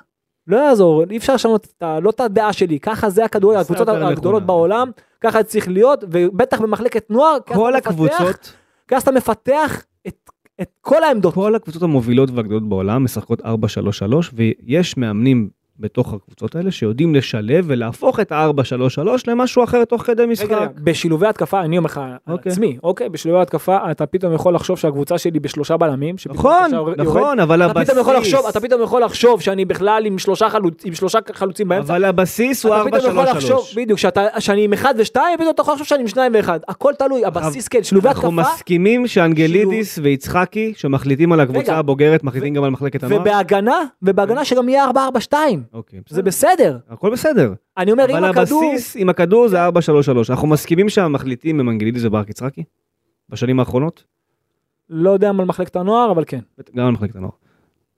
S3: לא יעזור, אי אפשר לשנות את ה- לא את הדעה שלי, ככה זה הכדורגל,
S2: פריסה
S3: הקבוצות
S2: יותר
S3: הגדולות
S2: נכונה. כן.
S3: בעולם, ככה זה צריך להיות, ובטח במחלקת נוער, כי אז
S2: כל
S3: אתה מפתח-
S2: הקבוצות,
S3: כי אז אתה מפתח את, את כל העמדות.
S2: כל הקבוצות המובילות והגדולות בעולם משחקות 433, ויש מאמנים בתוך הקבוצות האלה שיודעים לשלב ולהפוך את ה-433 למשהו אחר תוך כדי
S3: רגע,
S2: משחק.
S3: רגע, בשילובי התקפה, אני אומר לך על
S2: אוקיי.
S3: עצמי, אוקיי? בשילובי התקפה אתה פתאום יכול לחשוב שהקבוצה שלי בשלושה בלמים, שפתאום
S2: נכון,
S3: עכשיו יורד.
S2: נכון, אבל
S3: אתה
S2: הבסיס,
S3: פתאום יכול לחשוב, אתה פתאום יכול לחשוב שאני בכלל עם שלושה חלוצ- עם שלושה חלוצים באמצע.
S2: אבל הבסיס הוא
S3: אתה פתאום יכול לחשוב,
S2: 433.
S3: בדיוק, שאתה- שאני עם אחד ושתיים, פתאום אתה יכול לחשוב שאני עם שניים ואחד. הכל תלוי, הבסיס כן, שילובי
S2: אנחנו
S3: התקפה,
S2: מסכימים שאנגלידיס ויצחקי שמחליטים על הקבוצה
S3: רגע,
S2: הבוגרת מחליטים גם על מחלקת הנוער?
S3: ובהגנה, ובהגנה שגם יהיה 4-4-2,
S2: אוקיי,
S3: זה
S2: בסדר.
S3: בסדר.
S2: הכל בסדר.
S3: אני אומר, אם
S2: אבל
S3: הכדור...
S2: הבסיס עם הכדור זה 433. אנחנו מסכימים שהמחליטים הם אנגלידיס וברק יצחקי? בשנים האחרונות?
S3: לא יודע אם על מחלקת הנוער, אבל כן.
S2: גם על מחלקת הנוער.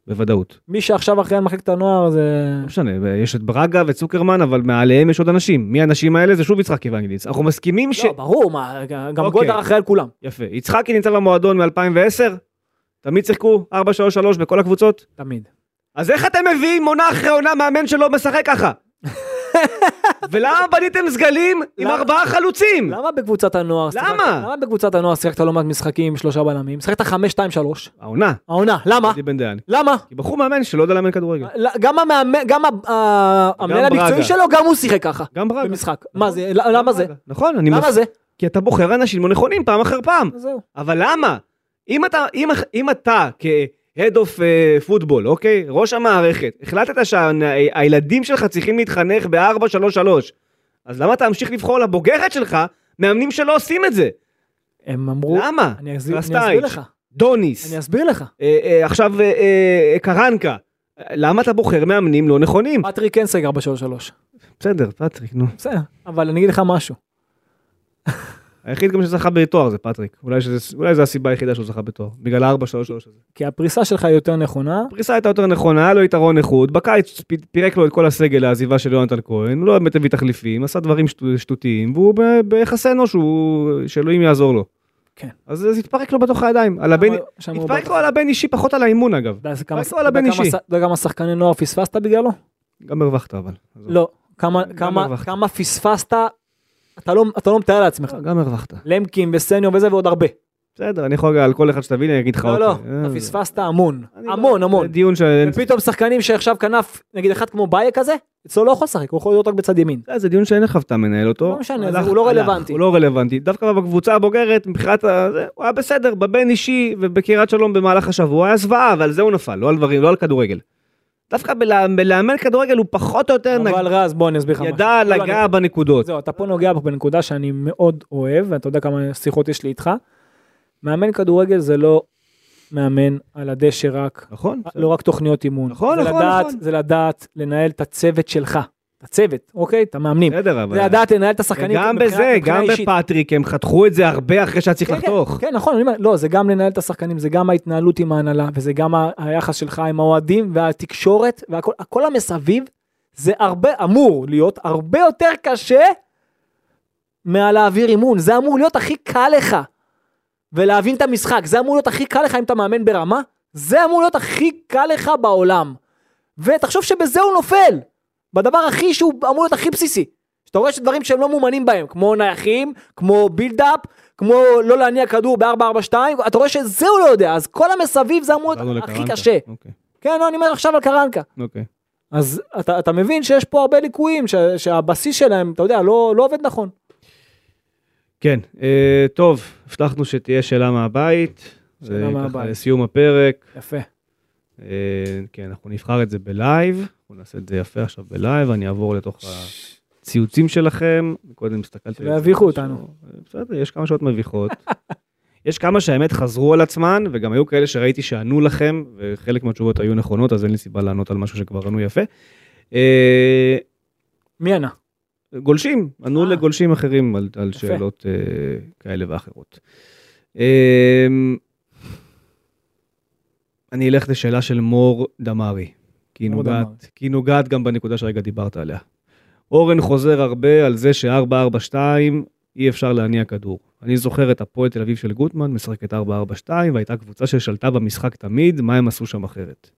S2: בוודאות.
S3: מי שעכשיו אחראי על מחלקת הנוער זה...
S2: לא משנה, יש את ברגה וצוקרמן, אבל מעליהם יש עוד אנשים. מי האנשים האלה? זה שוב יצחקי ואנגלידיס. אנחנו מסכימים ש...
S3: לא, ברור, מה, גם
S2: אוקיי.
S3: גולדהר אחראי על כולם.
S2: יפה. יצחקי נמצא במועדון מ-2010? תמיד שיחקו 433 בכל הקבוצות?
S3: תמיד.
S2: אז איך אתם מביאים עונה אחרי עונה מאמן שלא משחק ככה? ולמה בניתם סגלים עם
S3: למה?
S2: ארבעה חלוצים?
S3: למה בקבוצת הנוער?
S2: למה?
S3: שיחקת- למה בקבוצת הנוער שיחקת לא מעט משחקים עם שלושה בלמים? שיחקת חמש, שתיים, שלוש.
S2: העונה.
S3: העונה, למה?
S2: אלי בן דיין.
S3: למה?
S2: כי בחור מאמן שלא יודע לאמן כדורגל.
S3: לא, גם המאמן, גם ה- ה- המנהל
S2: ברגה.
S3: המקצועי שלו, גם הוא שיחק ככה.
S2: גם ברגה.
S3: במשחק. מה זה? ל- למה זה?
S2: נכון, אני
S3: למה
S2: מס-
S3: זה?
S2: כי אתה בוחר אנשים לא נכונים פעם אחר פעם.
S3: זהו.
S2: אבל למה? אם אתה, אם, אם אתה כ-head of אה, football, אוקיי? ראש המערכת, החלטת שהילדים שלך צריכים להתחנך ב-4-3-3, אז למה אתה ממשיך לבחור לבוגרת שלך מאמנים שלא עושים את זה?
S3: הם אמרו...
S2: למה?
S3: אני אסביר אני
S2: קרסטייץ',
S3: אסביר לך.
S2: דוניס,
S3: אני אסביר לך.
S2: אה, אה, עכשיו אה, אה, קרנקה. אה, למה אתה בוחר מאמנים לא נכונים?
S3: פטריק קנסג 433.
S2: בסדר, פטריק, נו.
S3: בסדר. אבל אני אגיד לך משהו.
S2: היחיד גם שזכה בתואר זה פטריק. אולי שזה- אולי זו הסיבה היחידה שהוא זכה בתואר. בגלל ה-4-3-3 הזה.
S3: כי הפריסה שלך היא יותר נכונה.
S2: הפריסה הייתה יותר נכונה, היה לו יתרון איכות, בקיץ פ- פירק לו את כל הסגל לעזיבה של יונתן כהן, הוא לא באמת הביא תחליפים, עשה דברים שטו- שטותיים, והוא ב- ביחסי אנוש, הוא- שאלוהים יעזור לו.
S3: כן.
S2: אז זה התפרק לו בתוך הידיים. על הבין-
S3: שם הוא
S2: התפרק
S3: בטח.
S2: לו על הבן אישי, פחות על האימון אגב.
S3: אתה יודע כמה-
S2: התפרק לו על הבן
S3: אתה יודע כמה
S2: אישי.
S3: ש- אתה יודע כמה שחקני נוער פספסת בגללו?
S2: גם הרווחת אבל. עזוב.
S3: לא, כמה,
S2: גם
S3: כמה,
S2: הרווחת.
S3: כמה פספסת, אתה לא, אתה לא מתאר לעצמך.
S2: גם הרווחת.
S3: למקין וסניור וזה ועוד הרבה.
S2: בסדר, אני יכול על כל אחד שתביא לי, אני אגיד לך
S3: לא,
S2: עוד.
S3: לא, אתה פספסת המון,
S2: אה, אני לא-
S3: המון, המון.
S2: זה דיון שאין...
S3: ופתאום שחקנים שעכשיו כנף, נגיד אחד כמו באיה כזה, אצלו לא יכול לשחק, הוא יכול להיות רק בצד ימין.
S2: אתה יודע, אה, זה דיון שאין לך ואתה מנהל אותו.
S3: לא משנה,
S2: הלך-
S3: זה- הוא לא
S2: הלך,
S3: רלוונטי.
S2: הוא לא רלוונטי. דווקא בקבוצה הבוגרת, מבחינת ה... זה, הוא היה בסדר, בבן אישי ובקריית שלום במהלך השבוע, הוא היה זוועה, ועל זה הוא נפל, לא על דברים, לא על כדורגל. דווקא בלה- בלאמן כדורגל הוא פחות או יותר אה, נג...
S3: אבל רז, בוא אני אסביר לך משהו.
S2: ידע
S3: לא, לא,
S2: לגע בנקודות.
S3: זהו, אתה פה נוגע בנקודה שאני מאוד אוהב, ואתה יודע כמה שיחות יש לי איתך. מאמן כדורגל זה לא מאמן על הדשא רק,
S2: נכון?
S3: אה, לא רק תוכניות אימון.
S2: נכון,
S3: זה
S2: נכון,
S3: לדעת,
S2: נכון.
S3: זה לדעת לנהל את הצוות שלך. את הצוות, אוקיי? את המאמנים.
S2: בסדר, אבל...
S3: זה לדעת לנהל את השחקנים.
S2: וגם
S3: מבחינה-
S2: בזה,
S3: מבחינה
S2: גם
S3: אישית.
S2: בפטריק, הם חתכו את זה הרבה אחרי שהיה צריך
S3: כן,
S2: לחתוך.
S3: כן, כן, נכון, אני אומר, לא, זה גם לנהל את השחקנים, זה גם ההתנהלות עם ההנהלה, וזה גם ה- היחס שלך עם האוהדים, והתקשורת, והכל הכל המסביב, זה הרבה, אמור להיות הרבה יותר קשה מהלהעביר אימון, זה אמור להיות הכי קל לך, ולהבין את המשחק, זה אמור להיות הכי קל לך אם אתה מאמן ברמה, זה אמור להיות הכי קל לך בעולם. ותחשוב שבזה הוא נופל, בדבר הכי שהוא אמור להיות הכי בסיסי. שאתה רואה שדברים שהם לא מאומנים בהם, כמו נייחים, כמו בילדאפ, כמו לא להניע כדור ב-442, אתה רואה שזה הוא לא יודע, אז כל המסביב זה אמור
S2: חזרנו
S3: להיות הכי
S2: לקרנקה.
S3: קשה.
S2: אוקיי,
S3: כן, לא, אני אומר עכשיו על קרנקה.
S2: אוקיי.
S3: אז אתה, אתה מבין שיש פה הרבה ליקויים, ש, שהבסיס שלהם, אתה יודע, לא, לא עובד נכון.
S2: כן, אה, טוב, הבטחנו שתהיה שאלה מהבית.
S3: שאלה
S2: זה
S3: מהבית.
S2: ככה לסיום הפרק.
S3: יפה.
S2: אה, כן, אנחנו נבחר את זה בלייב, אנחנו נעשה את זה יפה עכשיו בלייב, אני אעבור לתוך הציוצים שלכם. קודם הסתכלתי...
S3: שלא יביכו
S2: על זה,
S3: אותנו.
S2: ש- בסדר, יש כמה שעות מביכות. יש כמה שהאמת חזרו על עצמן, וגם היו כאלה שראיתי שענו לכם, וחלק מהתשובות היו נכונות, אז אין לי סיבה לענות על משהו שכבר ענו יפה. אה,
S3: מי ענה?
S2: גולשים, ענו
S3: אה.
S2: לגולשים אחרים על, על
S3: יפה.
S2: שאלות אה, כאלה ואחרות. אה, אני אלך לשאלה של מור דמארי, כי היא
S3: מור
S2: נוגעת,
S3: דמארי.
S2: כי היא נוגעת גם בנקודה שהרגע דיברת עליה. אורן חוזר הרבה על זה ש-442 אי אפשר להניע כדור. אני זוכר את הפועל תל אביב של גוטמן, משחקת 442, והייתה קבוצה ששלטה במשחק תמיד, מה הם עשו שם אחרת?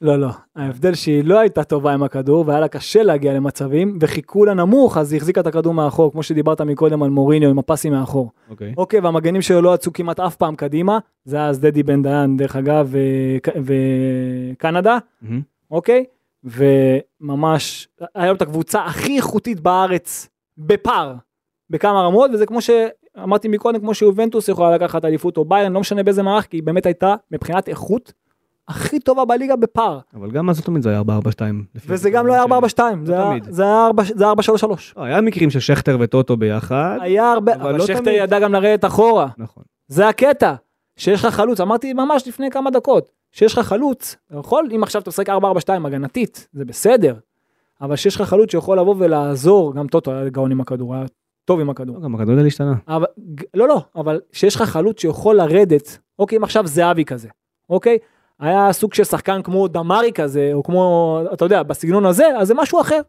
S3: לא, לא. ההבדל שהיא לא הייתה טובה עם הכדור, והיה לה קשה להגיע למצבים, וחיכו לה נמוך, אז היא החזיקה את הכדור מאחור, כמו שדיברת מקודם על מוריניו עם הפסים מאחור.
S2: אוקיי.
S3: אוקיי, והמגנים שלו לא יצאו כמעט אף פעם קדימה, זה היה אז דדי בן דיין, דרך אגב, ו- וקנדה,
S2: מהמם.
S3: אוקיי? וממש, היום את הקבוצה הכי איכותית בארץ, בפער, בכמה רמות, וזה כמו שאמרתי מקודם, כמו שיובנטוס יכולה לקחת אליפות או ביירן, לא משנה באיזה מערך, כי היא באמת הייתה, מבחינת איכות, הכי טובה בליגה בפער.
S2: אבל גם אז לא תמיד זה היה 442. לפי
S3: וזה גם לא
S2: שלי.
S3: היה 442, זה
S2: לא
S3: היה-
S2: תמיד.
S3: זה היה 4- זה היה 433.
S2: לא, היה מקרים ששכטר וטוטו ביחד.
S3: היה הרבה,
S2: אבל
S3: אבל
S2: לא
S3: שכטר
S2: תמיד.
S3: ידע גם לרדת אחורה.
S2: נכון.
S3: זה הקטע, שיש לך חלוץ, אמרתי ממש לפני כמה דקות, שיש לך חלוץ, אתה יכול, אם עכשיו אתה משחק 4-4-2 הגנתית, זה בסדר, אבל שיש לך חלוץ שיכול לבוא ולעזור, גם טוטו היה גאון עם הכדור, היה טוב עם הכדור.
S2: לא, גם הכדורגל השתנה.
S3: אבל, ג- לא, לא, אבל שיש לך חלוץ שיכול לרדת, אוקיי, אם עכשיו זהבי כזה, אוקיי? היה סוג של שחקן כמו דמרי כזה, או כמו, אתה יודע, בסגנון הזה, אז זה משהו אחר.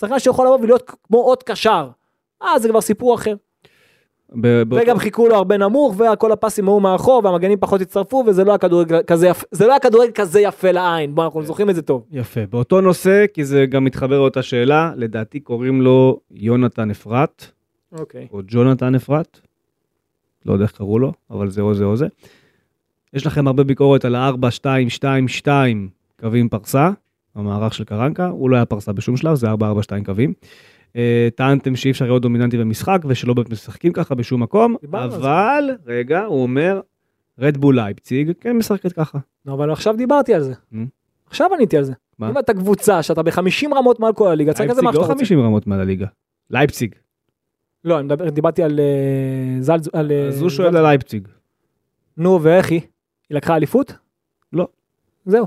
S3: שחקן שיכול לבוא ולהיות כמו עוד קשר. אה, זה כבר סיפור אחר.
S2: ב- באותו-
S3: וגם חיכו לו הרבה נמוך וכל הפסים היו מאחור והמגנים פחות הצטרפו וזה לא היה כדורגל כזה יפה זה לא היה כדורגל כזה יפה לעין בוא
S2: כן.
S3: אנחנו זוכרים את זה טוב.
S2: יפה. באותו נושא, כי זה גם מתחבר לאותה שאלה, לדעתי קוראים לו יונתן אפרת,
S3: אוקיי.
S2: או ג'ונתן אפרת, לא יודע איך קראו לו, אבל זה או זה או זה. יש לכם הרבה ביקורת על ה-4-2-2-2 קווים פרסה, המערך של קרנקה, הוא לא היה פרסה בשום שלב, זה 4-4-2 קווים. אה, טענתם שאי אפשר להיות דומיננטי במשחק ושלא באמת משחקים ככה בשום מקום,
S3: דיברנו על זה.
S2: אבל, רגע, הוא אומר, רדבול לייפציג כן משחקת ככה.
S3: אבל עכשיו דיברתי על זה.
S2: Mm.
S3: עכשיו עניתי על זה.
S2: מה?
S3: אם אתה קבוצה שאתה ב-50 רמות מעל כל הליגה, צריך כזה
S2: לייפציג
S3: מה שאתה
S2: לא
S3: רוצה.
S2: 50 רמות מעל הליגה. לייפציג.
S3: לא, אני מדבר- דיברתי על אה, זלצ... על... אה,
S2: אז הוא
S3: זלצ-
S2: שואל על לייפציג.
S3: נו, ואיך היא? היא לקחה אליפות?
S2: לא.
S3: זהו.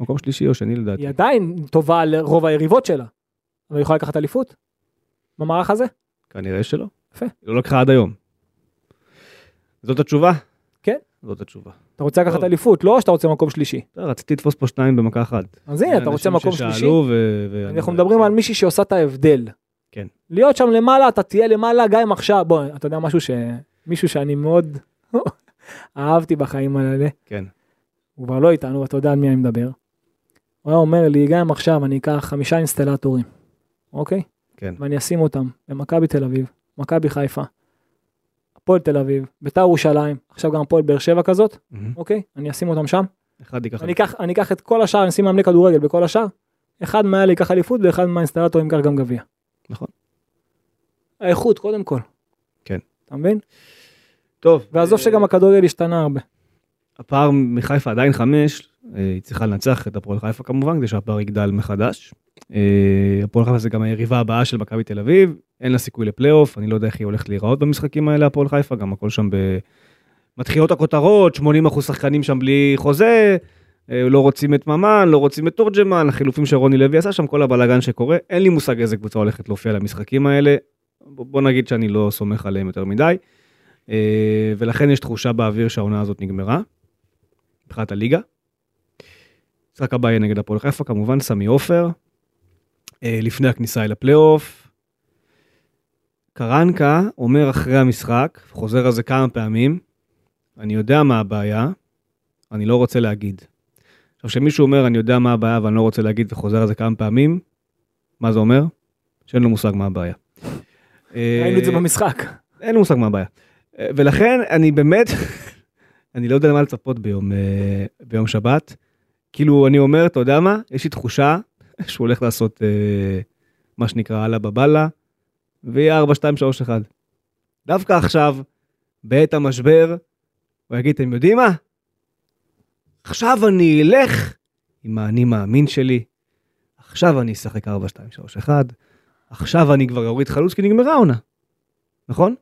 S2: מקום שלישי או שני לדעתי.
S3: היא עדיין טובה על רוב היריבות שלה. אבל היא יכולה לקחת אליפות? במערך הזה?
S2: כנראה שלא.
S3: יפה.
S2: היא לא לקחה עד היום. זאת התשובה?
S3: כן.
S2: זאת התשובה.
S3: אתה רוצה לקחת
S2: טוב.
S3: אליפות, לא או שאתה רוצה מקום שלישי.
S2: אתה, רציתי לתפוס פה שניים במכה אחת.
S3: אז הנה, כן, אתה רוצה
S2: אנשים
S3: מקום שלישי?
S2: ששאלו ו... ו-
S3: אנחנו מדברים על מישהי שעושה את ההבדל.
S2: כן.
S3: להיות שם למעלה, אתה תהיה למעלה גם אם עכשיו, בוא, אתה יודע משהו ש... מישהו שאני מאוד אהבתי בחיים האלה,
S2: כן.
S3: הוא כבר לא איתנו, אתה יודע על מי אני מדבר. הוא היה אומר לי, גם אם עכשיו אני אקח חמישה אינסטלטורים, אוקיי?
S2: כן.
S3: ואני אשים אותם במכבי תל אביב, מכבי חיפה, הפועל תל אביב, ביתר ירושלים, עכשיו גם הפועל באר שבע כזאת,
S2: מהמם.
S3: אוקיי? אני אשים אותם שם,
S2: אחד ייקח...
S3: אני אקח, אני אקח את כל השאר, אני אשים מאמני כדורגל בכל השאר, אחד מהאלה ייקח אליפות ואחד מהאינסטלטורים ייקח גם גביע.
S2: נכון.
S3: האיכות קודם כל.
S2: כן.
S3: אתה מבין?
S2: טוב.
S3: ועזוב
S2: אה,
S3: שגם הכדורגל השתנה הרבה.
S2: הפער מחיפה עדיין חמש, אה, היא צריכה לנצח את הפועל חיפה כמובן, כדי שהפער יגדל מחדש. אה, הפועל חיפה זה גם היריבה הבאה של מכבי תל אביב, אין לה סיכוי לפלייאוף, אני לא יודע איך היא הולכת להיראות במשחקים האלה, הפועל חיפה, גם הכל שם ב... מתחילות הכותרות, 80% שחקנים שם בלי חוזה, אה, לא רוצים את ממן, לא רוצים את תורג'מן, החילופים שרוני לוי עשה שם, כל הבלאגן שקורה. אין לי מושג איזה קבוצה הולכת להופיע למשחקים האלה. בוא בוא נגיד שאני לא סומך עליהם יותר מדי. אה, ולכן יש תחושה באוויר שהעונה הזאת נגמרה, מבחינת הליגה. המשחק הבא יהיה נגד הפועל חיפה, כמובן סמי עופר. אה, לפני הכניסה אל הפלייאוף. קרנקה אומר אחרי המשחק, חוזר על זה כמה פעמים, אני יודע מה הבעיה, אני לא רוצה להגיד. עכשיו, כשמישהו אומר, אני יודע מה הבעיה ואני לא רוצה להגיד, וחוזר על זה כמה פעמים, מה זה אומר? שאין לו מושג מה הבעיה. אה,
S3: ראינו את זה במשחק.
S2: אין לי מושג מה הבעיה. אה, ולכן אני באמת, אני לא יודע למה לצפות ביום, אה, ביום שבת. כאילו, אני אומר, אתה יודע מה? יש לי תחושה שהוא הולך לעשות אה, מה שנקרא אללה בבאללה, ויהיה 4, 2, 3, 1. דווקא עכשיו, בעת המשבר, הוא יגיד, אתם יודעים מה? עכשיו אני אלך עם האני מאמין שלי, עכשיו אני אשחק 4, 2, 3, 1, עכשיו אני כבר אוריד חלוץ כי נגמרה העונה, נכון?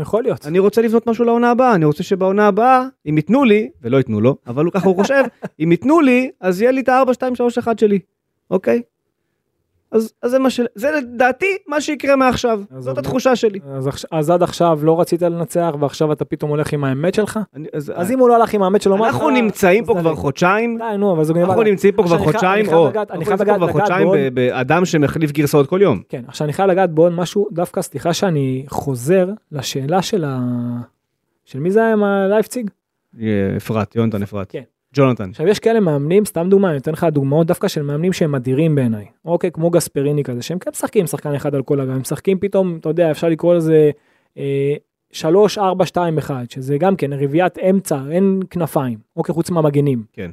S3: יכול להיות.
S2: אני רוצה לבנות משהו לעונה הבאה, אני רוצה שבעונה הבאה, אם ייתנו לי, ולא ייתנו לו, אבל הוא ככה הוא חושב, אם ייתנו לי, אז יהיה לי את ה-4, 2, 3, 1 שלי, אוקיי? אז, אז זה מה ש... זה לדעתי מה שיקרה מעכשיו,
S3: אז
S2: זאת
S3: אבל-
S2: התחושה שלי.
S3: אז עכש- אז עד עכשיו לא רצית לנצח ועכשיו אתה פתאום הולך עם האמת שלך?
S2: אני, אז,
S3: אז אם הוא לא הלך עם האמת שלו, מה
S2: אה. אנחנו
S3: אתה-
S2: נמצאים פה
S3: אז
S2: כבר
S3: די.
S2: חודשיים,
S3: די, נו, אבל זו גניבה.
S2: אנחנו נמצאים פה כבר
S3: עכשיו אני חייב-
S2: חודשיים,
S3: אני חייב
S2: או,
S3: לגעת- אני
S2: אנחנו
S3: חייב
S2: נמצאים פה כבר
S3: לגעת- לגעת
S2: חודשיים
S3: בעוד-
S2: ב- באדם שמחליף גרסאות כל יום.
S3: כן, עכשיו אני חייב לגעת בעוד משהו, דווקא סליחה שאני חוזר לשאלה של ה... של מי זה היה עם הלייפציג?
S2: אה, אפרת, יונתן אפרת.
S3: כן.
S2: ג'ונתן.
S3: עכשיו יש כאלה מאמנים, סתם דוגמא, אני נותן לך דוגמאות דווקא של מאמנים שהם אדירים בעיניי. אוקיי, כמו גספריני כזה, שהם כן משחקים שחקן אחד על כל הגן, הם משחקים פתאום, אתה יודע, אפשר לקרוא לזה אה, 3, 4, 2, 1, שזה גם כן רביעיית אמצע, אין כנפיים, אוקיי, חוץ מהמגנים.
S2: כן.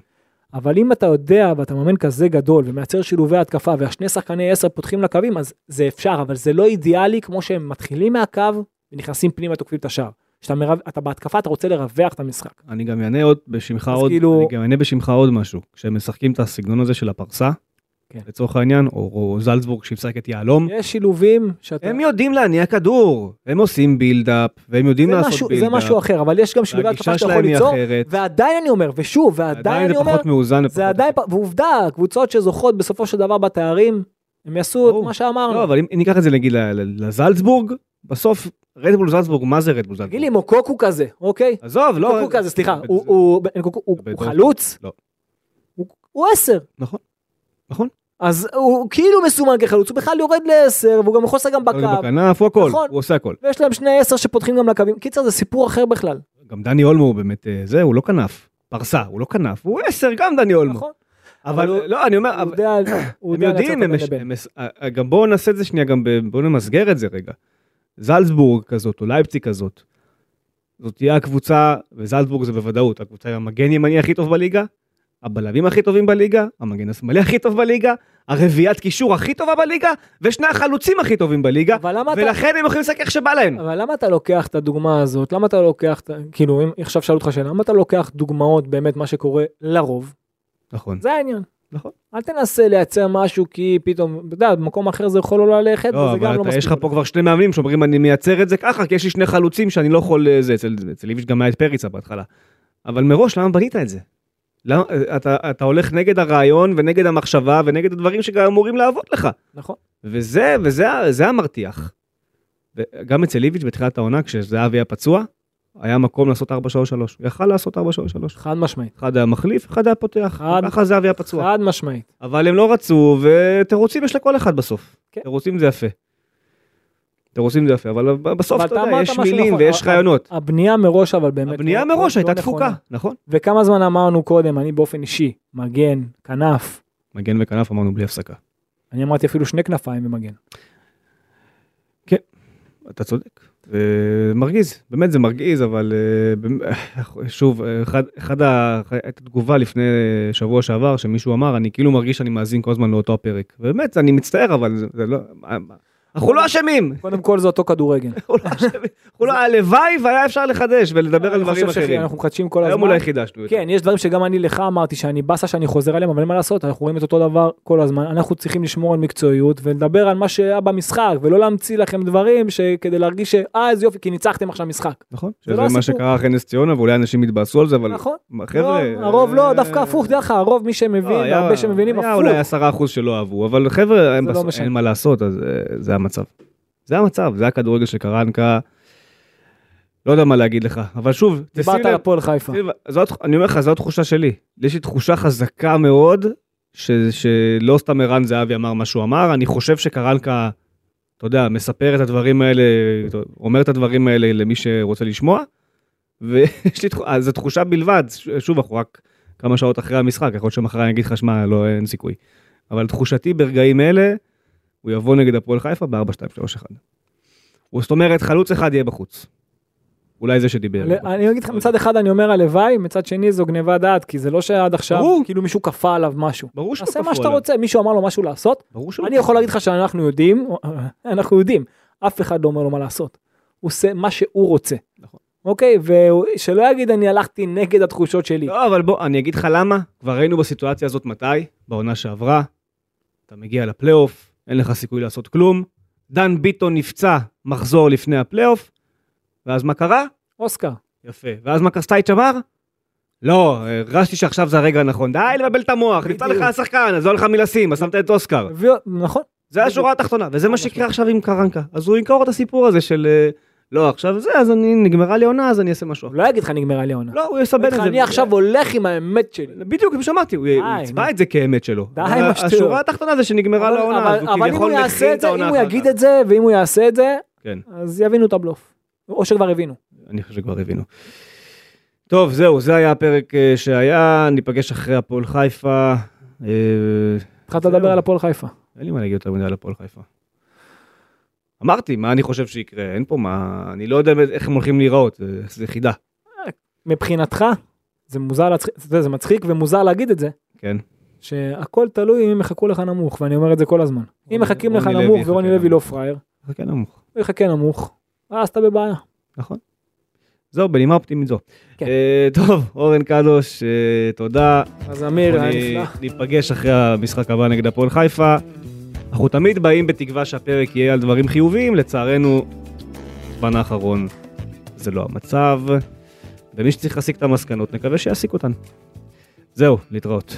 S3: אבל אם אתה יודע ואתה מאמן כזה גדול ומייצר שילובי התקפה והשני שחקני 10 פותחים לקווים, אז זה אפשר, אבל זה לא אידיאלי כמו שהם מתחילים מהקו ונכנסים פנימה, תוקפים את השער. כשאתה מרו- אתה בהתקפה, אתה רוצה לרווח את המשחק.
S2: אני גם אענה עוד בשמך
S3: אז
S2: עוד,
S3: כאילו-
S2: אני גם אענה בשמך עוד משהו. כשהם משחקים את הסגנון הזה של הפרסה,
S3: כן.
S2: לצורך העניין, או- או זלצבורג שיפסק את יהלום,
S3: יש שילובים שאתה...
S2: הם יודעים להניע כדור, הם עושים בילדאפ, והם יודעים
S3: זה
S2: לעשות
S3: משהו, זה
S2: בילדאפ,
S3: משהו אחר, אבל יש גם שילובי התקפה
S2: והגישה
S3: שאתה יכול
S2: שלהם היא
S3: ליצור,
S2: אחרת,
S3: ועדיין אני אומר, ושוב, ועדיין
S2: עדיין זה
S3: אני אומר,
S2: פחות מאוזן.
S3: זה
S2: ופחות-
S3: עדיין, פ- ועובדה, קבוצות שזוכות בסופו של דבר בתארים, הם יעשו את
S2: ברור.
S3: מה שאמרנו.
S2: לא, אבל אם אם ניקח את זה נגיד ל- ל- לזלצבורג, בסוף רדבול זלצבורג, מה זה רדבול
S3: תגיד לי,
S2: זלצבורג?
S3: מוקוקו כזה, אוקיי?
S2: עזוב, לא...
S3: קוקו כזה, סליחה,
S2: זה-
S3: הוא- הוא הוא- הוא- הוא
S2: בדורטמונד.
S3: חלוץ?
S2: לא.
S3: הוא- הוא עשר.
S2: נכון, נכון.
S3: אז הוא כאילו מסומן כחלוץ, הוא בכלל יורד לעשר, והוא גם יכול לשחק גם
S2: הוא
S3: בקו,
S2: בכנף, הוא הכל,
S3: נכון.
S2: הוא עושה הכל.
S3: ויש להם שני עשר שפותחים גם לקווים. קיצר, זה סיפור אחר בכלל.
S2: גם דני אולמו הוא באמת, אה, זה, הוא לא כנף. פרסה, הוא לא כנף, הוא עשר, גם דני אולמו.
S3: נכון?
S2: אבל
S3: אבל הוא-
S2: לא, אני אומר,
S3: הוא
S2: אבל-
S3: יודע, הוא
S2: הם
S3: יודע לעצור את
S2: יודעים, הם
S3: הבן
S2: מש-
S3: לבן.
S2: הם מש- אה, גם בואו נעשה את זה שנייה, גם ב- בואו נמסגר את זה רגע. זלצבורג כזאת, או לייפציג כזאת, זאת תהיה הקבוצה, וזלצבורג זה בוודאות, הקבוצה עם המגן ימני הכי טוב בליגה, הבלמים הכי טובים בליגה, המגן השמאלי הכי טוב בליגה, הרביעיית קישור הכי טובה בליגה, ושני החלוצים הכי טובים בליגה,
S3: אבל למה אתה...
S2: ולכן הם יכולים לשחק איך שבא להם.
S3: אבל למה אתה לוקח את הדוגמה הזאת? למה אתה לוקח, את ה- כאילו, אם עכשיו שאלו אותך שאלה, למה אתה לוקח דוגמאות באמת מה שקורה לרוב?
S2: נכון,
S3: זה העניין.
S2: נכון.
S3: אל תנסה לייצר משהו כי פתאום, אתה יודע, במקום אחר זה יכול לא ללכת,
S2: לא,
S3: וזה גם
S2: אבל אתה-
S3: לא מספיק.
S2: יש לך פה כבר שני מאמנים שאומרים אני מייצר את זה ככה כי יש לי שני חלוצים שאני לא יכול אה, זה אצל אצל איביץ' גם היה את פריצה בהתחלה. אבל מראש למה בנית את זה? למה- אה, אתה אתה הולך נגד הרעיון ונגד המחשבה ונגד הדברים שגם אמורים לעבוד לך.
S3: נכון.
S2: וזה וזה ה- זה המרתיח. גם אצל איביץ' בתחילת העונה כשזהבי היה פצוע היה מקום לעשות 433 הוא יכל לעשות 433
S3: חד משמעית.
S2: אחד היה מחליף אחד היה פותח
S3: חד-
S2: ככה זהבי היה פצוע.
S3: חד משמעית.
S2: אבל הם לא רצו, ותירוצים יש לכל אחד בסוף.
S3: כן.
S2: תירוצים זה יפה. תירוצים זה יפה, אבל ב- בסוף
S3: אבל
S2: אתה
S3: אתה
S2: יודע,
S3: אמרת
S2: יש
S3: משהו
S2: מילים
S3: נכון,
S2: ויש
S3: אבל-
S2: רעיונות.
S3: הבנייה מראש אבל באמת...
S2: הבנייה
S3: לא-
S2: מראש
S3: לא
S2: הייתה
S3: נכונה.
S2: תפוקה, נכון?
S3: וכמה זמן אמרנו קודם, אני באופן אישי, מגן, כנף,
S2: מגן וכנף אמרנו בלי הפסקה.
S3: אני אמרתי אפילו שני כנפיים במגן.
S2: אתה צודק. זה מרגיז, באמת זה מרגיז, אבל אה, במ- שוב, אה, אחד, אחד ה... הייתה תגובה לפני אה, שבוע שעבר, שמישהו אמר, אני כאילו מרגיש שאני מאזין כל הזמן לאותו הפרק. באמת, אני מצטער, אבל זה, זה לא... אנחנו לא אשמים.
S3: קודם כל זה אותו כדורגל.
S2: אנחנו לא אשמים. אנחנו לא- הלוואי והיה אפשר לחדש ולדבר על
S3: לא, אני
S2: דברים
S3: חושב
S2: אחרים.
S3: שאנחנו מחדשים כל
S2: היום
S3: הזמן.
S2: אולי חידשנו את זה.
S3: כן, יש דברים שגם אני לך אמרתי שאני באסה שאני חוזר עליהם, אבל אין מה לעשות, אנחנו רואים את אותו דבר כל הזמן. אנחנו צריכים לשמור על מקצועיות ולדבר על מה שהיה במשחק, ולא להמציא לכם דברים שכדי להרגיש ש... אה, איזה יופי, כי ניצחתם עכשיו משחק.
S2: נכון.
S3: זה
S2: שזה
S3: לא
S2: מה
S3: הסיפור.
S2: שקרה אחרי נס ציונה ואולי אנשים יתבאסו על זה, אבל
S3: נכון.
S2: חבר'ה...
S3: לא, הרוב לא,
S2: אה,
S3: דווקא הפוך, דרך אגב, הרוב מי שמבין,
S2: לא, היה-
S3: הרבה שמבינים,
S2: היה
S3: הפוך.
S2: אולי 10% שלא אהבו, אבל חבר'ה, אין
S3: זה לא
S2: בס-
S3: משנה.
S2: אין מה לעשות, אז אה, זה המצב. זה המצב, זה הכדורגל שקרנקה. לא יודע מה להגיד לך, אבל שוב, תשים
S3: דיברת
S2: לב,
S3: על הפועל חיפה.
S2: תקשיב, זאת, אני אומר לך, זו התחושה שלי. יש לי תחושה חזקה מאוד, ש, שלא סתם ערן זהבי אמר מה שהוא אמר, אני חושב שקרנקה, אתה יודע, מספר את הדברים האלה, אומר את הדברים האלה למי שרוצה לשמוע, ויש לי תחושה, זו תחושה בלבד, ש- שוב, אנחנו רק כמה שעות אחרי המשחק, יכול להיות שמחר אני אגיד לך, שמע, לא, אין סיכוי. אבל תחושתי ברגעים אלה, הוא יבוא נגד הפועל חיפה ב-4-2-3-1. הוא- זאת אומרת, חלוץ אחד יהיה בחוץ. אולי זה שדיבר.
S3: ל- אני אגיד לך, מצד אחד אני אומר הלוואי, מצד שני זו גניבת דעת, כי זה לא שעד עכשיו,
S2: ברור.
S3: כאילו מישהו כפה עליו משהו.
S2: ברור שלא
S3: תעשה
S2: כפו
S3: מה שאתה
S2: עליו.
S3: רוצה, מישהו אמר לו משהו לעשות,
S2: ברור שלא.
S3: אני יכול להגיד לך שאנחנו יודעים, אנחנו יודעים, אף אחד לא אומר לו מה לעשות. הוא עושה מה שהוא רוצה.
S2: נכון.
S3: אוקיי, ושלא יגיד אני הלכתי נגד התחושות שלי.
S2: לא, אבל בוא, אני אגיד לך למה. כבר היינו בסיטואציה הזאת מתי? בעונה שעברה. אתה מגיע לפלייאוף, אין לך סיכוי לעשות כלום. דן ביטון נפצע מחזור לפני הפלייאוף, ואז מה קרה?
S3: אוסקר,
S2: יפה. ואז מה קסטייץ' אמר? לא, הרגשתי שעכשיו זה הרגע הנכון. די לבלבל את המוח, נפצע לך
S3: בדיוק.
S2: השחקן, אז לא היה לך מי לשים, אז שמת את אוסקר.
S3: הביא- נכון,
S2: זה
S3: בדיוק.
S2: השורה התחתונה, וזה מה
S3: ממש
S2: שיקרה עכשיו עם קרנקה. אז הוא ימכור את הסיפור הזה של... אה, לא, עכשיו זה, אז אני, נגמרה לי עונה, אז אני אעשה משהו
S3: הוא
S2: אחר.
S3: לא יגיד לך נגמרה לי העונה.
S2: לא, הוא יסבן את
S3: יגיד
S2: זה.
S3: לך, אני עכשיו הולך עם האמת שלי.
S2: בדיוק, כפי שאמרתי, הוא הוא
S3: די,
S2: יצבע
S3: נו.
S2: את זה כאמת שלו.
S3: די
S2: אבל
S3: עם השטויות.
S2: השורה התחתונה זה שנגמרה
S3: אבל-
S2: לו העונה,
S3: אבל-
S2: אז הוא
S3: אבל אם הוא
S2: כביכול
S3: יעשה
S2: מכין
S3: את
S2: את
S3: זה, אם
S2: העונה
S3: הוא
S2: אחר
S3: יגיד
S2: כך.
S3: את זה, ואם הוא יעשה את זה,
S2: כן,
S3: אז יבינו את הבלוף. או שכבר הבינו.
S2: אני חושב שכבר הבינו. טוב, זהו, זה היה הפרק אה, שהיה, ניפגש אחרי הפועל חיפה. אה,
S3: התחלת
S2: זהו.
S3: לדבר על הפועל חיפה.
S2: אין לי מה להגיד יותר מדי על הפועל חיפה. אמרתי, מה אני חושב שיקרה, אין פה מה, אני לא יודע איך הם הולכים להיראות, זה- זה חידה,
S3: מבחינתך, זה מוזר, להצחיק- אתה יודע, זה מצחיק ומוזר להגיד את זה,
S2: כן.
S3: שהכל תלוי אם הם יחכו לך נמוך, ואני אומר את זה כל הזמן. אם מחכים לך
S2: רוני לוי
S3: נמוך
S2: יחכה
S3: ורוני לוי
S2: נמוך.
S3: לא פראייר,
S2: חכה כן נמוך.
S3: הוא יחכה נמוך, אז אתה בבעיה.
S2: זהו, בנימה אופטימית זו.
S3: כן.
S2: אה, טוב, אורן קדוש, אה, תודה.
S3: אז אמיר, היה
S2: אני-
S3: נפלא.
S2: ניפגש אחרי המשחק הבא נגד הפועל חיפה. אנחנו תמיד באים בתקווה שהפרק יהיה על דברים חיוביים, לצערנו, בזמן האחרון זה לא המצב, ומי שצריך להסיק את המסקנות, נקווה שיסיק אותן. זהו, להתראות.